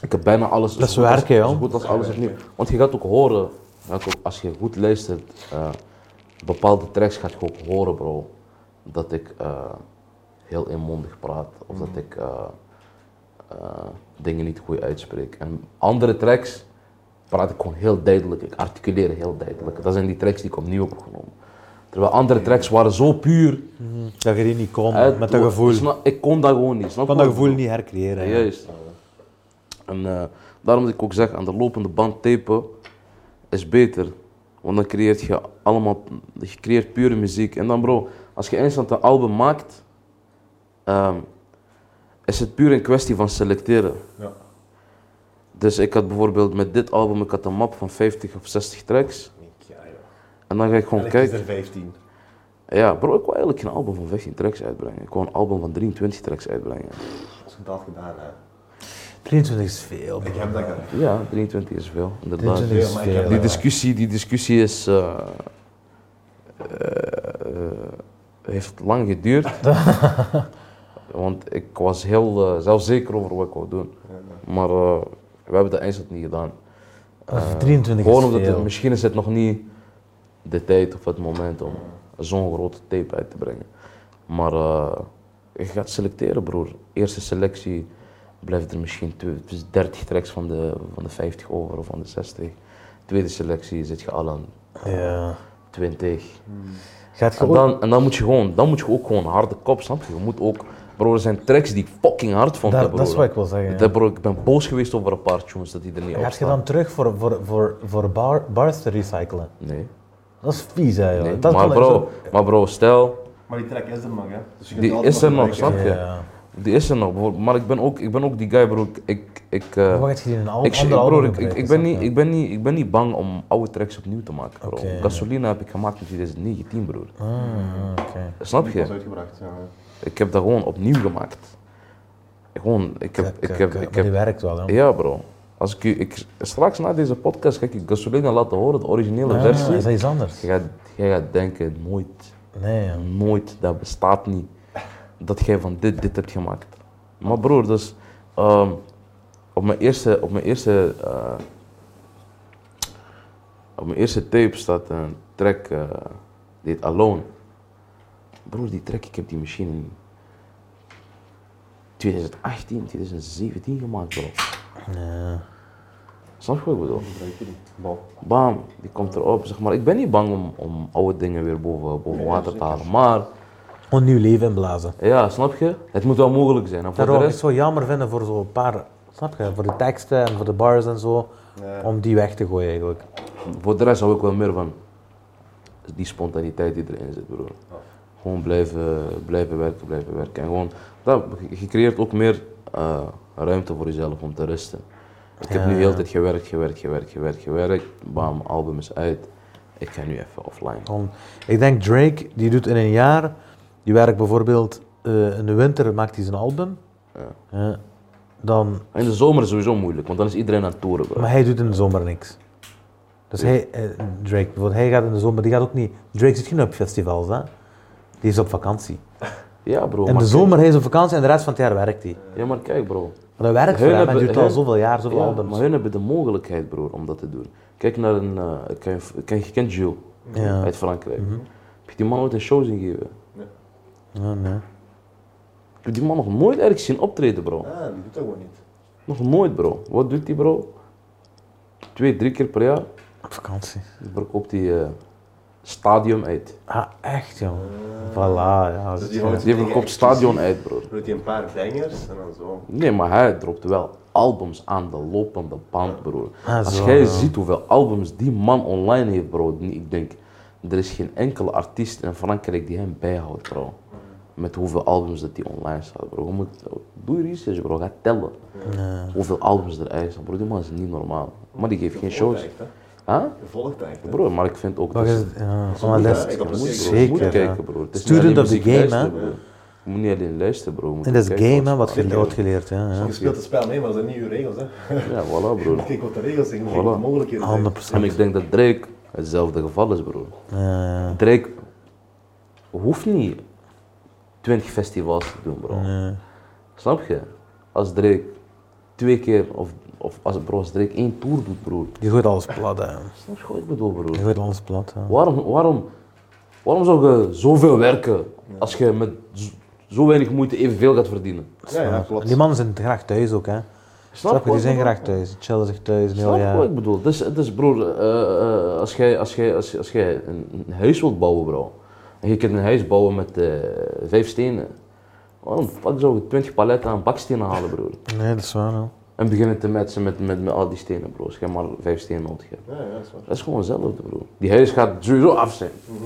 Ik heb bijna alles. Dat is zo goed als- werken, joh. Zo goed als alles opnieuw. Want je gaat ook horen, je gaat ook- als je goed luistert, eh, bepaalde tracks gaat je ook horen, bro. Dat ik eh, heel inmondig praat of Mhm. dat ik eh, eh, dingen niet goed uitspreek. En andere tracks praat ik gewoon heel duidelijk, ik articuleer heel duidelijk. Dat zijn die tracks die ik opnieuw heb opgenomen. Terwijl andere tracks waren zo puur. Hmm. Dat je die niet kon, uit- Mhm. met dat gevoel. Ik Snap- Ik kon dat gewoon niet. Snap kon je dat wat ik gevoel bedoel? niet hercreëren. Ja, juist. En eh, daarom dat ik ook zeg, aan de lopende band tapen is beter. Want dan creëert je allemaal, je creëert pure muziek. En dan bro, als je instant een album maakt, ehm, is het puur een kwestie van selecteren. Ja. Dus ik had bijvoorbeeld met dit album, ik had een map van 50 of 60 tracks. Ja, joh. En dan ga ik gewoon Elk is kijken. er 15. Ja bro, ik wil eigenlijk geen album van 15 tracks uitbrengen. Ik wil een album van 23 tracks uitbrengen. Als ik dat gedaan, hè. 23 is veel. Ik heb dat gedaan. Ja, 23 is veel, inderdaad. 23 is Ja, maar ik heb veel. Die dat- discussie, die discussie is. eh, eh, heeft lang geduurd. Want ik was heel eh, zelfzeker over wat ik wou doen. Maar eh, we hebben dat eindelijk niet gedaan. Eh, 23 is Gewoon omdat het, veel. misschien is het nog niet de tijd of het moment om zo'n grote tape uit te brengen. Maar eh, je gaat selecteren, broer. Eerste selectie blijft er misschien tw- dus 30 tracks van de, van de 50 over of van de 60. Tweede selectie zit je al aan Ja. 20. Gaat je En ook- dan, en dan, moet je gewoon, dan moet je ook gewoon harde kop, snap je? Je moet ook... Bro, er zijn tracks die ik fucking hard vond, dat, hè, broer. dat is wat ik wil zeggen. Dat, bro, ik ben boos geweest over een paar tunes dat die er niet op Gaat je staan. dan terug voor, voor, voor, voor bar, bars te recyclen? Nee. Dat is vies, hè, joh. nee. Dat Maar, is bro, maar bro, stel, Maar die track is er nog, hè. Dus je kunt Die altijd is er nog, gebruiken. snap je? Ja. die is er nog. bijvoorbeeld. Maar ik ben ook, ik ben ook die guy, bro. Ik, ik, ik, eh, Maar wat gaat je nou die in een al- ik, ander broer, album ik, ik, gebruiken, ik ben snap niet, je? ik, ben niet, ik ben niet bang om oude tracks opnieuw te maken, bro. Oké, ja. Gasolina heb ik gemaakt in 2019, broer. Ah, oké. Snap Die was je? uitgebracht, ja. Ik heb dat gewoon opnieuw gemaakt. Gewoon, ik heb, ik heb, Maar ik Die heb, werkt wel, hè. ja bro. Als ik, u- ik, straks na deze podcast ga ik je Gasolina laten horen, de originele Ah, versie. Is dat iets anders? Je gaat, jij gaat denken, nooit, Nee, ja. nooit, dat bestaat niet. Dat jij van dit, dit hebt gemaakt. Maar broer, dus ehm, op mijn eerste, op mijn eerste, eh, op mijn eerste tape staat een track, eh, die heet Alone. Broer, die track, ik heb die misschien in 2018, 2017 gemaakt, bro. Snap je wat ik bedoel? Bam, die komt erop. Zeg maar, ik ben niet bang om, om oude dingen weer boven, boven water te halen. Maar Gewoon nieuw leven inblazen. ja, snap je? Het moet wel mogelijk zijn. En voor de Daarom ik rest, zo jammer vinden voor zo'n paar, snap je, voor de teksten en voor de bars en zo, om die weg te gooien eigenlijk. voor de rest hou ik wel meer van die spontaniteit die erin zit, broer. Gewoon blijven, blijven werken, blijven werken. En gewoon, dat, je creëert ook meer eh, ruimte voor jezelf om te rusten. Ik heb nu Ja. heel de tijd gewerkt, gewerkt, gewerkt, gewerkt, gewerkt. Bam, album is uit. Ik ga nu even offline. Gewoon- ik denk Drake, die doet in een jaar, die werkt bijvoorbeeld eh, in de winter maakt hij zijn album. Ja. dan, In de zomer is sowieso moeilijk, want dan is iedereen aan het toeren, bro. Oh. maar hij doet in de zomer niks. Dus hij, eh, Drake, bijvoorbeeld, hij gaat in de zomer, die gaat ook niet. Drake zit geen op festivals, hè? Die is op vakantie. Ja, bro. In Oh, maar de kijk- zomer hij is op vakantie en de rest van het jaar werkt hij. Ja, maar kijk, bro. Maar dat werkt Hun voor hem, hij hebben- duurt al hun- zoveel jaar, zoveel Ja, albums. maar hun hebben de mogelijkheid, broer, om dat te doen. Kijk naar een... eh, kijk, kijk, je kent Jules Ja. uit Frankrijk. Heb je die man ooit een show zien geven? Ja, nee. Ik heb die man nog nooit ergens zien optreden, bro. Ah, die doet dat gewoon niet. Nog nooit, bro. Wat doet die, bro? Twee, drie keer per jaar Op vakantie. bro, koopt hij eh, stadion uit. Ah, echt, jongen. Voilà, ja. Dus die houdt- Die verkoopt stadion uit, bro. Doet hij een paar bangers en dan zo. Nee, maar hij dropt wel albums aan de lopende band, broer. Ah, Als zo, jij ja. ziet hoeveel albums die man online heeft, bro. die- Ik denk, er is geen enkele artiest in Frankrijk die hem bijhoudt, bro. Met hoeveel albums dat die online staat, bro. Je moet, doe je research, bro. Ga tellen. Hoeveel albums er eigenlijk staan, bro. Die man is niet normaal. Maar die geeft geen shows. Huh? Je volgt echt, hè. Bro, maar ik vind ook... Wat dat is ze- het? Ja, moet maar dat kijken, is dat je moet moet, zeker. bro, je moet zeker. ja. kijken, bro. Het is niet Student alleen of the muziek game, hè? luisteren, bro. Je moet niet alleen luisteren, bro. Je moet En dat ook is kijken game, hè, wat wat je ooit geleerd, ja. ja. Je speelt het spel mee, maar dat zijn niet uw regels, hè. ze- Ja, voilà, bro. Kijk wat de regels zijn, kijk Voilà. Ah, wat de mogelijkheden zijn. 100 En ik denk dat Drake hetzelfde geval is, broer. Ja, Drake hoeft niet 20 festivals te doen, bro. Nee. Snap je? Als Drake twee keer of, of als, bro, als Drake één tour doet, broer. die gooit alles plat, hè. Snap je wat ik bedoel, broer? Die gooit alles plat, hè. Waarom, waarom, waarom zou je zoveel werken als je met z- zo weinig moeite evenveel gaat verdienen? Ja, ja, klopt. Die mannen zijn graag thuis ook, hè. Snap je? wat Die ik zijn bedoel? graag thuis. Die chillen zich thuis een heel Snap je wat jaar. ik bedoel? Dus, dus broer, eh, eh, als jij als jij- als, als jij een, een huis wilt bouwen, bro. En je kunt een huis bouwen met eh, vijf stenen. Waarom de fuck zou je 20 paletten aan bakstenen halen, broer? Nee, dat is waar, hè. En beginnen te metsen met, met, met al die stenen, bro. Als jij maar vijf stenen nodig hebt. Ja, ja, dat is waar. Dat is gewoon hetzelfde, bro. Die huis gaat sowieso af zijn. Mhm.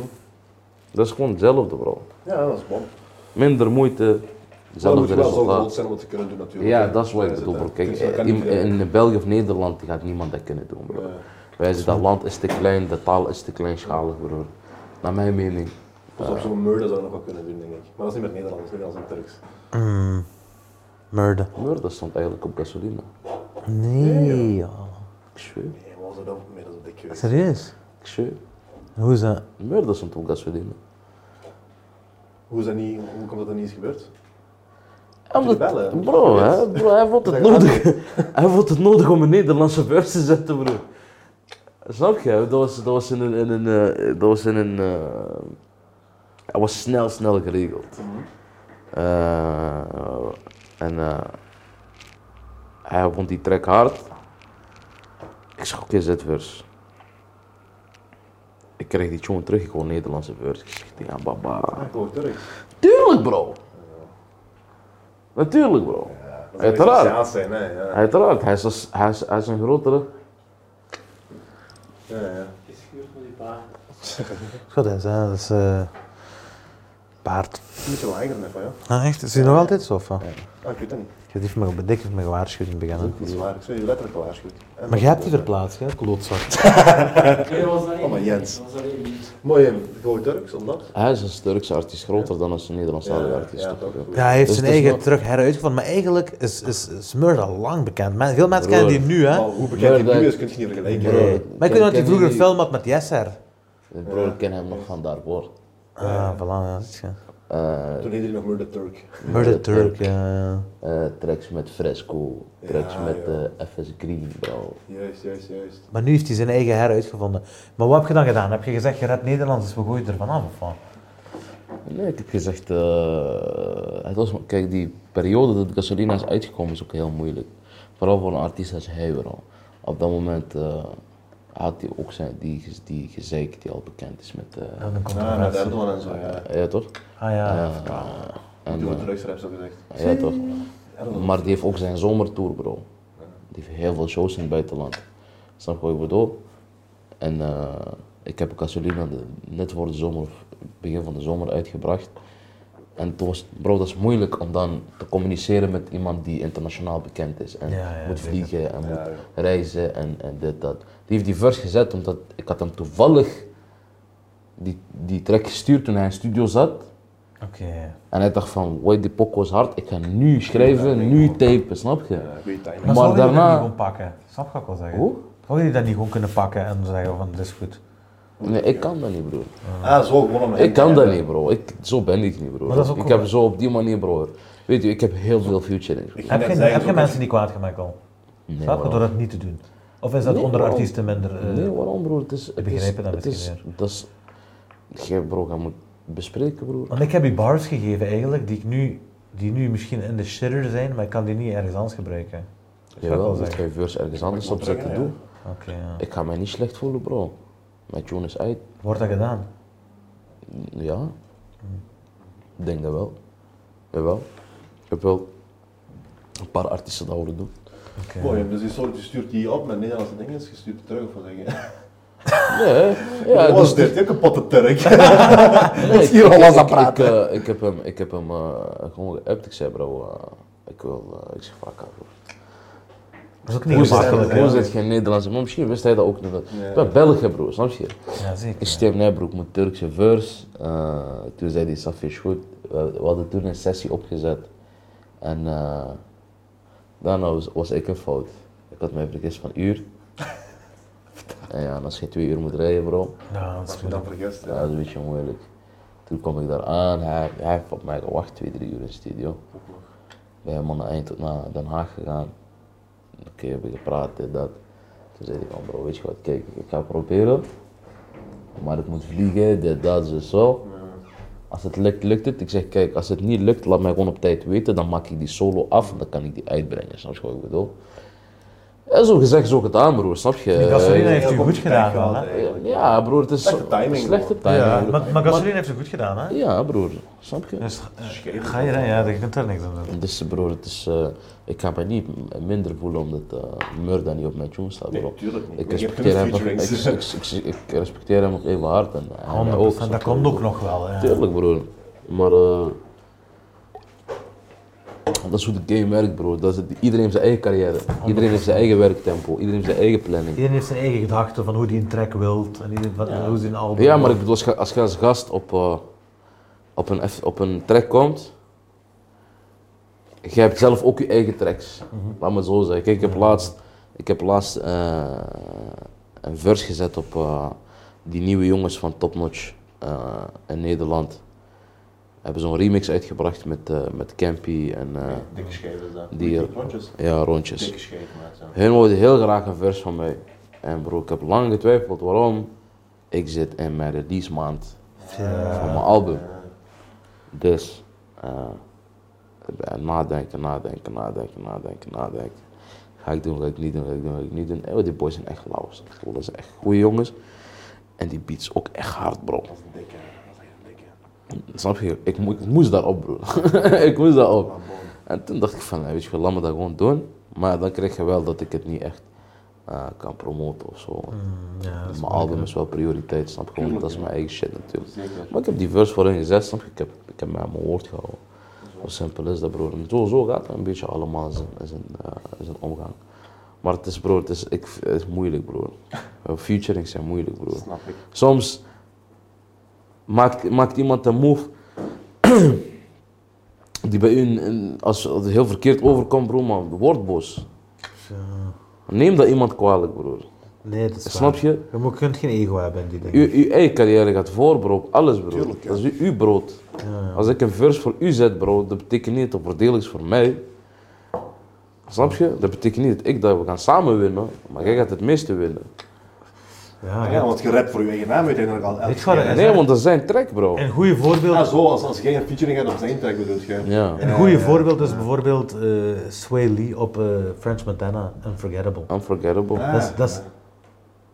Dat is gewoon hetzelfde, bro. Ja, dat is bom. Minder moeite, Dat moet hetzelfde je wel zo groot resultaat. zijn om het te kunnen doen, natuurlijk. Ja, hè. dat is wat ik Daar bedoel, zit bro. het. Kijk, eh, Dus dat kan in, niet veel. in België of Nederland gaat niemand dat kunnen doen, bro. Ja. Wij zeggen dat land is te klein, de taal is te kleinschalig, broer. Naar mijn mening. Pas op zo'n murder zou je nog wel kunnen doen, denk ik. Maar dat is niet met Nederlands, dat is niet als een Turks. Murder. Maar dat stond eigenlijk op gasoline. Nee, joh. Ik zweer, Nee, maar ze dat meer dan dik geweest. Serieus? ik zweer. Hoe is dat? Maar dat stond op gasoline. Hoe, is dat niet, hoe komt dat dan niet eens gebeurd? Ja, Moet je bellen? bro, hè, bro, hij vond het Zeg, nodig. hij vond het nodig om een Nederlandse vers te zetten, broer. Snap je? Dat was, dat was in een. In een eh, dat was in een. eh, Hij was snel, snel geregeld. Eh, en. eh, hij vond die track hard. Ik zeg, oké, zet vers. Ik kreeg die tune terug, ik hoor Nederlandse vers. Ik zeg, ja, baba. Ah, ik hoor Turks. Tuurlijk, bro. Natuurlijk, bro. Ja, dat zou Uiteraard. speciaal zijn, hè. Ja, Uiteraard, hij is, als- hij is, hij is een grotere. ja, ja. Goed, hè, dat is... eh, Paard. Een beetje langer net van, ja. Ah, echt? Is die nog altijd zo? of wat? Ah, ik weet het niet. Je heeft me dik heeft me gewaarschuwd in het begin. hè. Dat is waar. Ik zweer je letterlijk gewaarschuwd. En Maar dat jij hebt die gebeurt, verplaatst, hè? Klootzak. hè. Oh, maar Jens. Mooi, eh, gewoon Turks, omdat. Hij is als Turkse artiest groter dan als een Nederlandstalige artiest. ja, toch? toch. Ja. Ja, hij heeft Dus zijn het is eigen nog- terug heruitgevonden. Maar eigenlijk is, is, is Murder al lang bekend. Men- veel mensen kennen die nu, hè? Maar hoe bekend die Murder- nu is, kun je niet vergelijken. Bro, Nee. Maar ik weet nog dat hij ken vroeger een die- film had met Yeser. Eh, Bro, ik ken hem nog van daarvoor. Ah, voilà, ja, zie je. Eh Toen heette hij nog Murder Turk. Murder Turk, ja. eh, tracks met Fresco, tracks Ja, met ja. eh, FS Green, bro. Juist, juist, juist. Maar nu heeft hij zijn eigen heruitgevonden. Maar wat heb je dan gedaan? Heb je gezegd, je redt Nederlands, dus we gooien er vanaf of wat? Nee, ik heb gezegd, eh, het was, kijk, die periode dat Gasolina is uitgekomen is ook heel moeilijk. Vooral voor een artiest als hij, bro. Op dat moment eh, had hij ook zijn, die, gez- die gezeik die al bekend is met, eh, En dan komt er Ah, met een Erdogan en zo, ja. ja toch? Ah ja. Eh, en, Toen eh, het drugsrap zo gezegd. ja toch? Maar die heeft ook zijn zomertour, bro. Die heeft heel veel shows in het buitenland. Snap je wat ik bedoel? En eh, Ik heb Casolina de, net voor de zomer, of begin van de zomer uitgebracht. En toen was, het- bro, dat is moeilijk om dan te communiceren met iemand die internationaal bekend is. En Ja, ja, moet zeker. vliegen en moet ja. reizen en, en dit, dat. Die heeft die verse gezet omdat ik had hem toevallig die, die track gestuurd toen hij in studio zat. Oké. En hij dacht van, wait, die pok was hard, ik ga nu schrijven, nu tapen, snap je? Ja, goede timing. Maar, Maar zou je dat daarna- niet gewoon pakken? Snap je wat ik wil zeggen? Hoe? Zou je dat niet gewoon kunnen pakken en zeggen van, dit is goed? Nee, ik kan dat niet, broer. Ah, zo gewoon om Ik kan dat niet, bro. Ik, zo ben ik niet, bro. Maar dat is ook ik cool. heb zo op die manier, bro. Weet je, ik heb heel veel featuring. Ik Heb net je, zeggen, heb je zo- mensen die kwaad gemaakt al? Nee, Snap je, door waarom? dat niet te doen? Of is dat Nee, onder waarom? artiesten minder? eh, Nee, waarom, bro? Het is, het is, begrijp het dan het is, misschien dat is, geen bro, je moet bespreken, broer. Want ik heb je bars gegeven eigenlijk, die, ik nu, die nu misschien in de shitter zijn, maar ik kan die niet ergens anders gebruiken. Jawel, wel moet zeggen. je verse ergens anders opzetten, ja. doe. Oké, ja. Ik ga mij niet slecht voelen, bro. Mijn tune is uit, Wordt dat gedaan? ja. Ik denk dat wel. Jawel. Ik heb wel een paar artiesten dat horen doen. Oké. Mooi, dus die soort, je stuurt die op met Nederlandse dingen, je stuurt het terug of wat zeg je? Nee, ja, Wat dus- was dit? Een kapotte Turk. Nee, is hier al aan het ik, ik, praten. eh, ik heb hem, ik heb hem eh, gewoon geappt. Ik zei, bro, eh, ik wil, eh, ik zeg vaak aan. Dat is ook Hoe niet is het- gemakkelijk, hoe hè? Hoe is het geen Nederlands? Maar misschien wist hij dat ook niet. Ja. Ik ben België, bro, snap je? Ja, Ik zeker. stem Nijbroek met Turkse verse. Eh, toen zei hij, Safi is goed. We, we hadden toen een sessie opgezet. En eh, daarna was, was ik een fout. Ik had mij vergist van uur. en ja, en als je twee uur moet rijden, bro. Ja, Nou, dat is Als je dat moeilijk. vergist, Ja, dat ja. is een beetje moeilijk. Toen kwam ik daar aan, hij, hij heeft op mij gewacht, twee, drie uur in de studio. We hebben aan het eind tot naar Den Haag gegaan. Oké, hebben gepraat, dit, dat. Toen zei hij van, bro, weet je wat, kijk, ik ga proberen. Maar ik moet vliegen, dit, dat, zo, zo. Als het lukt, lukt het. Ik zeg, kijk, als het niet lukt, laat mij gewoon op tijd weten. Dan maak ik die solo af en dan kan ik die uitbrengen. Snap je wat ik bedoel? En zo gezegd, zo gedaan, broer, snap je? Die Gasolina heeft u Heel goed goed gedaan, gehad, wel, hè? eigenlijk. Ja, broer, het is Slechte zo- timing, Slechte broer. timing. Ja, broer. maar, maar Gasolina heeft u goed gedaan, hè? Ja, broer, snap je? Dus eh, ga je dan, ja, je kunt er niks aan doen. Dus broer, het is, eh, ik ga mij niet m- minder voelen omdat eh Murda niet op mijn tune staat, bro. Nee, tuurlijk niet. ik, Je hebt respecteer genoeg hem nog, ik, featurings. ik- ik- ik respecteer hem nog even hard. En, hij mij 100%, snap dat je? komt ook nog wel, hè? Tuurlijk, broer. Maar eh, dat is hoe de game werkt, broer. Dat is het- iedereen heeft zijn eigen carrière. Iedereen heeft zijn eigen werktempo. Iedereen heeft zijn eigen planning. Iedereen heeft zijn eigen gedachten van hoe die een track wilt en iedereen, wat, hoe ze een album Ja, maar ik bedoel, als je als, je als gast op, eh, op, een, F- op een track komt, jij hebt zelf ook je eigen tracks. Laat me het zo zeggen. Kijk, ik heb laatst, ik heb laatst eh, een verse gezet op eh, die nieuwe jongens van Top Notch eh, in Nederland. Hebben zo'n remix uitgebracht met, eh, met Campy en eh, Dikke scheef is dat. Die- eh, Dikke rondjes. ja, Rondjes. Dikke scheef, maat. zo. Hun wilden heel graag een vers van mij. En bro, ik heb lang getwijfeld waarom. Ik zit in mijn release maand van mijn album. Dus, eh, ik ben nadenken, nadenken, nadenken, nadenken, nadenken. Ga ik doen, ga ik niet doen, ga ik doen, ga ik niet doen. Eh, die boys zijn echt lauw. snap je wel. Dat zijn echt goede jongens. En die beats ook echt hard, bro. Dat is een dikke. Dat is echt een dikke. Snap je? Ik, mo- ik moest daarop, bro. ik moest daarop. En toen dacht ik van, eh, weet je wel, laat me dat gewoon doen. Maar dan kreeg je wel dat ik het niet echt eh, kan promoten of zo. ja, mijn album is wel prioriteit, snap je? Gewoon, dat is mijn eigen shit natuurlijk. Zeker. Maar ik heb die verse voor hen gezet, snap je? Ik heb, ik heb mij aan mijn woord gehouden. Zo simpel is dat, broer. En zo, zo gaat het een beetje allemaal in zijn, in zijn, eh, in zijn omgang. Maar het is, broer, het is, ik, het is moeilijk, broer. Eh, Featurings zijn moeilijk, broer. Snap ik. Soms maakt, maakt iemand een move die bij u een- een- als, als heel verkeerd overkomt, broer, maar word boos. Neem dat iemand kwalijk, broer. Nee, dat is Snap waar. je? Je moet- je kunt geen ego hebben in die dingen. U, uw eigen carrière gaat voor, bro. op Alles, bro. dat is uw, uw brood. Als ik een verse voor u zet, bro, dat betekent niet dat het voordelig is voor mij. Snap je? Dat betekent niet dat ik dat we gaan samen winnen, maar jij gaat het meeste winnen. Ja, Ja, ja. want je rapt voor je eigen naam uiteindelijk al. Weet je wat, Ja, en- Nee, want dat is zijn track, bro. Een goed voorbeeld Ah, zo, als, als jij een featuring hebt op zijn track bedoelt je. Ja, Een goede voorbeeld is bijvoorbeeld eh Sway Lee op eh, French Montana, Unforgettable. unforgettable. Ah, Dat, is, dat, is,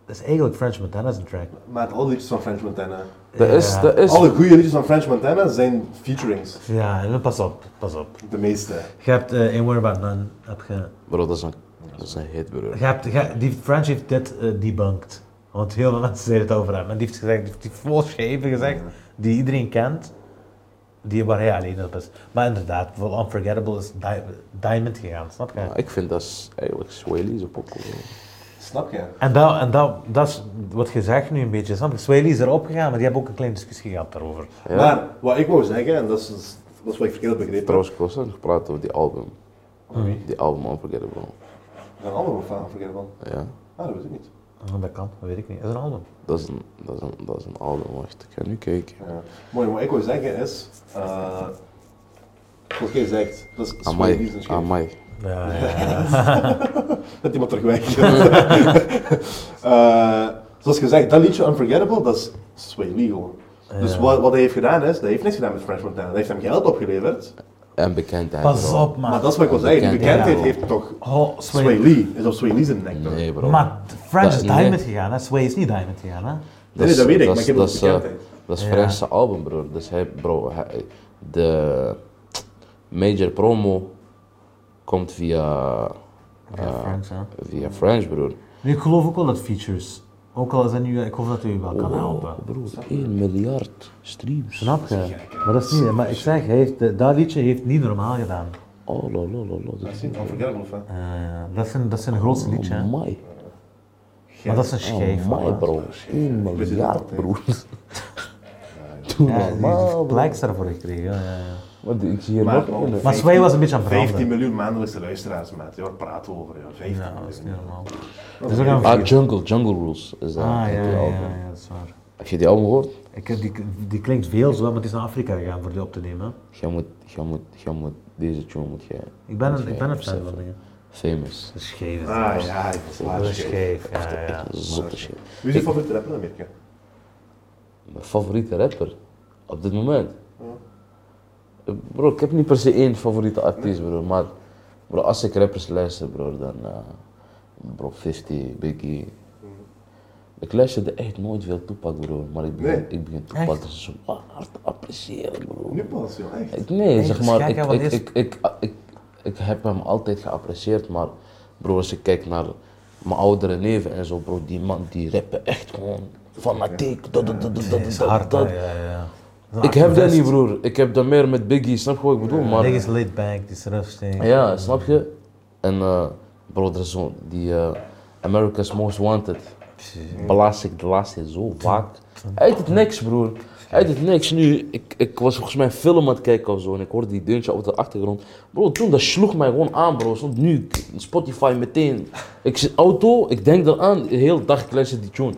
dat is eigenlijk French Montana's een track. Maat, alle liedjes van French Montana. Dat is, dat is, Alle goede liedjes van French Montana zijn featurings. Ja, en dan pas op, pas op. De meeste. Je hebt eh Ain't Worried About None, heb je... bro, dat is een, dat is een hit, bro. je hebt, je- die French heeft dit eh, debunked. Want heel veel mensen zeiden het over hem. En die heeft gezegd, die heeft die volgeschreven gezegd, die iedereen kent, die waar hij alleen op is. Maar inderdaad, wel Unforgettable is di- Diamond gegaan, snap je? Ja, ik vind dat is eigenlijk Swaley's popcorn. Snap je? En, dat, en dat, dat is wat je zegt nu een beetje, snap je? Swaley is erop gegaan, maar die hebben ook een kleine discussie gehad daarover. Ja. Maar wat ik wou zeggen, en dat is, dat is wat ik verkeerd heb begrepen. Trouwens, ik was net gepraat over die album. Die album Unforgettable. Een andere fan verkeerd van. Ja. Ah, dat weet ik niet. Oh, dat kan, dat weet ik niet. Dat is een album. Dat is een, dat is een, dat is een album. Wacht, ik ga nu kijken. Ja. Mooi, wat ik wou zeggen is. eh wat jij zegt, dat is Sway Lee's Amai, een amai. schip. Ja, ja, ja. Dat iemand terug weg. Eh, zoals gezegd, dat liedje Unforgettable, dat is Sway Lee gewoon. Dus wat, wat hij heeft gedaan is, hij heeft niks gedaan met French Montana. Hij heeft hem geld opgeleverd. En bekendheid. Pas bro. op, man. Maar dat is wat ik wil zeggen, die Bekendheid. bekendheid heeft toch Oh, Sway. Sway Lee. Is op Sway Lee's nek toch? Nee, bro. Maar French is Dat- nee. Diamond gegaan, hè? Sway is niet Diamond gegaan, hè? Nee, nee, dat weet ik, maar ik heb dat het is, bekend, eh, hè. Dat is Ja. French's album, bro. Dus hij, bro, hij- de major promo komt via, Ja, French, hè? via French, bro. Nu, ik geloof ook wel dat features. Ook al is dat nu, ik hoop dat u wel kan helpen. Bro, 1 miljard streams. Oh. Snap je? Maar dat is niet, maar ik zeg, hij heeft, eh, dat liedje heeft niet normaal gedaan. Oh, lo, lo, lo, lo. Dat Dat is is niet Unforgettable fan. Eh, dat is een, dat is een grootste liedje, hè? Amai. Maar dat is een schijf. Amai, Ah, hoor. bro. 1 Precies miljard, dat, hè. bro. Doe Ja, die normaal, heeft bro. plaques daarvoor gekregen. Ja, ja, ja. Wat, Ik zie hier Maar- nog een. Maar Sway was een beetje aan het 15 branden. miljoen maandelijkse luisteraars, maat. Ja, waar praten we over? Ja, 15 Ja, dat miljoen. is niet normaal. Dat is ook een Ah, Jungle, Jungle Rules is dat. Ah, ja, die ja, album. ja, ja, dat is waar. Als je die album hoort, Ik heb die, die klinkt veel zo, maar het is naar Afrika gegaan voor die op te nemen. hè. je moet, je moet, je moet, deze tune moet je... Ik ben moet een, je ik ben een fan beseffen. van dingen. Famous. Dat is scheef. hè. Ah ja, ik was Dat is laatst. scheef, ja, ja, Ah, ja. Zotte shit. Wie is je favoriete rapper in Amerika? Mijn favoriete rapper op dit moment. Bro, ik heb niet per se één favoriete artiest, bro. Maar bro, als ik rappers luister, bro, dan. eh, bro, 50, Biggie. Ik luisterde echt nooit veel Tupac, bro. Maar ik begin, Nee. ik begin Tupac zo hard te appreciëren, bro. Nu pas, joh, echt. Ik, nee, dat zeg is maar, gek, ik, hè, want ik, eerst- ik, ik, ik, ik heb hem altijd geapprecieerd, maar bro, als ik kijk naar mijn oudere neven en zo, bro, die man die rappen echt gewoon fanatiek. Dat, dat, dat, dat, Dat is dat, hard, hè, dat. ja, ja, ja. Een Ik heb dat activist. niet, broer. Ik heb dat meer met Biggie, snap je wat ik bedoel? Die is Maar, laid back, die is rustig. ja, snap je? En eh, bro, er is zo'n, die eh, America's Most Wanted blaas ik de laatste tijd zo vaak. Uit het niks, broer. Uit het niks. Nu, ik, ik was volgens mij een film aan het kijken of zo. En ik hoorde die deuntje op de achtergrond. Bro, toen dat sloeg mij gewoon aan, bro. Stond nu Spotify meteen. Ik zit auto, ik denk eraan. De hele dag ik luister die tune.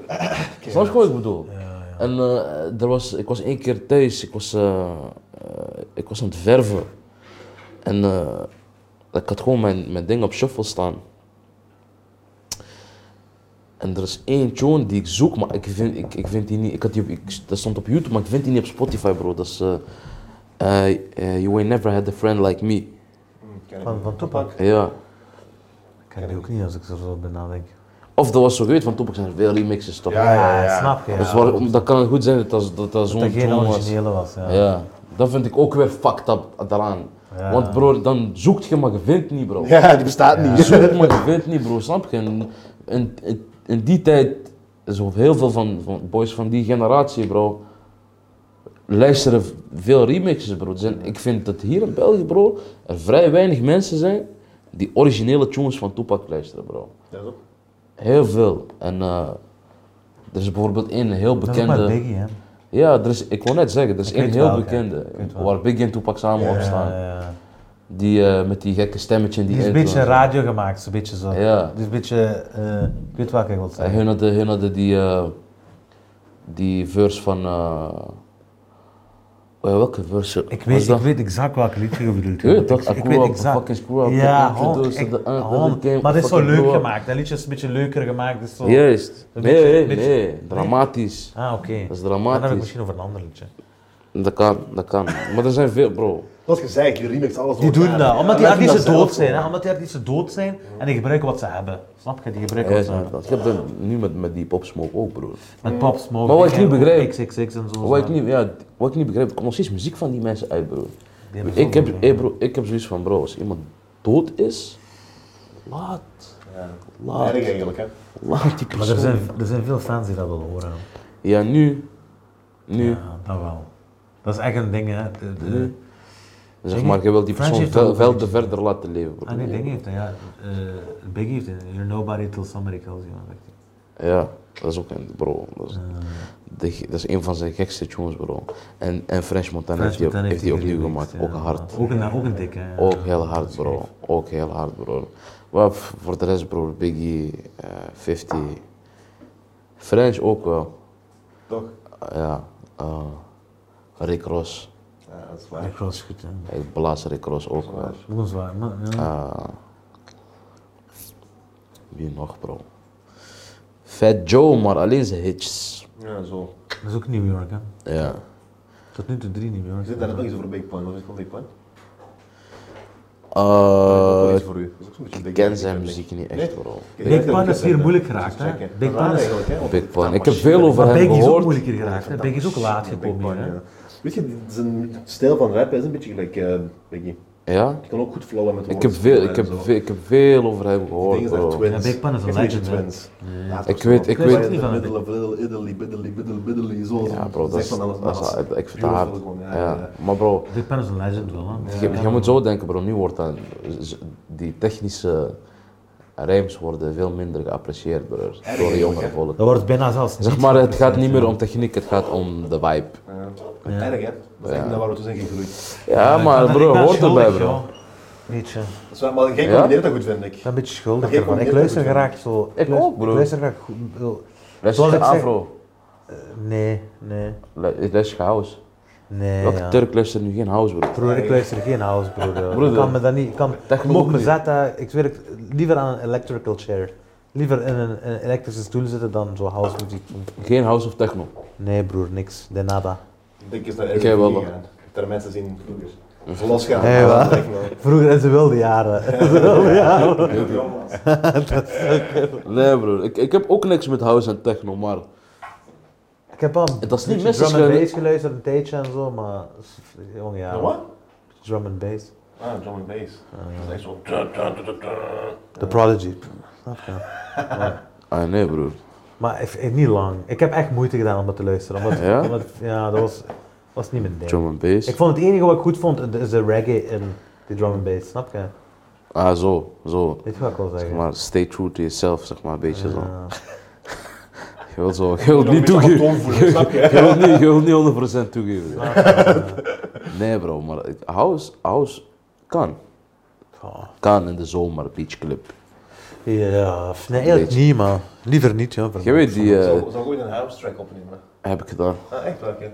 Snap je wat ik bedoel? En eh, er was, ik was één keer thuis. Ik was, eh, eh, ik was aan het verven. En eh, ik had gewoon mijn, mijn ding op shuffle staan. En er is één tune die ik zoek, maar ik vind, ik, ik vind die niet. Ik had die op, ik, dat stond op YouTube, maar ik vind die niet op Spotify, bro. Dat is. eh, eh, eh, you ain't never had a friend like me. Van, van Tupac. Ja. Ik kan die ook niet als ik er zo bij nadenk. Of dat was zo weet, want Tupac zijn er veel remixes toch? Ja, ja, ja. Ah, snap je. dus ja. waar- dat kan het goed zijn dat dat, dat, dat dat zo'n geen tune was. originele was. Ja. Ja. Dat vind ik ook weer fucked up daaraan. Ja. Want bro, dan zoekt je, maar je vindt niet, bro. Ja, die bestaat Je zoekt, maar je vindt niet, bro. Snap je? In, in, in- in die tijd is er heel veel van, van boys van die generatie, bro. Luisteren veel remixes, bro. Er zijn- ik vind dat hier in België, bro, er vrij weinig mensen zijn die originele tunes van Tupac luisteren, bro. Heel veel. En eh, er is bijvoorbeeld één heel Dat is ook met bekende. Biggie, hè. Ja, er is, ik wou net zeggen, er is één weet heel welke. bekende. Ik weet wel. Waar Biggie en Tupac samen op Ja, staan. ja, ja. Die eh, met die gekke stemmetje in die Die is een intro beetje en zo. radio gemaakt, zo'n beetje zo. Ja. Die is een beetje, eh, ik weet welke ik wil En zeggen. Eh, hun hadden, hun hadden die, eh, die verse van. eh, oh ja, welke verse? Ik was weet, dat? ik weet exact welk liedje je bedoelt. Je weet toch? Ik- ik Screw weet up, exact. fucking screw up, Ja, fucking hon, introduce ik- the- uh, the hon. game, maar dit is zo fucking leuk grow up. gemaakt. Dat liedje is een beetje leuker gemaakt. Dus zo... Juist. Een Nee, beetje- nee, beetje- nee. Dramatisch. Ah, oké. Dat is Dan heb ik dramatisch. misschien over een ander liedje. Ah. Dat kan, dat kan. Maar er zijn veel, bro. Zoals gezegd, die remix alles Die doen dat, omdat die Ja, wij artiesten doen dat dood zelf zijn. Hè? Omdat die artiesten dood zijn en die gebruiken wat ze hebben. Snap je? Die gebruiken wat ze hebben. Ik heb dat nu met, met die popsmoke ook, bro. Met Pop Smoke. eh, Maar wat ik en niet begrijp- XXX en zo. Wat ik niet, ja, wat ik niet begrijp, er komt nog steeds muziek van die mensen uit, bro. Die hebben Ik zoveel heb, hey bro, ik heb zoiets van, bro, als iemand dood is, laat. Laat. Erg eigenlijk, hè? Laat Maar die er persoon. zijn, er zijn veel fans die dat willen horen. Ja, nu. Nu. Ja, dat wel. Dat is echt een ding, hè. De, de, Nu. Zeg Zeg maar, je- je wilt die French persoon heeft wel wel, een wel te beetje- verder laten leven. bro. Ah nee, ding heeft hij, ja. Eh, Biggie heeft een You're nobody till somebody kills you. zegt hij. Ja, dat is ook een bro. Dat Ah. is, de- dat is een van zijn gekste tunes, bro. En, en French Montana French heeft hij ook- Montana heeft hij die opnieuw geremixed, gemaakt. ja, ook hard. inderdaad. Ook een, ook een dikke, ja. Ook heel hard, bro. Ook heel hard, bro. Maar f- voor de rest, bro, Biggie, eh 50. French ook wel. Toch? Ja. eh, Rick Ross. Ja, dat is Ja, waar. ik was goed, hè. Ik blaas Rick Ross ook wel. Ook een zwaar, maar ja. Eh, wie nog, bro? Fat Joe, maar alleen zijn hits. Ja, zo. Dat is ook New York, hè. Ja. Tot nu toe drie New York. Zit daar nog iets over Big Pun? Wat is van Big Pun? Ook wel Eh, iets voor u. Dat is ook zo'n beetje ik Big ken Pun, zijn denk ik. muziek niet Nee. echt, bro. Oké, Big ik heb Pun het is hier gezegd, moeilijk hè. geraakt, hè. Checken. Big Raar Pun is- eigenlijk, hè, want Big het- Pun. dat Ik heb was- veel over Maar hem Biggie is ook gehoord. moeilijk hier geraakt, hè. Biggie is ook laat Big gekomen Pun, hier, hè. ja. Weet je, zijn stijl van rappen is een beetje gelijk eh, Biggie. Ja? Ik kan ook goed flowen met Ik woorden, heb, veel, ik, en heb zo. veel, ik heb veel over hem gehoord, Dingen zijn bro. twins. Ja, Big Pun is een Ik vind legend, het hè. twins. Laat Ik maar zo. weet- ik Twins weet- in niet the van- middle of little Italy, biddly, biddly, biddly, zo. Ja, bro, dat Zegt is, van alles, dat is, maar ik vind het beautiful hard. gewoon, ja, ja. Ja. Maar bro, Big Pun is een legend wel, hè. je, je moet zo denken, bro. Nu wordt dan, z- die technische rijms worden veel minder geapprecieerd, bro. Door de jongere volk. Dat wordt bijna zelfs Zeg niet maar, het gaat niet meer geapprecieerd, om techniek, het gaat om de vibe. Ja. Erg, hè? Dat is eigenlijk naar waar we toe zijn gegroeid. Ja, hè. maar Ik ben- bro, ik ben hoort erbij, schuldig, bro. joh. Beetje. Ik Dat is waar, maar jij Ja? combineert dat goed, vind ik. ben een beetje schuldig Maar jij ervan. Ik combineert luister dat goed, graag zo. Ik luister- ook, bro. Ik luister graag goed. ik bedoel, Luister Zoals je ik zeg- afro. Nee, nee, Lu- Luister je house. nee. Welke ja. Turk luistert nu geen house, bro? Broer, ik luister geen house, broer. Ik kan me dat niet. Ik kan, ik me ook mocht me eh, niet. zetten. Ik zweer, ik, liever aan een electrical chair. Liever in een, een elektrische stoel zitten dan zo house muziek. Geen house of techno. Nee, broer, niks. De nada. Ik is naar Ik heb wel Airbnb nog. gegaan. Ik heb daar mensen zien vroeger. Losgaan. Hey, wat? Dat is echt, man. Vroeger in zijn wilde jaren. Nee, bro. Ik, ik heb ook niks met house en techno, maar ik heb al Dat is niet een beetje misses, drum and hè. bass geluisterd een tijdje en zo, maar. Jong, ja. Ja, Wat? Drum and bass. Ah, drum and bass. Dat is echt zo. Da, da, da, da, da. Eh. The Prodigy. Ah nee, broer. Maar ik- ik- niet lang. Ik heb echt moeite gedaan om dat te luisteren. Omdat, Ja? omdat- ja, dat was, was niet mijn ding. Drum and bass. Ik vond het enige wat ik goed vond, is de reggae en die drum and bass, snap je? Ah, zo, zo. Weet je wat ik wil zeggen? Zeg maar, stay true to yourself, zeg maar, een beetje zo. Ja. Je wilt zo, je wilt Ik niet wil een beetje toegeven. allochtoon voelen, snap je? Je wilt niet, je wilt niet 100% toegeven. Nee, bro, maar ik- house, house kan. Oh. Kan in de zomer, beachclub. ja, of nee, eigenlijk Beetje. niet, maar liever niet, ja. Je weet die, eh, Zou zou ik ooit een house track opnemen? heb ik gedaan. Ah, echt wel, kind.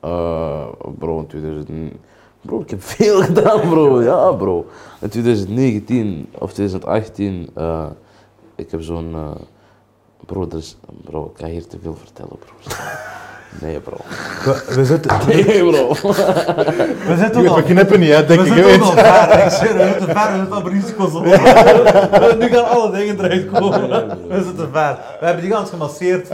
Eh, bro, in 2000. Bro, ik heb veel gedaan, bro. Ja, bro. In 2019 of 2018, eh, ik heb zo'n. eh, bro, er is, bro, ik ga hier te veel vertellen, bro. Nee, bro. We, we zitten, Nee, bro. we zitten al... We knippen niet, hè, denk We ik. zitten weet. ook al ver, ik zweer, we zitten ver, we zitten al op risico's. Nu gaan alle dingen eruit komen. We zitten ver. We hebben die gans gemasseerd.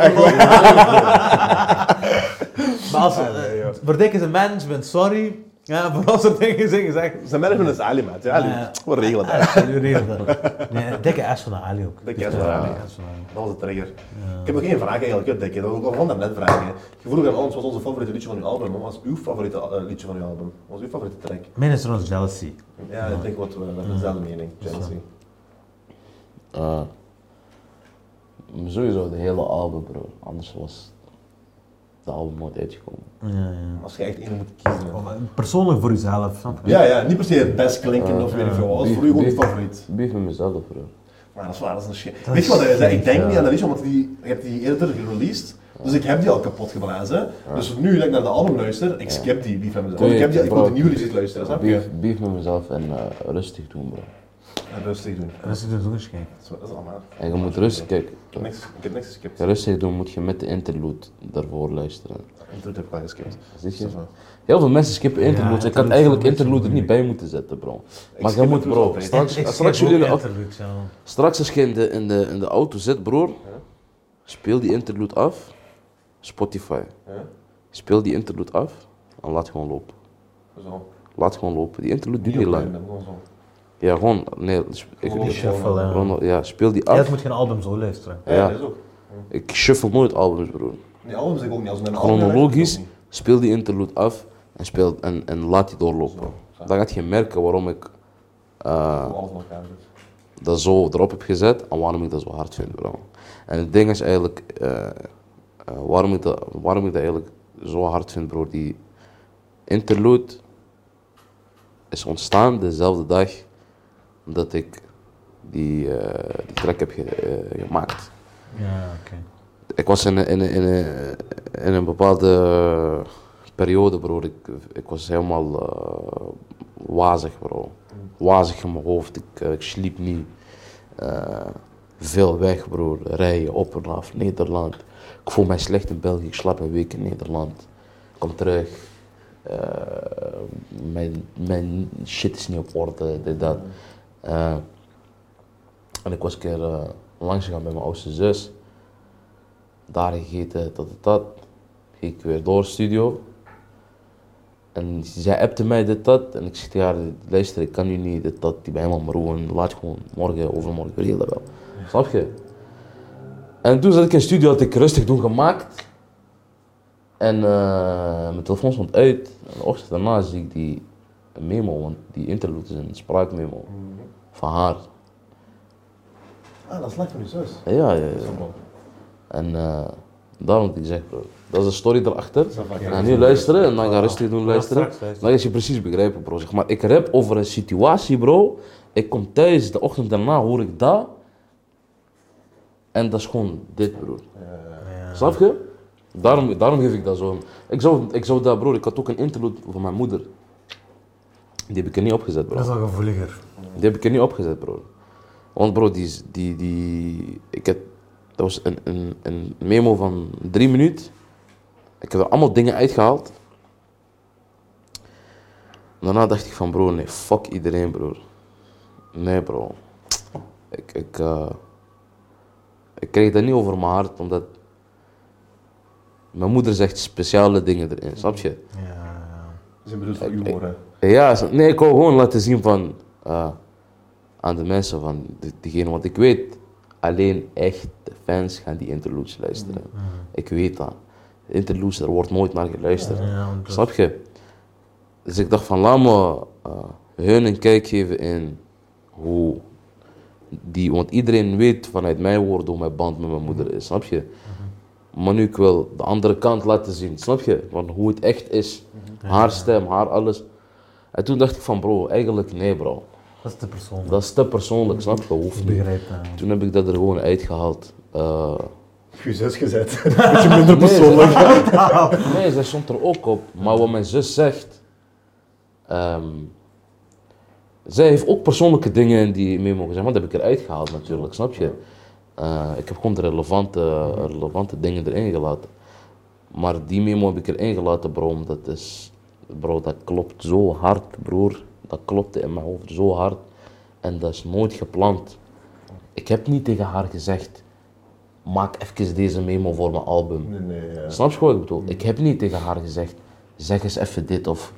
Maar als... eh, Voor dik is een management, sorry. Ja, voor als er dingen zijn Ah, gezegd, Zijn management is Ali, maat. Ja, Ali. Ja. We regelen dat. Nu regelt dat. Nee, een dikke ass van de Ali ook. Dikke ass van de Ali. Dikke ass van de Ali. Dat was de trigger. Ik heb nog geen vraag eigenlijk, hè, Dikke. Dat was ook al van net vragen. hè. Je vroeg aan ons, wat was onze favoriete liedje van uw album? Wat was uw favoriete eh, liedje van uw album? Wat was uw favoriete track? Mijn is trouwens Jealousy. Ja, ik denk wat we hebben dezelfde mening. Chelsea. Eh, sowieso de hele album, bro. Anders was de album nooit uitgekomen. Als je echt één moet kiezen. Oh, Persoonlijk voor uzelf, snap je? Ja, ja, niet per se het best klinken of weet ik veel wat. Dat is voor u gewoon je favoriet. Beef met mezelf, bro. Maar dat is waar, dat is een shit. Weet je wat, dat is, hè? ik denk niet aan dat liedje, want die, ik heb die eerder gereleased. Dus ik heb die al kapot geblazen. Dus nu dat ik naar de album luister, ik skip die, die van mezelf. Want ik heb die, ik wil de nieuwe liedjes luisteren, snap je? Beef, beef met mezelf en eh, rustig doen, bro. En rustig doen. Dat is natuurlijk ook eens gek. Dat is- dat is allemaal. En je moet rustig, kijk. Niks, ik heb niks geskipt. Ja, Rustig doen moet je met de interlude daarvoor luisteren. Dat heb ik al geskipt. Zie je? Dat is wel- Heel veel mensen skippen interludes. ik dat had is eigenlijk voor mensen interlude er niet bij moeten zetten, bro. Maar skip je moet, het bro. altijd. Straks, Ik- ik straks, schrijf jullie in de ook au- interludes, ja. straks als je in de, in, de, in de auto zit, broer, speel die interlude af. Spotify. Ja. Speel die interlude af en laat gewoon lopen. Zo. Laat gewoon lopen. Die interlude duurt niet Heel lang. klein, gewoon zo. Ja, gewoon, nee, dus ik, Gewoon ik- shuffle, ja. gewoon, ja, speel Oh, die Ja, af. dat moet geen albums zo luisteren. Ja, Ja. dat is ook. Ik shuffle nooit albums, broer. Die albums ik ook niet. Als een Chronologisch, speel die interlude af en, speel, en, en laat die doorlopen. Dan gaat je merken waarom ik eh, Alles van elkaar. zit. dat zo erop heb gezet en waarom ik dat zo hard vind, bro. En het ding is eigenlijk, eh, eh, waarom, ik dat, waarom ik dat eigenlijk zo hard vind, bro, die interlude is ontstaan dezelfde dag dat ik die, eh, die track heb ge- eh, gemaakt. Ja, oké. Ik was in, een- in, een- in, een- in een bepaalde eh, periode, bro. Ik, ik was helemaal eh, wazig, bro. Wazig in mijn hoofd. Ik, eh, ik sliep niet. Eh, veel weg, bro. Rijden op en af. Nederland. Ik voel mij slecht in België. Ik slaap een week in Nederland. Ik kom terug. Eh, mijn, mijn shit is niet op orde. Dit, dat. Eh, en ik was een keer eh, langs gegaan bij mijn oudste zus daar gegeten, dat, dat, dat. Ging ik weer door studio. En zij appte mij dit, dat. En ik zeg tegen haar, luister, ik kan nu niet dit, dat. Die ben helemaal roeien. Laat gewoon morgen, overmorgen, regel dat wel. Snap je? En toen zat ik in studio, had ik rustig doen gemaakt. En eh, mijn telefoon stond uit. En de ochtend daarna zie ik die memo, want die interlude is een spraakmemo. Van haar. Ah, dat is lekker van je zus. Ja, ja, ja. Dat is ook wel- En eh, daarom heb ik gezegd, bro. Dat is de story erachter. dat is wel En lekker. dan nu luisteren en dan ga rustig doen luisteren. straks luisteren. Dan is je precies begrijpen, bro. Zeg maar, ik rap over een situatie, bro. Ik kom thuis, de ochtend daarna hoor ik dat. En dat is gewoon dit, bro. Snap je? Daarom, daarom geef ik dat zo. Ik zou, ik zou dat, bro. Ik had ook een interlude van mijn moeder. Die heb ik er niet opgezet, bro. Dat is al gevoeliger. Die heb ik er niet opgezet, bro. Want bro, die, is- die, die ik heb, dat was een, een, een memo van drie minuten. Ik heb er allemaal dingen uitgehaald. Daarna dacht ik van, bro, nee, fuck iedereen, bro. Nee, bro. Ik, ik, eh, ik kreeg dat niet over mijn hart, omdat mijn moeder zegt speciale dingen erin, snap je? Ze bedoelt voor humor, hè. Ja, s- nee, ik wou gewoon laten zien van, eh, aan de mensen van die- diegene. Want ik weet, alleen echt fans gaan die interludes luisteren. Mm. Ik weet dat. Interludes, er wordt nooit naar geluisterd. Ja, want dat- Snap je? Dus ik dacht van, laat me eh, hun een kijk geven in hoe die... Want iedereen weet vanuit mijn woorden hoe mijn band met mijn moeder is, snap je? Maar nu ik wil de andere kant laten zien, snap je? Van hoe het echt is. Haar stem, haar alles. En toen dacht ik van, bro, eigenlijk nee, bro. dat is te persoonlijk. Dat is te persoonlijk, snap je? Hoeft Ik niet. begrijp dat. Toen heb ik dat er gewoon uitgehaald. Eh, Je zus gezet. Beetje minder persoonlijk. Nee, zij stond er ook op. Maar wat mijn zus zegt. ehm, zij heeft ook persoonlijke dingen in die memo gezegd. Maar dat heb ik eruit gehaald natuurlijk, snap je? Eh, ik heb gewoon de relevante, relevante dingen erin gelaten. Maar die memo heb ik erin gelaten, bro. Omdat het is, bro, dat klopt zo hard, broer. Dat klopte in mijn hoofd zo hard. En dat is nooit gepland. Ik heb niet tegen haar gezegd. Maak even deze memo voor mijn album. Nee, nee, ja. Mm. Snap je wat ik bedoel? Ik heb niet tegen haar gezegd, zeg eens even dit of...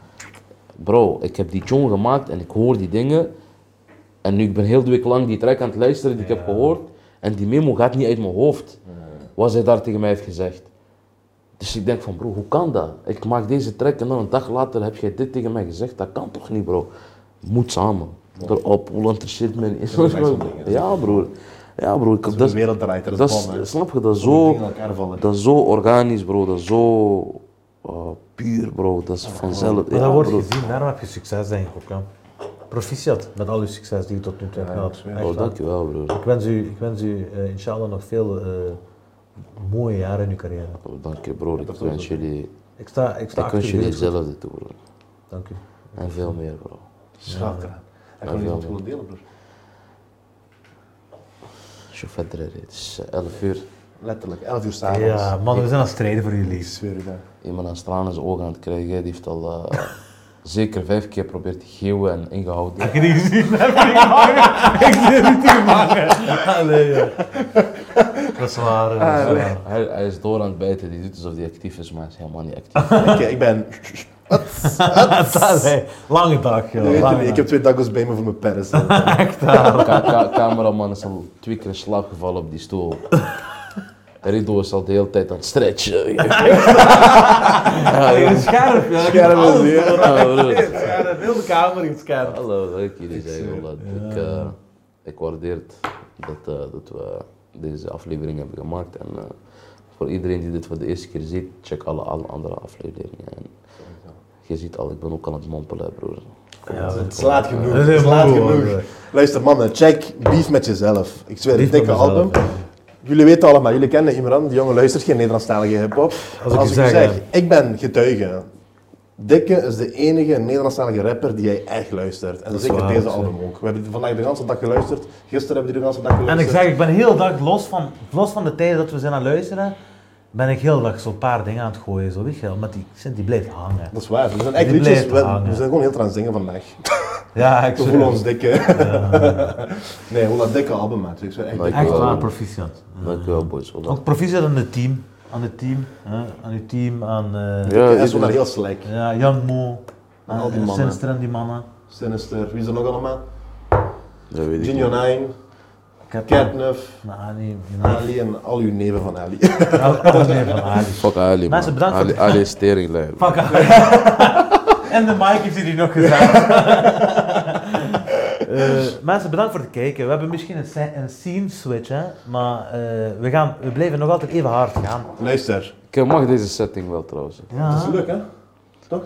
Bro, ik heb die tune gemaakt en ik hoor die dingen. En nu ik ben heel de week lang die track aan het luisteren die ik heb gehoord. En die memo gaat niet uit mijn hoofd. Wat zij daar tegen mij heeft gezegd. Dus ik denk van bro, hoe kan dat? Ik maak deze track en dan een dag later heb jij dit tegen mij gezegd. Dat kan toch niet bro? Moet samen. Erop, hoe interesseert me niet. Dat zijn dingen. Ja broer. Ja broer, ik heb De dat... wereld draait er Dat is, snap je, dat is Zo zo... dingen in elkaar vallen. Dat is zo organisch, bro. Dat is zo eh, puur, bro. Dat is vanzelf. Maar Ja, dat wordt bro. gezien, daarom heb je succes denk ik ook. Ja. Proficiat met al je succes die je tot nu toe hebt gehad. Echt Oh, waar. dankjewel, bro. Ik wens u, ik wens u eh, inshallah nog veel eh, mooie jaren in uw carrière. Oh, dank je, bro. Ik is ook wens jullie, Ik sta, ik sta ik achter wens u, jullie heel goed. hetzelfde toe, bro. Dank u. En veel meer, bro. Schat eraan. Heb je Ja, nog wel, iets willen delen, broer? Als je verder rijdt, het is 11 uur. Letterlijk, 11 uur s'avonds. Ja, man, we zijn aan het strijden voor Ik jullie. zweer het, hè. Iemand aan stralen in zijn ogen aan het krijgen. Die heeft al eh, zeker vijf keer geprobeerd te geeuwen en ingehouden. Heb je die gezien? Heb je die gevangen? Ik zit niet te vangen. Allee, ja. Dat is waar. eh, Dat is waar. Hij, hij is door aan het bijten. Die doet alsof hij actief is, maar hij is helemaal niet actief. Oké, ik ben... Het, Dat het. is- Lange dag, joh. Je weet het lange niet, ik heb dag. twee tacos bij me voor mijn pers. Echt waar. Ka- ka- cameraman is al twee keer in slaap gevallen op die stoel. Rido is al de hele tijd aan het stretchen. Allee, Scherp, ja. Ik heb Scherp is alles hier. door. Ja, broer. Scherp, Heel de kamer is scherp. Hallo, leuk jullie zijn. Roland. Ik, eh, ik waardeer het dat, eh, dat we deze aflevering hebben gemaakt. En eh, voor iedereen die dit voor de eerste keer ziet, check alle, alle andere afleveringen. En je ziet al, ik ben ook aan het mompelen, broer. Het slaat genoeg. Dat is Het slaat moe, hoor. genoeg. Luister mannen, check Beef met jezelf. Ik zweer, Beef een dikke met mezelf, ja. album. Jullie weten allemaal, jullie kennen Imran, die jongen luistert geen Nederlandstalige hip-hop. ik je zeg, hè. ik ben getuige. Dikke is de enige Nederlandstalige rapper die jij echt luistert. En zeker waar, deze zeg. album ook. We hebben die vandaag de hele dag geluisterd. Gisteren hebben we die de hele dag En geluisterd. ik zeg, ik ben heel dag, los van, los van de tijd dat we zijn aan het luisteren, ben ik heel dag zo'n paar dingen aan het gooien, zo weet je wel. Maar die shit, die blijft hangen. Dat is waar. We zijn echt Die liedjes. blijft We, we hangen. zijn gewoon heel erg aan het zingen vandaag. Ja, ik We voelen ons dikke. nee, hoe dat dikke album, maat. Ik zweer echt Maar ik- dikke. Echt waar, Dankjewel. proficiat. Dankjewel, boys. Roland. Ook proficiat aan het team, aan het team, hè? aan uw team, aan eh, Ja, Dat is iedereen. wel heel slecht. ja, Jan Mo, Aan aan al die eh, mannen. Sinster en die mannen. Sinister. Wie is er nog allemaal? Dat weet ik Junior niet. 9, Ik heb Catnuf, Nou, nee, nee. Ali en al uw neven van Ali. Oh, nee, van Ali. Fuck Ali, Mensen, man. bedankt voor Ali, de- Ali is teringlijn. Fuck Ali. En de mic heeft hij die nog gezegd. Eh, mensen, bedankt voor het kijken. We hebben misschien een, sce- een scene switch, hè? maar eh, we, gaan, we blijven nog altijd even hard gaan. Luister. Ik mag deze setting wel trouwens. Dat Ja, is leuk, hè? Toch?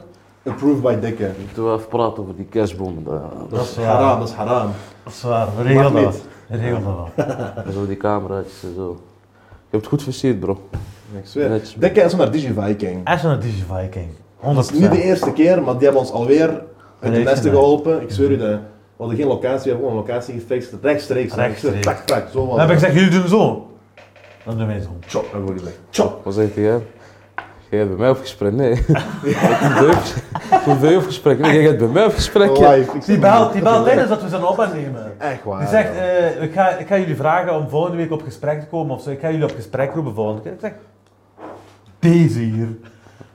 Approved by Dikke. Moeten we even praten over die kerstboom. daar. dat is Haram, waar. dat is haram. Dat is waar. We regelen Mag dat niet. wel. We regelen dat wel. En zo die cameraatjes en zo. Je hebt het goed versierd, bro. Ik zweer. Netjes. Dikke is naar Digiviking. Echt een Digiviking. 100%. Dat is niet de eerste keer, maar die hebben ons alweer uit de Nee, nesten nee. geholpen. Ik zweer u dat. We hadden geen locatie, we hebben gewoon een locatie gefixt. Rechtstreeks. Rechtstreeks. Tak, tak. Zo Dan was heb ik het. gezegd, jullie doen zo. Dan doen wij zo. Chop, hebben we gezegd. Chop. Wat zegt hij? hè? Jij hebt bij mij opgesprek? Nee. Ik heb bij je opgesprek. Nee, jij hebt bij mij opgesprek. ja. Live. Ik zie Die belt, die belt tijdens dat we zijn op aannemen. Echt waar. Die zegt, joh. eh, ik, ga, ik ga jullie vragen om volgende week op gesprek te komen of zo. Ik ga jullie op gesprek roepen volgende keer. Ik zeg, deze hier,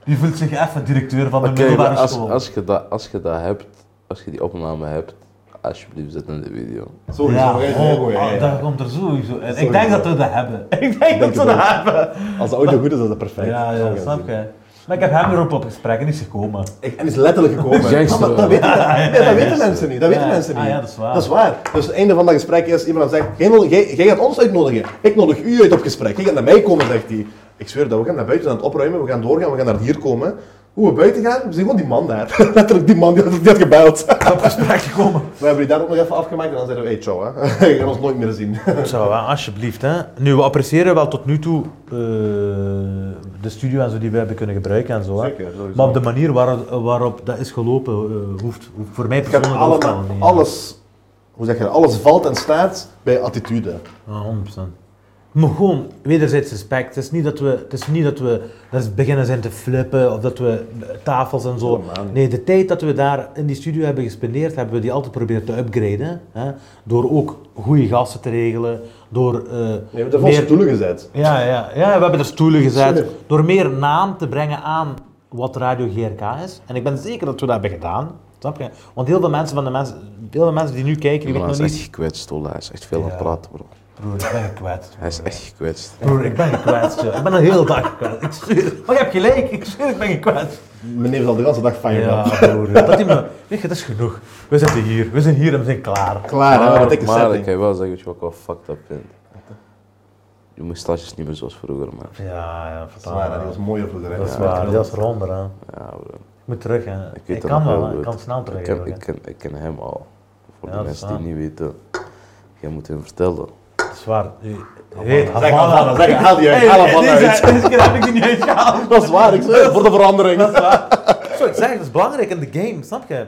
die voelt zich even directeur van de Oké, maar middelbare als, school. als, je dat, als je dat hebt, als je die opname hebt, alsjeblieft zet in de video. Sorry, ja, zo oh, echt heel goed, ja, oh, ja. dat komt er sowieso uit. Ik Sowieso. denk dat we dat hebben. Ik denk dat het we dat ook. hebben. Als de audio goed is, is dat perfect. Ja, Zo ja, gaan snap zien. je. Maar ik heb hem erop op gesprek en die is gekomen. Ik- en is letterlijk gekomen. Gangster. Ja, maar dat weten, nee, dat weten mensen niet. Dat weten Ja. mensen Ah, niet. ja, dat is waar. Dus het einde van dat gesprek is iemand zegt: "Jij nodig- jij jij gaat ons uitnodigen. Ik nodig u uit op gesprek. Jij gaat naar mij komen, zegt hij. Ik zweer dat we gaan naar buiten aan het opruimen. We gaan doorgaan. We gaan naar hier komen. Hoe we buiten gaan, we zien gewoon die man daar. Letterlijk die man die, had- die had gebeld. Op gesprek gekomen. We hebben die daar ook nog even afgemaakt en dan zeiden we: hey, ciao. Hè. Je gaat ons nooit meer zien. Zo, hè, alsjeblieft. Hè. Nu, we appreciëren wel tot nu toe eh, de studio en zo die we hebben kunnen gebruiken en zo. Hè. Zeker, sowieso. maar op de manier waar, waarop dat is gelopen, eh, hoeft, hoeft voor mij Ik heb persoonlijk ook allemaal, wel niet. alles, hoe zeg je dat? Alles valt en staat bij attitude. Ja, 100%. Ah, Maar gewoon wederzijds respect. Het is niet dat we, het is niet dat we daar eens beginnen zijn te flippen of dat we tafels en zo. Helemaal niet. Nee, de tijd dat we daar in die studio hebben gespendeerd, hebben we die altijd proberen te upgraden. Hè? Door ook goede gasten te regelen, door eh, We hebben er vol stoelen gezet. Ja, ja, ja, we hebben er stoelen gezet. Zeker. Door meer naam te brengen aan wat Radio GRK is. En ik ben zeker dat we dat hebben gedaan. Snap je? Want heel veel mensen, van de mensen, heel veel mensen die nu kijken, die Die man weten is nog echt niet... gekwetst, hoor. Hij is echt veel aan het Ja. praten, bro. Broer, ik ben gekwetst. Hij is echt gekwetst. Broer, ik ben gekwetst. joh. Ik ben een hele dag gekwetst. Ik zweer. Maar je hebt gelijk. Ik zweer, ik ben gekwetst. Meneer is al de hele dag fijn. Ja, broer. Dat die me... Weet je, dat is genoeg. We zitten hier. We zijn hier en we zijn klaar. Klaar, hè? Wat Maar, dikke maar ik setting. kan je wel zeggen dat je ook wel fucked up vindt. Je moustache is niet meer zoals vroeger, man. Ja, ja, Dat is waar, hè. vertel. die was mooier voor de rest. Dat is waar. Dat is eronder, hè. Ja, bro. Ik moet terug, hè. Ik, weet dat kan nog wel. heel hè. Ik goed. kan snel terug. Ik ken, ook, hè. ik, ken, ik ken hem al. Voor Ja, dat de is mensen waar. die niet weten, jij moet hem vertellen. Dat is waar. Je- je Heet Zeg Havana, Havana. zeg haal die uit, haal Havana deze, uit. deze keer heb ik die niet uitgehaald. Dat is waar, ik zeg, voor de verandering. Zo, ik zeg, dat is belangrijk in de game, snap je?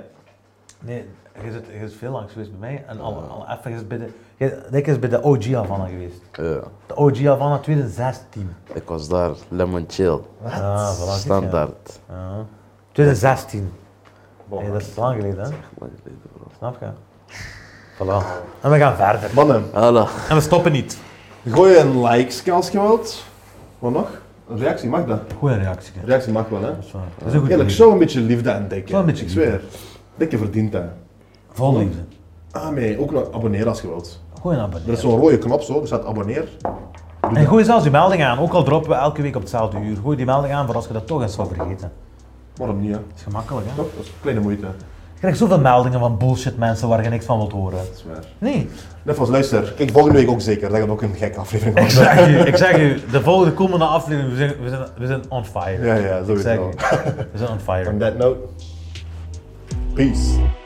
Nee, je zit, je zit veel langs geweest bij mij. En al, al even, je zit bij de, je, ik is bij de OG Havana geweest. Ja. De OG Havana 2016. Eh, Ik was daar, Lemon Chill. Ah, voilà, zie je. Standaard. Ja. 2016. Bon, Hey, dat is lang geleden, hè? Lang geleden, bro. Snap je? Voilà. En we gaan verder. Mannen, Alla. En we stoppen niet. gooi een like als je wilt. Wat nog? Een reactie mag dat. Goeie reactie. hè. Een reactie mag wel, hè. Dat is waar. Dat is een goed Eerlijk, idee. zo'n beetje liefde en dikke. Zo'n beetje Ik zweer. Dikke verdient dat. Vol liefde. Ah, nee, ook nog abonneer als je wilt. Goeie Er is abonnee. zo'n rode knop zo, er staat abonneer. En gooi zelfs die melding aan, ook al droppen we elke week op hetzelfde uur. Gooi die melding aan voor als je dat toch eens zou vergeten. Waarom niet, hè? Dat is gemakkelijk, hè? Toch? Dat is een kleine moeite. Je krijgt zoveel meldingen van bullshit mensen waar je niks van wilt horen. Dat is waar. Nee. Nefas, luister. Kijk, volgende week ook zeker. Dat gaat ook een gekke aflevering Ik worden. zeg u, ik zeg u, de volgende komende aflevering, we zijn, we zijn, we zijn on fire. Ja, ja, ik zeg sowieso. u, we zijn on On fire. that note, peace.